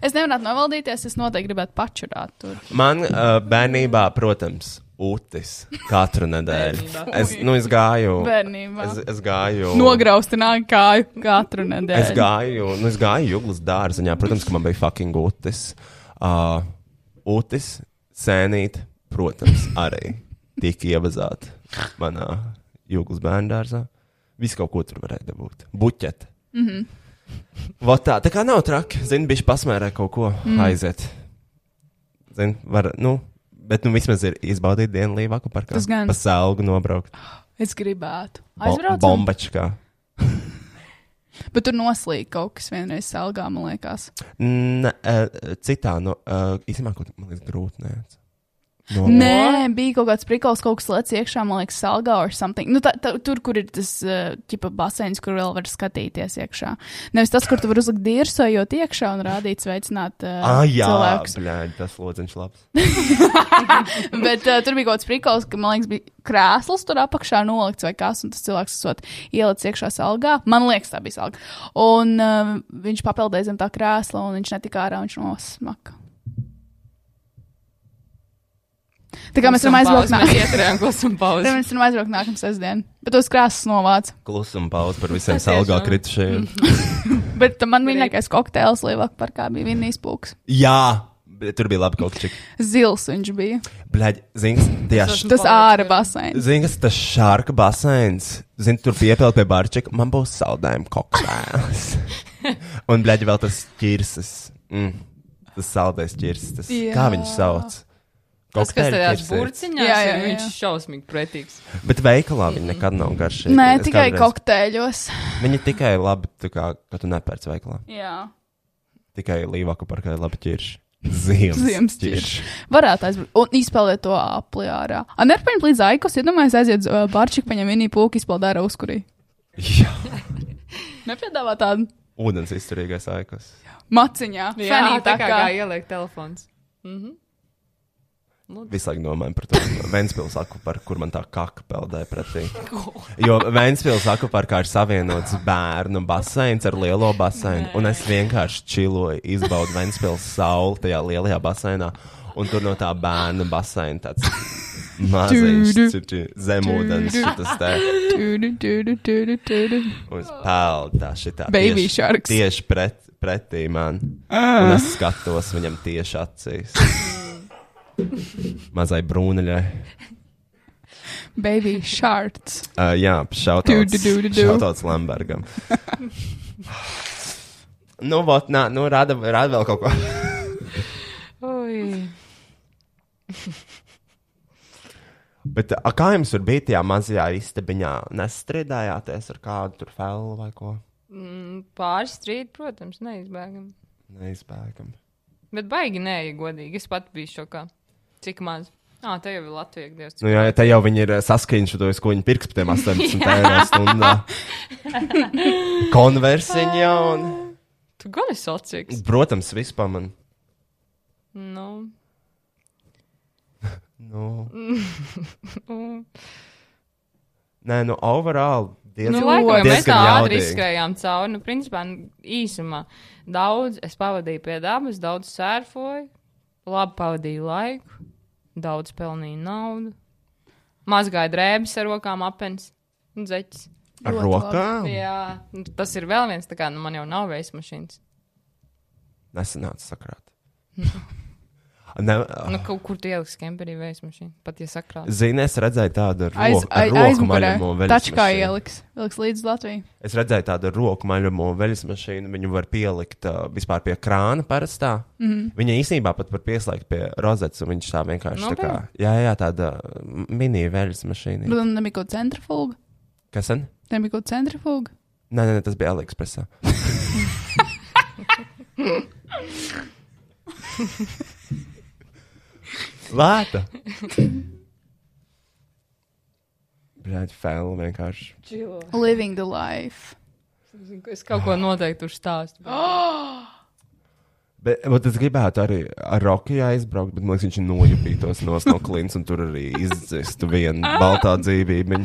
es nevaru novaldīties, es noteikti gribētu pačurāt tur.
Man uh, bērnībā, protams, utis katru nedēļu. es, nu, es gāju.
Bērnībā.
Es, es gāju.
Nograustiņā kāju katru
Es
nedēļu.
gāju, nu, es gāju jūglas dārziņā. Protams, ka man bija fucking utis. Uh, utis, sēnīt, protams, arī tika ievazāta manā jūglas bērnu dārzā. Visu kaut ko tur varēja dabūt. Buķet.
Mhm,
Mm -hmm. tā, tā kā nav traki. Zini, bišķi pasmērē kaut ko mm. aiziet. Zini, var, nu, bet nu vismaz ir izbaudīt dienu līvāku par
Tas gan.
kādu. Pa selgu nobraukt.
Es gribētu.
Bo-
Aizbraucu.
Bombačkā.
Bet tur noslīd kaut kas vienreiz salgā, man liekas.
Nē, eh, citā, nu, eh, īstenībā, ko man liekas, Nu, grūti nē. No,
Nē, bija kaut kāds prikals, kaut kas lec iekšā, man liekas, salgā vai something. Nu, tā, tā, tur, kur ir tas eh, ķipa baseins, kur vēl var skatīties iekšā. Nevis tas, kur tu vari uzlikt dirsojot iekšā un rādīt sveicināt uh,
Ah, jā,
cilvēkus.
blēņ, tas lodziņš labs.
Bet uh, tur bija kaut kāds prikals, ka, man liekas, bija krēsls tur apakšā nolikts vai kas, un tas cilvēks esot ielicis iekšā salgā. Man liekas, tā bija salga. Un uh, viņš papeldēja zem tā krēsla, un viņš netika ārā, viņš nosmaka. Tā kā mēs varam aizbraukt
Mēs
nākamā.
ieturējām klusam
Tā
pauzi.
mēs varam aizbraukt nākamā sestdiena. Bet tos krēslus novāca.
Klusuma pauze par visiem
Tas tiešām.
salgā kritušajiem.
Bet uh, man vienīgais kokteils lielāk par kā bija vinnijas pūks.
jā, bet tur bija labi kaut kas.
Zils viņš bija.
Blēģi, zings, tajā
Es
š-
esmu-
Tas ārā baseins.
Zini, kas tas šāda baseins, zini, tur piepildīt pie barčika, man būs saldējuma kokteils. Un, blēģi, vēl tas ķirsis. Mm, tas saldējs ķirsis. Tas,
Jā.
kā viņš sauc?
Tas, kas
Kokteļu
tajās
ķirsis.
burciņās, jā,
Jā, jā,
jā,
jā.
viņš ir šausmīgi pretīgs.
Bet veikalā viņi nekad nav garšīgi.
Nē,
Es
tikai
kādreiz-
kokteļos.
Viņi tikai labi, tā kā, ka tu nepērci veikalā.
Jā.
Tikai līvāku par kādu labi ķirši. Ziemas,
Ziemas ķirši. Varētu aizbraukt un izspēlēt to apli ārā. Ar nerpaņu līdz aikos, iedomājieties, aiziet uz barčiku, paņem vienī pūku, izpildē ar uzkurī.
Jā,
Nepiedāvā tādu
ūdens izturīgais aikas.
maciņā.
Jā,
fenī,
tā kā, kā ieliek telefons.
Visu laiku domāju par to Vēnspils akuparu, kur man tā kaka peldē pretī. Jo Vēnspils akuparkā ir savienots bērnu baseins ar lielo baseinu, un es vienkārši čiloju, izbaudu Vēnspils sauli tajā lielajā baseinā, un tur no tā bērnu baseina tāds
Tūdu.
maziņš ciči- zemūdens šitas te.
Tūdu, tūdu, tūdu, tūdu.
Un es peldu tā šitā.
Baby
tieši-
sharks. Ah.
Tieši pret, pretī man. Un es skatos viņam tieši acīs. Mazai brūnaļai.
Baby sharks.
Uh, jā,
Du, du, du, du, du.
šauts Lambergam. nu, vot, nā, nu, rada, rada vēl kaut ko.
Ui.
Bet, a, kā jums tur bija tajā mazajā istabiņā? Nestrīdājāties ar kādu tur felu vai ko?
Pāris strīdi, protams, neizbēgami.
Neizbēgami.
Bet baigi nē, ja godīgi. Es pat biju šokā. Cik maz? Ah, tā jau ir Latvija. Dievs,
Nu, jā, ja te jau viņi ir saskaņojušies, ko viņi pirks par tiem 18 eiro stundā. Konversiņa jau. Un...
Tu gan esi sociāls.
Protams, vispār man.
Nu,
Nu,
nu,
nē, nu, overall.
nu,
Diezgan,
laikam, ja mēs tā ātri
jaudīgi.
izskrējām cauri. Nu, principā, nu, īsumā daudz es pavadīju pie dabas, daudz sērfoju, labi pavadīju laiku, daudz pelnīju naudu, mazgāju drēbes ar rokām apens un zeķis.
Ar
Ļoti
rokām?
Jā, nu, tas ir vēl viens, tā kā nu, man jau nav veismas mašīnas.
Nesanāca sakrāt.
Nu.
ne,
Nu, kaut kur tu ieliksi kemperī veismas mašīnu, pat ja sakrāt.
Zini, Ah. es redzēju tādu ar
Aiz,
roku, ar
aiz,
roku
aizmugurē.
maļamo veļas
Tačkā
mašīnu.
ieliks. Ieliks līdz Latvijai.
Es redzēju tādu ar roku maļamo veļas mašīnu. Viņu var pielikt uh, vispār pie krāna parastā. Mm
Mhm.
-hmm. Viņa īsnībā pat var pieslēgt pie rozetes, un viņš tā vienkārši tā kā, jā, jā, tāda mini veļas mašīna. ir.
Bet tam nebija kaut kāda centrifuga.
Kas sen?
Tam bija kaut kāda centrifuga.
Nē, nē, nē, tas bija Aliexpressā. Lēta! Brāļi, fēlu vienkārši.
Čilo.
Living the life.
Es kaut ko noteikti uzstāstu.
Bet, bet es gribētu arī ar Rukiju aizbraukt, bet man liekas, viņš nojupītos no, no klints un tur arī izdzistu vienu baltā dzīvību.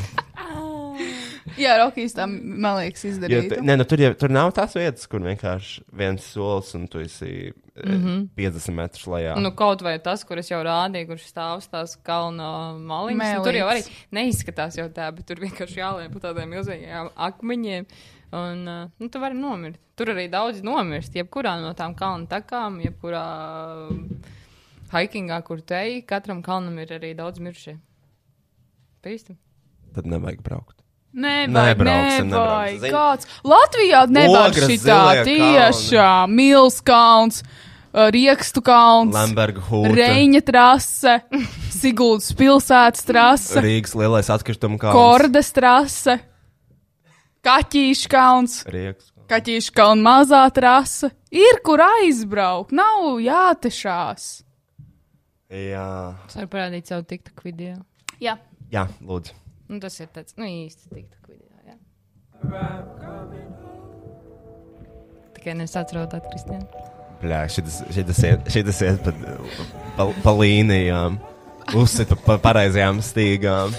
Jā, Rokijs tam, man liekas,
Ja,
izdarīja.
tu, nē, nu, tur, jau, tur nav tās vietas, kur vienkārši viens solis un tu esi mm -hmm. 50 metrus lejā.
Nu, kaut vai tas, kur es jau rādīju, kurš stāv uz tās kalna maliņas. nu, Tur jau arī
Mēlītes.
neizskatās jau tā, bet tur vienkārši jāliek pa tādiem milzīgiem akmeņiem. Un, uh, nu, tu vari nomirt. Tur arī daudz nomirst. Jebkurā no tām kalnu takām, jebkurā uh, hikingā, kur te ej, katram kalnam ir arī daudz miršie. Pīsti.
Tad nevajag braukt.
Nē,
Nebraucam, nebraucam.
nevajag.
Zini-
Kāds Latvijā nevar
Ogres,
šitā
zilie kalni.
tiešām Mils kalns, uh, Riekstu kalns,
Lamberga hūta.
Reņa trase, Siguldas pilsētas trase,
Rīgas lielais atkrituma kalns.
Kordas trase, Kaķīša kalns,
Rīgas.
Kaķīša kalna mazā trase. Ir kur aizbraukt, nav jātešās.
Jā.
Es varu parādīt savu tiktu video.
Jā.
Jā, lūdzu.
Nu, tas ir tāds, nu, īsti tiktu video. Jā. Tikai nesaprotat, Kristija.
Bļā, šitas šitas iet, šitas iet pa, pa, pa līnijām. Uzsita pa pareizajām stīgām.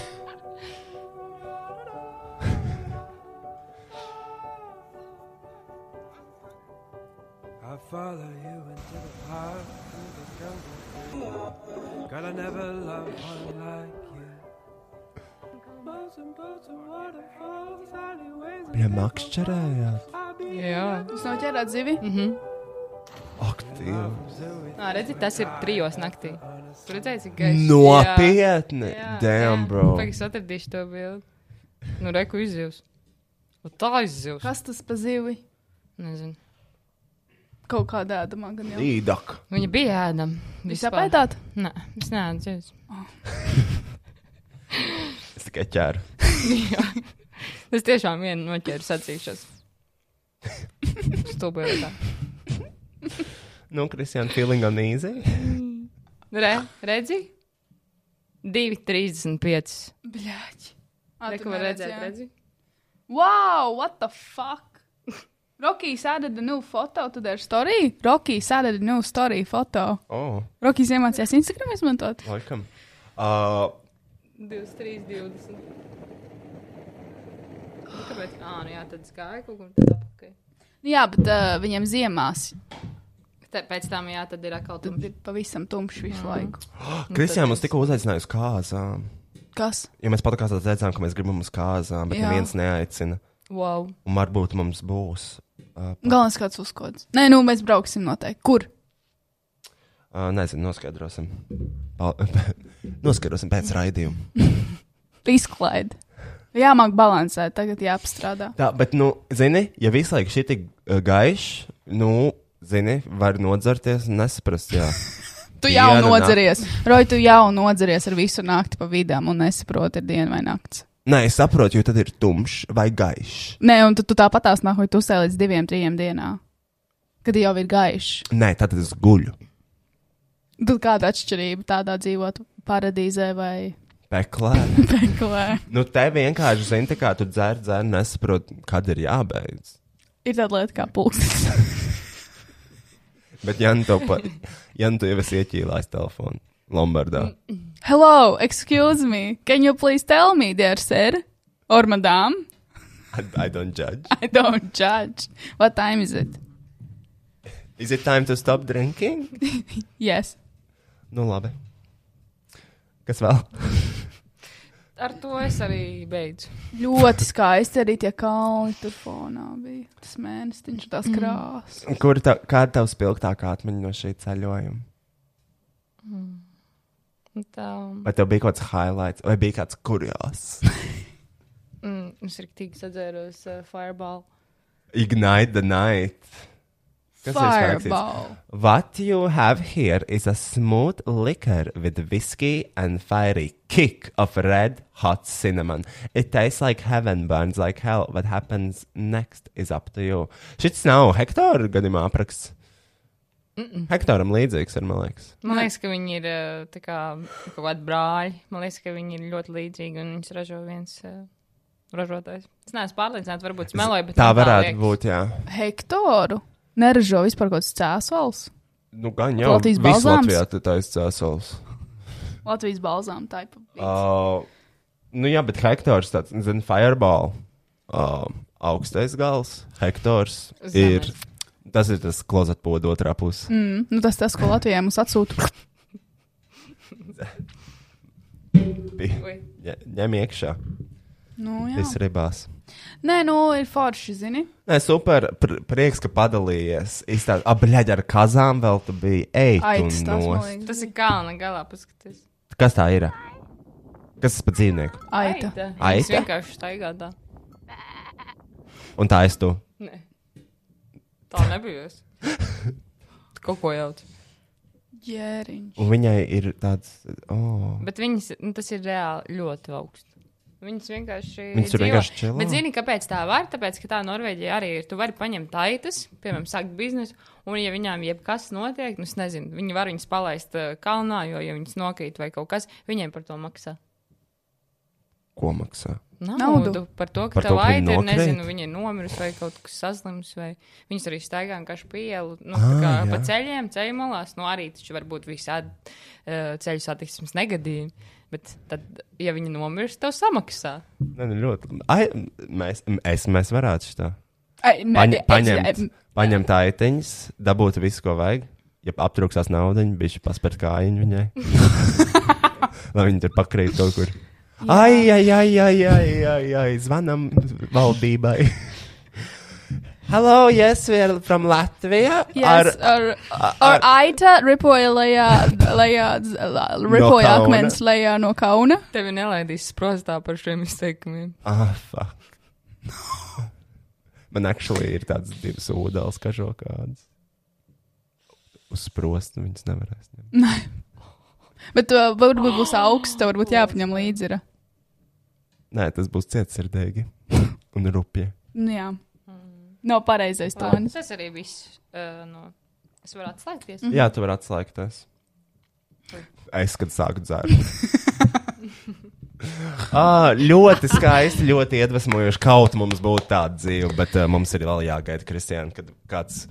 I follow you into the park, through the jungle. Girl, I never loved one like you. Boats and boats and waterfalls, alleyways and
Bļā, makšķerējāt.
I'll be
Jā,
Jūs nav ķērāt zivi?
Ak, Dievs.
Nā, redzi, tas ir trijos naktī. Tur redzēji, cik gaišs.
Nopietni. Damn, bro.
Pagaid, Nu, es atradīšu to bildi. Nu, reku izjūs. Nu, tā izjūs.
Kas tas pa zivi?
Nezinu.
Kaut kādā ēdamā gan jau.
Dīdak.
Viņa bija ēdama.
Jūs apēdāt?
Nē, es neatceros.
Es tikai ķēru.
Es tiešām vienu noķēru sacīkšos. Stulbēju tā.
Nu, Kristian, feeling on easy.
Re, redzi? 2,35.
Bļaķi.
Reku var redzēt, redzi?
Wow, what the fuck? nu Rokijs added a new photo to their story. Rokijs added a new story photo.
Oh,
Rokijs iemācījās Instagram izmantot.
laikam. Uh,
23, 20. Nu, Kāpēc? Ā, nu jā, tad skāja kaut kur tad apakaļ.
Nu Jā, bet uh, viņiem ziemās
Te- Pēc tam, jā, tad ir atkal
tad
tumšs.
ir pavisam tumšs visu laiku.
Kristian mums tikko uzaicināja uz kāzām.
Kas?
Ja mēs patīkām, tad teicām, ka mēs gribam uz kāzām, bet
Jā.
neviens neaicina.
Wow.
Un varbūt mums būs. Uh,
Galvenais kāds uzkods. Nē, nu mēs brauksim noteikti. Kur?
uh, nezinu, noskaidrosim. Pal- noskaidrosim pēc raidījuma.
Izklaide. Jāmāk balansēt, tagad jāapstrādā.
Tā, bet, nu, zini, ja visu laiku šī tik gaiša, nu, zini, var nodzerties un nesaprast, jā.
Tu jau
Diena, nakt-
nodzeries. Roji, tu jau nodzeries ar visu nakti pa vidām un nesaproti, ir diena vai naktis.
Nē, es saprotu, jo tad ir tumšs vai gaišs.
Nē, un tu, tu tāpat tās nāk, tu uzsēji līdz diviem, trim dienām. Kad jau ir gaišs.
Nē, tad es guļu.
Tur kāda atšķirība tādā dzīvot paradīzē vai
Peklē.
peklē.
nu, te vienkārši zini, tā kā tu dzer, dzer, nesaproti, kad ir jābeidz.
Ir tāda lieta kā pulkstenis.
Bet, ja nu tev pa- ja nu tu jau esi ieķīlājis telefonu Lombardā,
Hello, excuse me. Can you please tell me, dear sir or madam?
I, I don't judge.
I don't judge. What time is it?
Is it time to stop drinking?
Yes.
Nu, labi. Kas vēl?
Ar to es arī beidzu.
Ļoti skaisti arī tie kalni tur fonā bija. Tas mēnesis, tās krāsas.
Kur tā, kāda tev spilgtākā atmiņa no šī ceļojuma?
Un Tā
Vai tev bija kaut kāds highlights, vai bija kāds kurjās?
mm, es arī tik sadzēros uh, fireball.
Ignite the night. Kas ir spēks?
Fireball.
What you have here is a smooth liquor with whiskey and fiery kick of red hot cinnamon. It tastes like heaven, burns like hell. What happens next is up to you. Šis nav Hektora gadījumā apraksts. Mm -mm. Hektoram līdzīgs ir, man liekas.
Man liekas, ka viņi ir uh, tā kā kaut kādi brāļi. Man liekas, ka viņi ir ļoti līdzīgi un viņas ražo viens uh, ražotājs. Es neesmu pārliecināts, varbūt smeloju, bet
tā
man
varētu
liekas.
būt, jā.
Hektoru. Neražo vispār kaut kāds cēsolis.
Nu, gan jau.
Baltijas
Visu
balzāms?
Latvijā tu taisi cēsals.
Latvijas balzām taipa.
Uh, nu, jā, bet Hektors, tāds, zini, Fireball, uh, augstais gals, Hektors
Zemes.
ir. Tas ir tas klozetpods otrā pusē. Mm.
Mm, nu tas tas, ko Latvijai mums atsūta.
Ui.
Ņem iekšā,
Nu, jā.
tas ribās.
Nē, nu ir forši, zini.
Nē, super, pr prieks, ka padalījies. Izstāst, abļaģi ar kazām vēl tu biji. Ej, tu
Aicis tās, man
nos.
liekas.
Tas ir kalna galā, paskatieties.
Kas tā ir? Kas tas par dzīvnieku?
Aita.
Aita. Es
Aita?
vienkārši staigā tā.
Un tā es tu.
Nē. Tā nebija es. Tu Kaut ko jaut.
Jēriņš.
Un viņai ir tāds. Oh.
Bet viņas, nu, tas ir reāli ļoti augsts. Viņas vienkārši.
Viņas tur
dzīvo.
vienkārši čilā.
Bet zini, kāpēc tā var? Tāpēc, ka tā Norvēģija arī ir. Tu vari paņemt aitas, piemēram, sākt biznesu, un, ja viņām jebkas notiek, nu, es nezinu, viņi var viņas palaist ā, kalnā, jo, ja viņas nokrīt vai kaut kas, viņiem par to maksā.
Ko maksā?
Naudu.
Naudu par to, ka
Par to, ka
tā
viņi
laita ir,
nokrīt?
nezinu, viņa ir nomirusi vai kaut kas saslims, vai viņas arī staigā vienkārši pa ielu, nu, ah, kā
jā.
pa ceļiem, ceļu malās. Nu, arī taču var būt visādi uh, ceļu satiksmes negadījumi. Bet tad, ja viņi nomirst, tev samaksā.
Nē, nu, ļoti. Ai, mēs, es, mēs varētu šitā.
Ai, nē,
Paņ,
es-
paņemt, paņemt aitiņas, dabūt visu, ko vajag. Ja aptrūksās naudu, viņš paspērt kājiņu viņai. Lai viņi tur pakrīt kaut kur. Ai, ai, ai, ai, ai, ai, ai, zvanam valdībai. Hello, yes, we are from Latvia.
Yes, ar, ar, ar aita ripoja lejā, lejā, z- la- ripoja
kauna.
akmens lejā no kauna.
Tevi nelaidīs sprostā par šiem izteikumiem.
Ah, fuck. Man actually ir tāds divs ūdens, kā žokāds. Uz sprostu viņas nevarēs ņemt.
Bet uh, varbūt būs augsts, tev varbūt jāpaņem līdzi. Ir.
Nē, tas būs cietsirdīgi un rupji.
Nu, jā.
Mm.
Nav pareizais tonis.
Tas arī viss. Uh, no... Es varu atslēgties.
Jā, tu vari atslēgties. Es, kad sāku dzērt. ah, ļoti skaisti, ļoti iedvesmojoši. Kaut mums būtu tāda dzīve, bet uh, mums ir vēl jāgaida, Kristiāna, kad kāds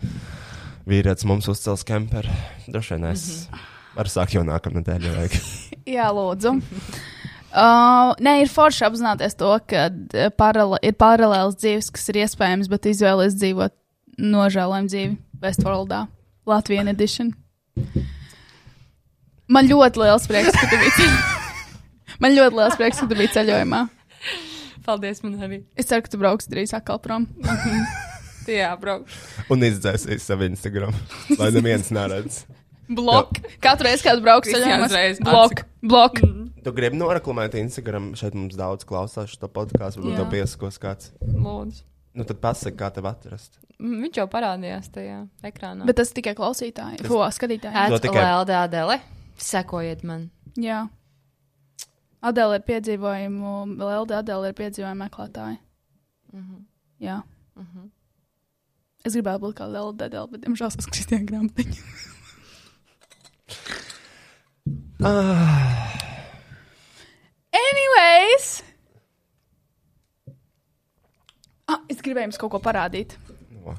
vīrietis mums uzcels kemperu. Droši vien es varu sākt jau nākamā nedēļa. ja vajag.
Jā, lūdzu. Uh, nē, ir forši apzināties to, ka eh, paralē, ir paralēls dzīves, kas ir iespējams, bet izvēlēties dzīvot nožēlojumu dzīvi Westworldā, Latvijas edition. Man ļoti liels prieks, ka tu biji. Man ļoti liels prieks, ka tu biji ceļojumā.
Paldies, man arī.
Es ceru, ka tu brauks drīz atkal prom.
Jā, brauc.
Un izdzēsīs savu Instagram, lai neviens neredz.
Blok. Katru reizi, kad brauks ceļojumā,
Kristiāns reiz
blok. blok.
Tu gribi noraklamēt Instagram, šeit mums daudz klausās šo podkāstu, varbūt
Jā.
tev piesakos kāds.
Lūdzu.
Nu, tad pasaka, kā tev atrast.
Mm, Viņš jau parādījās tajā ekrānā.
Bet tas tikai klausītāji, ko skatītāji.
Ē.
Ēt
To tikai-
LDA dēle. E. Sekojiet man.
Jā. Adela ir piedzīvojumu, Lelda Adela ir piedzīvojumu meklētāja. Jā. Es gribēju būt kā Lelda Adela, bet, diemžēl, es kristīju grāmatiņu. Anyways! Ah, es gribēju jums kaut ko parādīt.
No,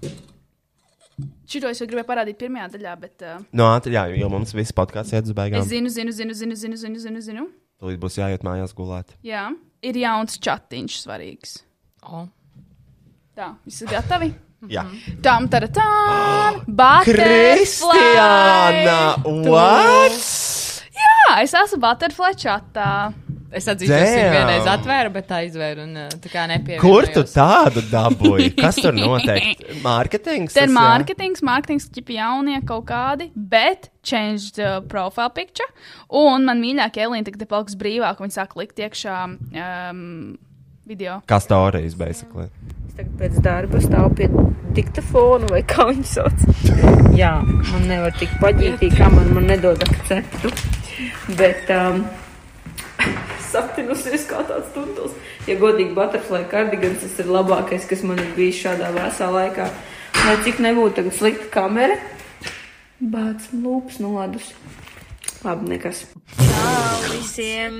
Šito es jau gribēju parādīt pirmajā daļā, bet uh,
no ātri, jā, jo mums viss podkāsts iet uz
es
beigām.
zinu, zinu, zinu, zinu, zinu, zinu, zinu, zinu.
Tad būs jāiet mājās gulēt.
Jā, ir jauns chatiņš svarīgs.
O,
Tā, visi gatavi?
Jā.
Tam tā, tā,
Kristiāna! What?
Jā, es esmu Butterfly chatā.
Es atzīstu, ka viņš
Damn!
vienreiz atvēra, bet aizvēra un uh, tā kā nepievēra.
Kur tu tādu dabūji? Kas tur notiek? Mārketings?
Te ir
tas, jā?
mārketings, mārketings, tipi jaunie kaut kādi, bet changed uh, profile picture. Un man mīļākā Elīna tagad ir palikusi brīvāka, viņa sāk likt iekšā um, video.
Kā stāstījis, basically.
Es tagad pēc darba stāvu pie diktafona vai kā viņš sauc. Jā, man nevar tik paģītīgi, kā man, man nedod akceptu. Bet um, satinus ir kā tāds tuntuls. Ja godīgi, butterfly kardigans tas ir labākais, kas man ir bijis šādā vēsā laikā. Lai cik nebūtu tagad slikta kamera, bāc lūps nolādus. Labi, nekas. Visiem.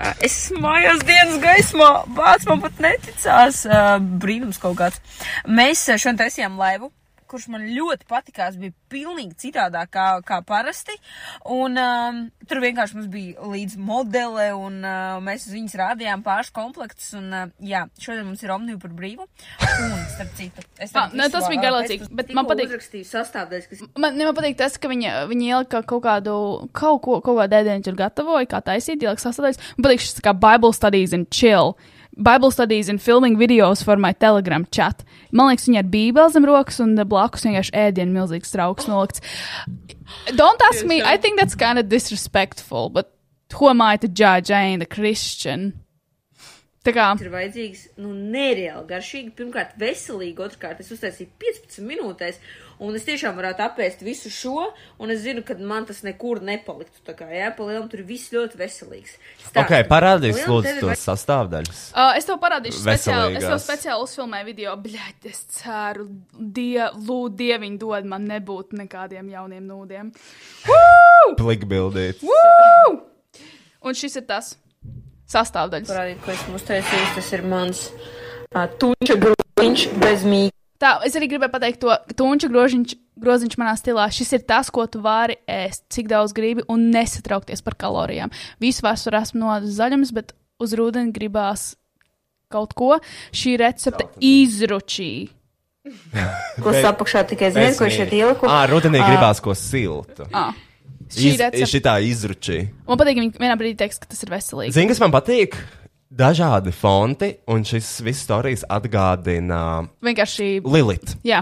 Ā, Es esmu mājās dienas gaismā. Bācis man pat neticās. ā, Brīnums kaut kāds. Mēs ā, šodien taisījām laivu. Kurš man ļoti patīkās, bija pilnīgi citādāk kā, kā parasti. Un, um, tur vienkārši mums bija līdzi modele, un uh, mēs uz viņas rādījām pāris komplektus. Un, uh, jā, šodien mums ir omnibus par brīvu. Un, starp citu, es
Ah, ne, tas bija garlaicīgi, bet man patīk-
rakstīju sastāvdaļas, kas
Man, ne, man patīk tas, ka viņa, viņa ielika kaut kādu, kaut ko, kaut kādu ēdienu tur gatavoja, kā taisīt, ielika sastāvdaļas. Man patīk šis tā kā Bible studies and chill. Bible studies and filming videos for my telegram chat. Man liekas, viņa ir bībeli zem rokas un blakus vienkārši ēdienu milzīgs trauks nolikts. Don't ask me, I think that's kind of disrespectful, but who am I to judge? I ain't a Christian. Tā kā.
ir vajadzīgs, nu, nereāli garšīgi. Pirmkārt, veselīgi, otrkārt, es uztaisīju 15 minūtēs, un es tiešām varētu apēst visu šo, un es zinu, ka man tas nekur nepaliktu. Tā kā, jā, pa lielam tur viss ļoti veselīgs. Stāsti.
Ok, parādīs,
Pa lielam tev
lūdzu,
ir
tos sastāvdaļas.
Uh, es tev parādīšu, speciāli, es tev
Veselīgās.
speciāli uzfilmēju video. Bļaigi, es ceru, die, lūdzu, dieviņ, dod man nebūt nekādiem jauniem nūdiem.
Plikbildīt.
Woo! Un šis ir tas sastāvdaļas.
Parādīt, ko esmu uztaisījis, tas ir mans uh, tuņa grūtiņš bez mīkstības.
Tā, es arī gribēju pateikt to, ka tunča groziņš, groziņš manā stilā, šis ir tas, ko tu vari ēst, cik daudz gribi un nesatraukties par kalorijām. Visu vasaru esmu nodezis zaļums, bet uz rudeni gribās kaut ko. Šī recepte izručīja.
Ko sapakšā tikai zinu, ko šeit ieliku.
Ā, rudenī gribās ko siltu.
Ah, šī
Iz,
recepte.
šitā izručī.
Man patīk, ka viņi vienā brīdī teiks, ka tas ir veselīgi.
Zini, kas man patīk? Dažādi fonti, un šis viss stāstījis atgādina
Vienkārši.
Lilita.
Jā,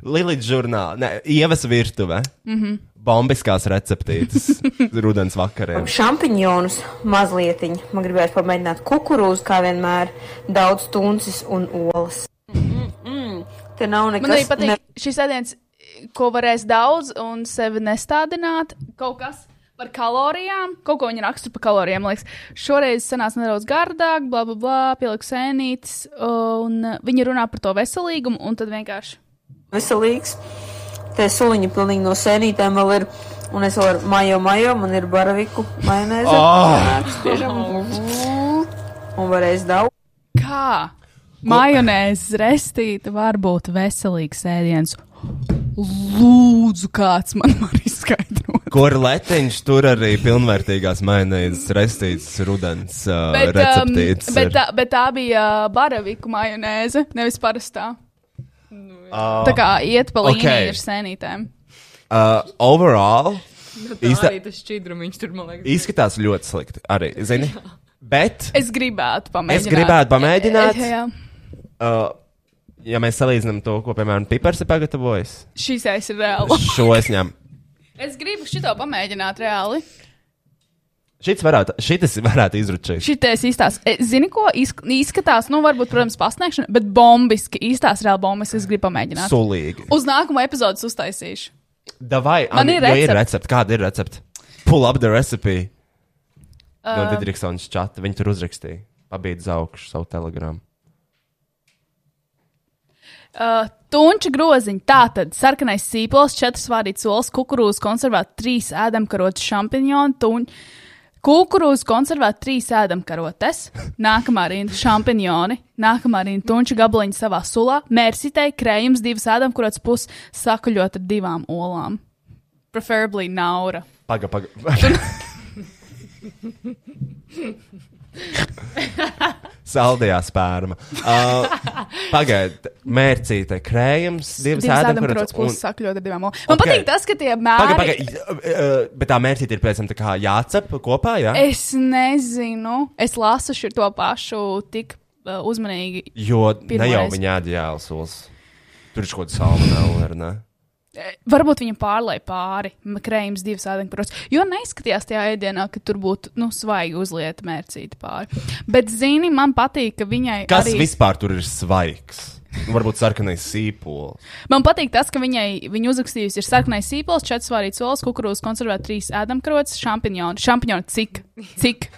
Lilita žurnāla, ne, ievas virtuve. Mm
Mhm.
-hmm. Bombiskās receptītes rudens
Oh,
vakariem.
Šampiņonus mazliet, man gribētu pamēģināt kukurūzu, kā vienmēr, daudz tuncis un olas. Mm, mm, mm. Te nav nekas.
man arī patīk ne. šis ēdiens, ko varēs daudz un sevi nestādināt. Kaut kas par kalorijām, kaut ko viņa raksta par kalorijām. man Liekas, šoreiz sanāca nedaudz gardāk, bla, bla, bla, pieliks sēnītes. Un uh, viņi runā par to veselīgumu, un tad vienkārši.
veselīgs. Tā suliņa pilnīgi no sēnītēm vēl ir. Un es vēl ar majo, majo, man ir baraviku majonēze.
Ah!
Un varēs daudz.
Kā majonēzes restīte var būt veselīgs ēdiens? Lūdzu, kāds man var izskaidrot.
Kur letiņš tur arī pilnvērtīgās mainījas restītas rudens uh,
Bet, um,
receptītes.
bet, tā, bet tā bija baravīku majonēze, nevis parastā.
uh,
Tā kā iet pa
Ok.
līniju okay. ar sēnītēm.
uh, overall,
Īsta...
Īsta-
Arī tas šķidrums tur, man liekas,
izskatās ļoti slikti arī, zini? Bet
Es gribētu pamēģināt.
Es gribētu pamēģināt.
Jā, jā.
Uh, ja mēs salīdzinām to, ko, piemēram, Pipers ir pagatavojis,
Šīs aiz ir reāli.
šo es ņemu.
Es gribu šito pamēģināt reāli.
Šis varētu, šitas varētu izručīt.
Šitais īstās, e, zini, ko izk- izskatās, nu, varbūt, protams, pasniegšana, bet bombiski īstās reāli bombas es gribu pamēģināt.
Sulīgi.
Uz nākamo epizodu uztaisīšu.
Davai,
Man
Ani,
ir
jo ir
recepte.
recepte. Kāda ir recepte? Pull up the recipe. Uh. No Didriksons čata. Viņi tur uzrakstīja. Pabeidz augšu savu telegramu.
Uh, Tunča groziņš, tātad sarkanais sīpols, četras vārītas olas, kukurūzas konservēt, trīs ēdamkarotes, šampiņoni, tuņi. Kukurūzas konservēt, trīs ēdamkarotes, nākamā rinda šampiņoni, nākamā rinda tunča gabaliņa savā sulā, mērsitei, krējums, divas ēdamkarotes puses sakaļot ar divām olām. Preferably naura.
Paga, paga. Saldajā spērma. Uh, Pagaidiet, mērcīte, krējums, divas
Divas
ēdamkarotes.
ēdamkarotes
un-
puses sakaļot ar divām olām. Man
Ok.
okay. patīk tas, ka tie
Paga,
mēri.
paga, uh, bet tā mērcīte ir pēc tam tā kā jācep kopā, jā? Ja?
Es nezinu, es lasu šo to pašu tik uh, uzmanīgi.
Jo ne jau
Pirmoreiz.
viņa ēd jēlsos. Tur ir kaut kāda salmonella, vai ne?
Varbūt viņam pārlai pāri m- krējums divas ēdienkarus. Jo neizskatījās tajā ēdienā, ka tur būtu nu, svaigi uzlieta mērcīta pāri. Bet, zini, man patīk, ka viņai.
Kas
arī...
arī... vispār tur ir svaigs? Nu, Varbūt sarkanais sīpols.
Man patīk tas, ka viņai viņa uzrakstījusi ir sarkanais sīpols, četras vārītas olas, kukurūzas, konservēt trīs ēdamkarotes, šampiņoni. Šampiņoni cik? Cik?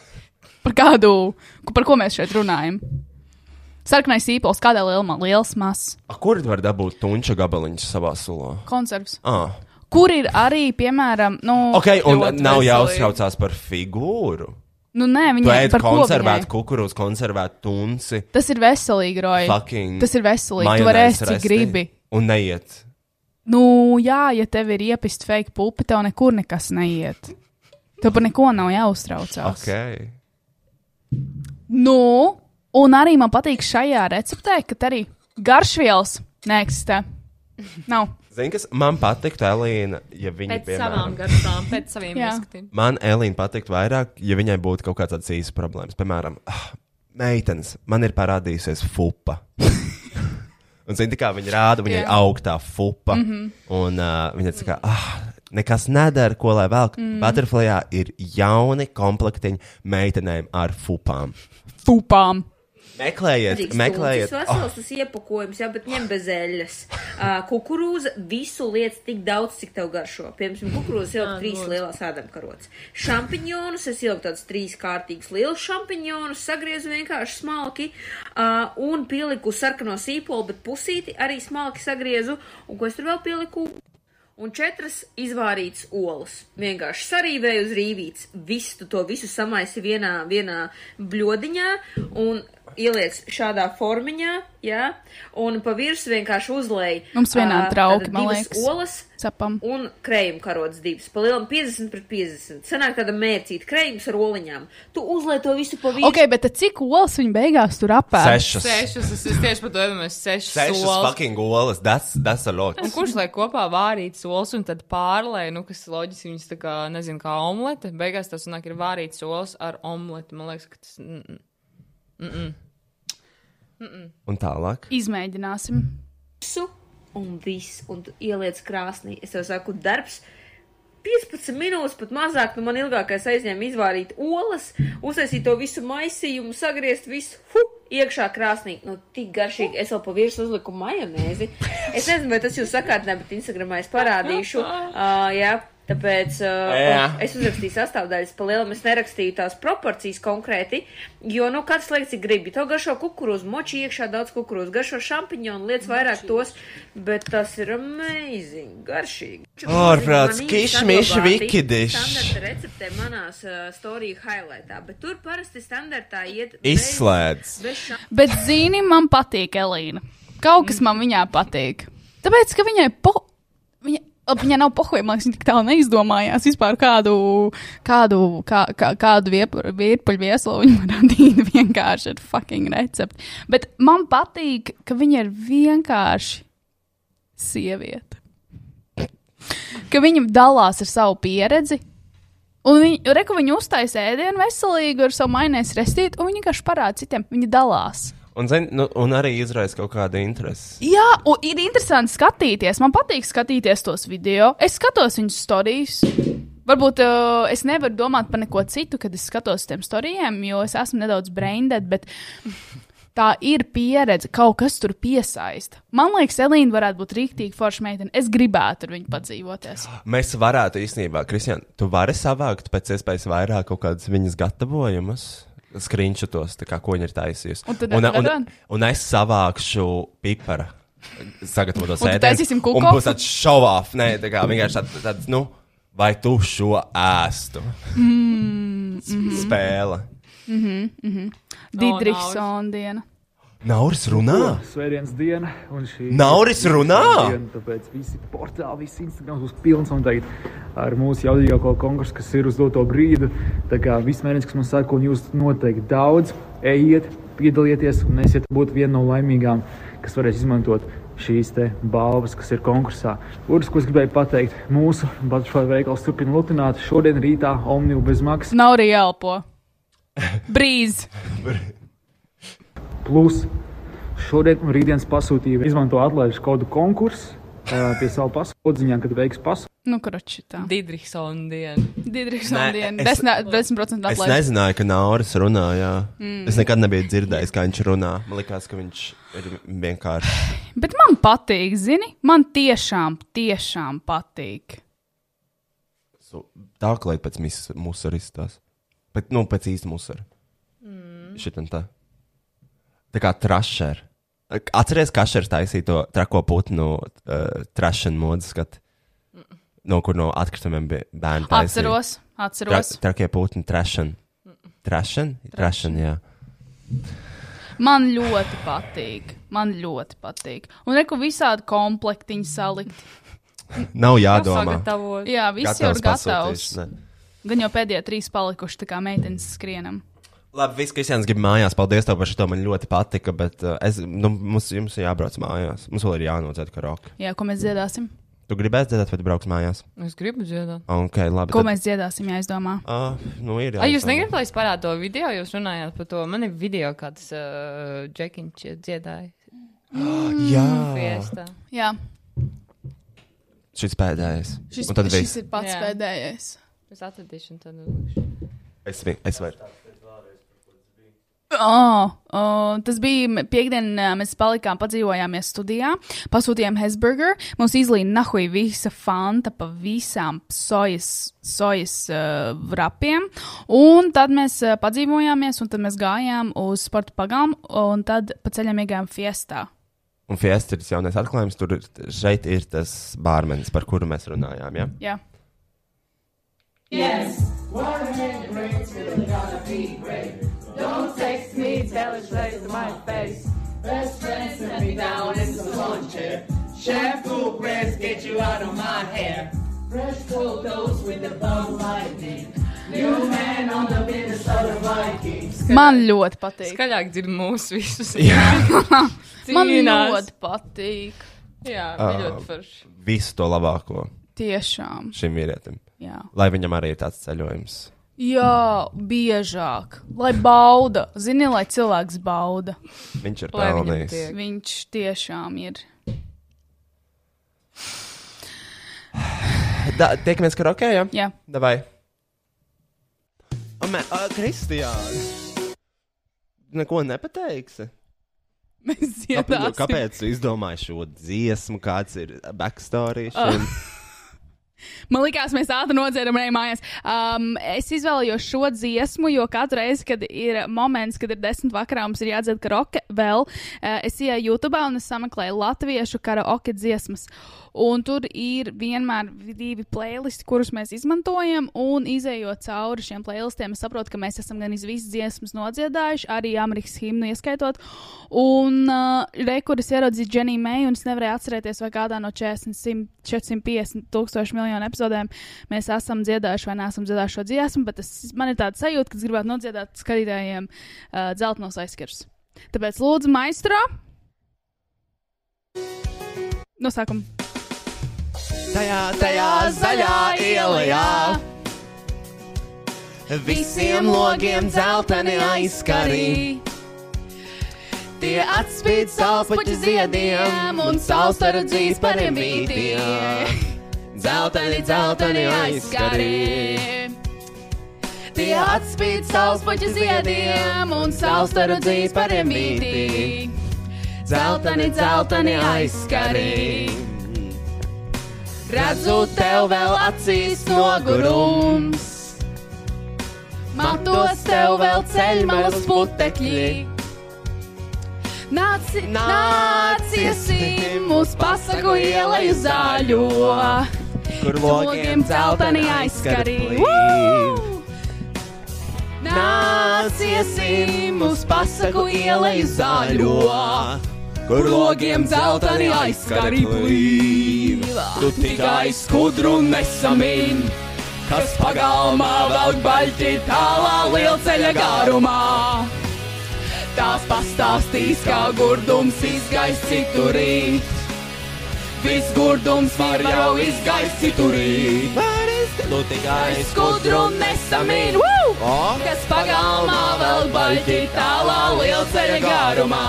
Par kādu? ku- Par ko mēs šeit runājam? Sarkanais sīpols, kādā lielumā? Liels, mazs
A, Kur var dabūt tunča gabaliņu savā sulā?
konservs.
Ah.
Kur ir arī, piemēram, nu.
Ok, un
ļoti
nav
veselīgi.
jāuztraucās par figūru.
Nu, nē,
Tu
viņai
ēd
par ko viņai?
konservētu kukurūzu, konservētu tunci.
Tas ir veselīgi, Roja.
Fucking
Tas ir veselīgi. Tu vari
majonēzes
ēst, cik
resti.
gribi.
Un neiet.
Nu, jā, ja tev ir iepist fake pupi, tev nekur nekas neiet. Tev par neko nav jāuztraucās.
Ok.
Nu, un arī man patīk šajā receptē, ka te arī garšvielas neeksistē. Nav.
Zini, kas man patiktu, Elīna, ja viņa
Pēc
piemēram.
savām garšām, pēc saviem
Jā.
ieskatiem.
Man Elīna patiktu vairāk, ja viņai būtu kaut kāds īsts problēmas. Piemēram, ah, meitenes, man ir parādījusies fupa. un zini, tā kā viņa rāda, viņai
Jā.
augstā fupa. Mm -hmm. Un uh, viņa tā kā. Ah, Nekas nedara, ko lai vēl. Mm. Butterflyā ir jauni komplektiņi meitenēm ar fupām.
Fupām.
Meklējiet, meklējiet,
Tas
oh,
vesels tas iepakojums, jā, bet ņem bez eļļas. Uh, kukurūza visu lietas tik daudz, cik tev garšo. Piemēram, kukurūza jau trīs lielās ēdamkarotes. Šampiņonus es jau tādus trīs kārtīgus lielus šampiņonus sagriezu vienkārši smalki uh, un pieliku sarkano sīpolu, bet pusīti arī smalki sagriezu. Un ko es tur vēl pieliku? Un četras izvārītas olas. Vienkārši sarīvēju uz rīvītes. Visu tu to visu samaisi vienā, vienā bludiņā un ieliec šādā formiņā, jā, un pa virsmu vienkārši uzlēju.
Mums vienādi trauki, man liekas.
Olas
Cepam.
un krējuma karotes divas. Palielam 50 pret 50. Sanāk tāda mērcīta krējums ar oliņām. Tu uzlēji to visu pa virsmu.
Ok, bet tad cik olas viņa beigās tur apēda?
sešas.
Sešas, es, es tieši par to domāju, sešas,
Sešas
solis.
fucking olas, tas ir
Un
loks.
kurš lai kopā vārīt solis un tad pārlai, nu, kas loģiski viņas tā kā, nezinu, kā omlete. Beigās tas nāk, ir vārīt solis ar omleti. Man liekas, ka tas. mm, mm.
Un tālāk.
Izmēģināsim.
visu, un viss, un tu ieliec krāsnī. Es jau saku, darbs. 15 minūtes, pat mazāk, nu man ilgākais aizņēma izvārīt olas, uztaisīt to visu maisījumu, sagriezt visu hu, iekšā krāsnī. Nu, tik garšīgi. Es vēl pa virsmu uzliku majonēzi. Es nezinu, vai tas jūs sakārtinā, bet Instagramā es parādīšu. Uh, jā, tāpēc uh,
Jā.
es uzrakstīju sastāvdaļas, pa lielam es nerakstīju tās proporcijas konkrēti, jo, nu, katrs liekas, cik gribi. To garšo kukurūzu, moči iekšā daudz kukurūzu, garšo šampiņonu, lietas vairāk tos, bet tas ir amazing, garšīgi.
Ārprāts,
Manī
kišmiš,
saglabāti
vikidiš.
Standarta receptē manās uh, storiju highlightā, bet tur parasti standartā iet bez-
Izslēdz.
Bez šā...
Bet zini, man patīk Elīna. Kaut kas man viņā patīk. Tāpēc, ka viņai po... viņa, ap, viņa nav pohojama, viņa tik tālu neizdomājās vispār kādu, kādu, kā, kā, kādu viepur- virpuļu vieslu viņa man radīja vienkārši ar fucking recepti. Bet man patīk, ka viņa ir vienkārši sieviete. Ka viņa dalās ar savu pieredzi, Un viņi, reku, viņi uztaisīja ēdienu veselīgu ar savu mainēs restīti, un viņi vienkārši parāda citiem, viņi dalās.
Un, zin, nu, un arī izraisa kaut kādu interesi.
Jā, un ir interesanti skatīties. Man patīk skatīties tos video. Es skatos viņu stāstījus. Varbūt uh, es nevaru domāt par neko citu, kad es skatos uz tiem storijiem, jo es esmu nedaudz braindēta, bet tā ir pieredze, kaut kas tur piesaista. Man liekas, Elīna varētu būt rīktīgi forša meitene. Es gribētu ar viņu padzīvoties.
Mēs varētu īstenībā, Kristian, tu vari savākt pēc iespējas vairāk kaut kādas viņas gatavojumus. Skriņšotos, ko viņa ir taisījusi.
Un tad
un, un,
atradāt?
un es savākšu pipara. Sagatavotos
Un tu taisīsim kukopu?
Un būs tāds šovāf, nē, tā kā vienkārši tāds, tāds, nu, vai tu šo ēstu? Mm,
mhm.
Spēle.
Didriks
nav.
Sondiena.
Nauris runā!
Svētdienas diena, un šī
Nauris runā!
Diena, tāpēc visi portāli, visi Instagram būs pilns un tagad ar mūsu jaudīgāko konkursu, kas ir uz doto brīdi. Tā kā viss mēnesis, kas mums sako, un jūs noteikti daudz ejiet, piedalieties un esiet būt viena no laimīgām, kas varēs izmantot. Šīs te balvas, kas ir konkursā. Otrs, ko es gribēju pateikt, mūsu Butterfly veikals turpina lutināt. Šodien rītā Omniju bez maksas.
Nav arī elpo. Brīz!
Plus, šodien un rītdienas pasūtījumu izmanto atlaižu kodu konkursu eh, pie savu pasūtījumu, kad veiks pasūtījumu.
Nu, kurš tā?
Didriksona diena.
Didriks
Nē,
Sondiena.
es-
10% 10%
Es
atlaide.
nezināju, ka Nauris runā. Jā. Mm. Es nekad nebiju dzirdējis, kā viņš runā. Man liekas, ka viņš ir vienkārši.
Bet man patīk, zini, man tiešām, tiešām patīk.
su- Tā kā lai pēc mis- musaristas. Bet, nu, pēc īsta musara. Mm. Šitam tā. Tā kā trašer. Atceries, ka Kašers taisīja to trako putnu uh, trašanu modes, kad no kur no atkritumiem bija bērni. taisīja.
Mm. Atceros, atceros. Mm.
Tra trakie putni trašana. Trašana? Trašana, jā.
Man ļoti patīk. Man ļoti patīk. Un reku visādi komplektiņi salikt.
Nav jādomā.
Sagatavot.
Jā, viss jau ir gatavs.
pasūtīšanai.
Gan jau pēdējie trīs palikuši, tā kā meitenes skrienam.
Labi, viss, Kristians, grib mājās. Paldies tev par šo. Man ļoti patika, bet uh, es, nu, mums, jums ir jābrauc mājās. Mums vēl ir jānodzēta karoka.
Jā, ko mēs dziedāsim?
Tu gribēsi dzirdēt, vai tu brauks mājās? Ah,
Es gribu dzirdēt.
Ok, labi.
Ko mēs dziedāsim, ja es domāju?
Uh, nu, ir,
Ai, jūs negribat, lai es parādītu to video, jūs runājāt par to. Man ir video, kā tas uh, Džekiņš dziedāja
Jā,
fiestā.
Jā,
šis pēdējais.
šis,
Un tad
šis
viss.
ir pats
Jā.
pēdējais.
Es atradīšu un tad uzlikšu.
Es, vi- es varu.
Oh, oh, tas bija m- piekdiena, mēs palikām, padzīvojāmies studijā, pasūtījām Hesburger. Mums izlīja nahuj visa fanta pa visām sojas, sojas uh, rapiem. Un tad mēs uh, padzīvojāmies, un tad mēs gājām uz sporta pagām, un tad pa ceļam iegājām fiestā.
Un fiesta ir tas jaunais atklājums. Tur ir- šeit ir tas bārmenis, par kuru mēs runājām. Jā?
Jā. Man ļoti patīk.
Skaļāk dzird mūsu visus. Jā,
Man ļoti patīk.
Jā,
Ā.
bija ļoti forši.
Visu to labāko
Tiešām.
šim vīrietim.
Jā.
Lai viņam arī ir tāds ceļojums.
Jā, biežāk. Lai bauda. Zini, lai cilvēks bauda.
Viņš ir
Lai viņam
pelnījis.
tiek.
Viņš tiešām ir.
Da- Tiekamies karokē, jā?
Jā.
Davai. Amē, uh, Kristiāns! Neko nepateiksi.
Mēs
Kāpēc,
dziedāsim.
kāpēc tu izdomāji šo dziesmu, kāds ir backstory?
Ah.
šim?
Man liekas, mēs ātri nodziedam arī mājās. Um, es izvēlējos šo dziesmu, jo katru reizi, kad ir moments, kad ir desmit vakarā, mums ir jādzied karaoke vēl. Uh, es ienāku YouTube un es sameklēju latviešu karaoke dziesmas. Un tur ir vienmēr divi playlisti, kurus mēs izmantojam. Un izējot cauri šiem playlistiem, es saprotu, ka mēs esam gan visas dziesmas nodziedājuši, arī Amerikas himnu ieskaitot. Un uh, rekurors ieraudzīja Dženiju Meiju, un es nevarēju atcerēties, vai kādā no 40, 100, 450 tūkstošu miljonu epizodēm mēs esam dziedājuši vai neesam dziedājuši šo dziesmu, bet tas, man ir tāds sajūta, ka es gribētu nodziedāt skatītājiem uh, dzeltenos aizskars. Tāpēc lūdzu, maistro! No sākuma.
Tajā, tajā zaļā ielā visiem logiem dzelteni aizskarī.
Tie atspīd
saules puķu ziediem un saules taradzīs par emītiem.
Zeltaini, zeltaini aizskari. Tie atspīd saulspuķa ziediem un saulstaru dzīspariem vītī. Zeltaini, zeltaini aizskari. Redzu tev vēl acīs nogurums. Matos tev vēl ceļmalas putekļi. Nāci, nāciesim uz pasaku ielai zāļo,
Kur
logiem celtani aizskarī. Woo! Nāciesim uz pasaku ielai zāļo,
Kur
logiem zeltani aizskarī blīva. Tu tikai skudru nesamin, kas pagalmā velk baļķi tālā lielceļa garumā. Tās pastāstīs, kā gurdums izgaist citurīt. Viss gurdums var jau izgaist citurīt.
Tu tikai
Nu Skudru nesamin, Woo! kas pagalmā vēl baļķi tālā lielceļa garumā.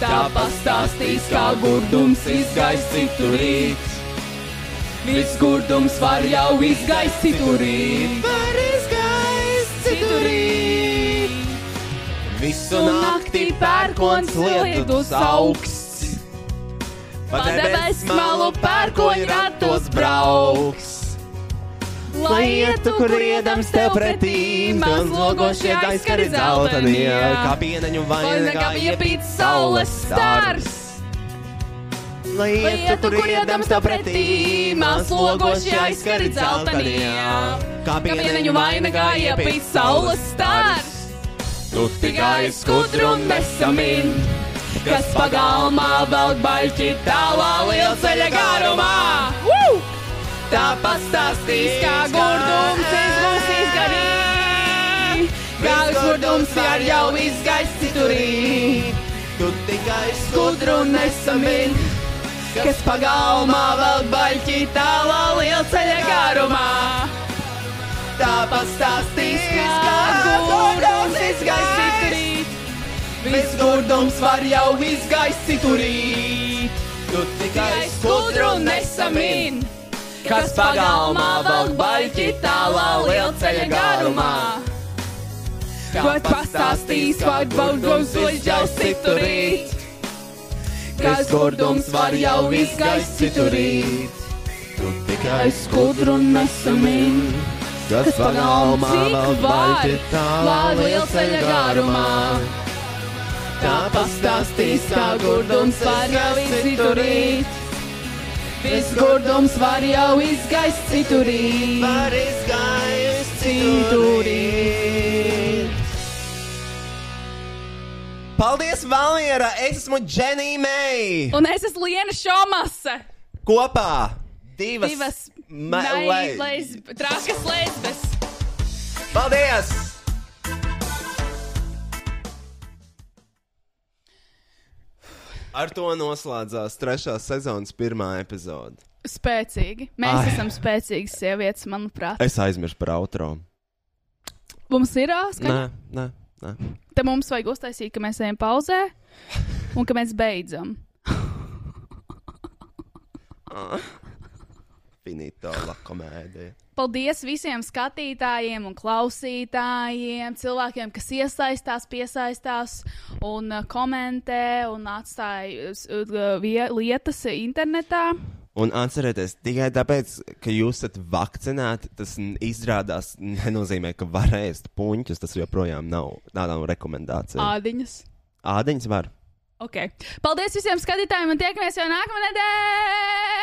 Tā pastāstīs, kā gurdums izgaist citurīt. Viss gurdums var jau izgaist citurīt. Var izgaist citurīt.
Visu
Tu
naktī
naktī pērkons lietus
lietus
augsts.
augsts. Pa
Padebes
debes
malu
malu
pērkoņu
pērkoņratos
ratos
brauks.
Lai ietu, kur iedams tev pretī, man logošie aizskari zeltanie,
kā
kā
pieneņu
Vai nekā
vainagā
iepīt saules stars.
Lai
Lai
ietu, kur iedams tev pretī, mās logošie aizskari
aizskari
zeltanie,
zeltanie,
kā
kā pieneņu
pieneņu
vainagā
vainagā
iepīt
iepīt
saules
saules
stars. Tu tikai skudru nesamin, kas pagalmā velk baļķi tālā lielceļa garumā. Woo! Tā pastāstīs, kā gurdums izgūs izgarīt. Kā gurdums var jau izgaist citurīt.
Tu tikai
Skudru nesamin, kas pagalmā velk baļķi tālā lielceļa garumā. Tā pastāstīs, kā gurdums izgaist citurīt. Viss gurdums var jau izgaist citurīt.
Tu tikai
Tikai skudru nesamin, kas pagalmā velk baļķi tālā lielceļa garumā. Kad pastāstīs, vai baudums uzģels citurīt, kas gurdums var jau izgaist citurīt.
Tu tikai
Tikai skudru nesamin,
Kas pagalmā vēl
cik var,
balti tālā
lai
lielceļa
lielceļa garumā. Tā pastāstīs, kā gurdums var jau izciturīt. Viss gurdums var jau izgaist citurīt.
Var izgaist
citurīt.
Paldies, Valmiera! Es esmu Dženija Meija!
Un es esmu Liena Šomasa.
Kopā divas,
Divas
me-
naiv-
lai-
lesb- trāskas lesbes.
Paldies! Ar to noslēdzās trešās sezonas pirmā epizode.
Spēcīgi. Mēs Ai. esam spēcīgas sievietes, manuprāt.
Es aizmirsu par outro.
Mums ir āskars.
Nē, nē, nē.
Te mums vajag uztaisīt, ka mēs ejam pauzē un ka mēs beidzam.
Finito la komēdija.
Paldies visiem skatītājiem un klausītājiem, cilvēkiem, kas iesaistās, piesaistās un uh, komentē un atstāja s- uh, vie- lietas internetā.
Un atcerieties, tikai tāpēc, ka jūs esat vakcinēti, tas n- izrādās nenozīmē, ka var ēst puņķus. Tas joprojām nav tāda rekomendācija.
Ādiņas.
Ādiņas var.
Okay. Paldies visiem skatītājiem un tiekamies jau nākamā nedēļa!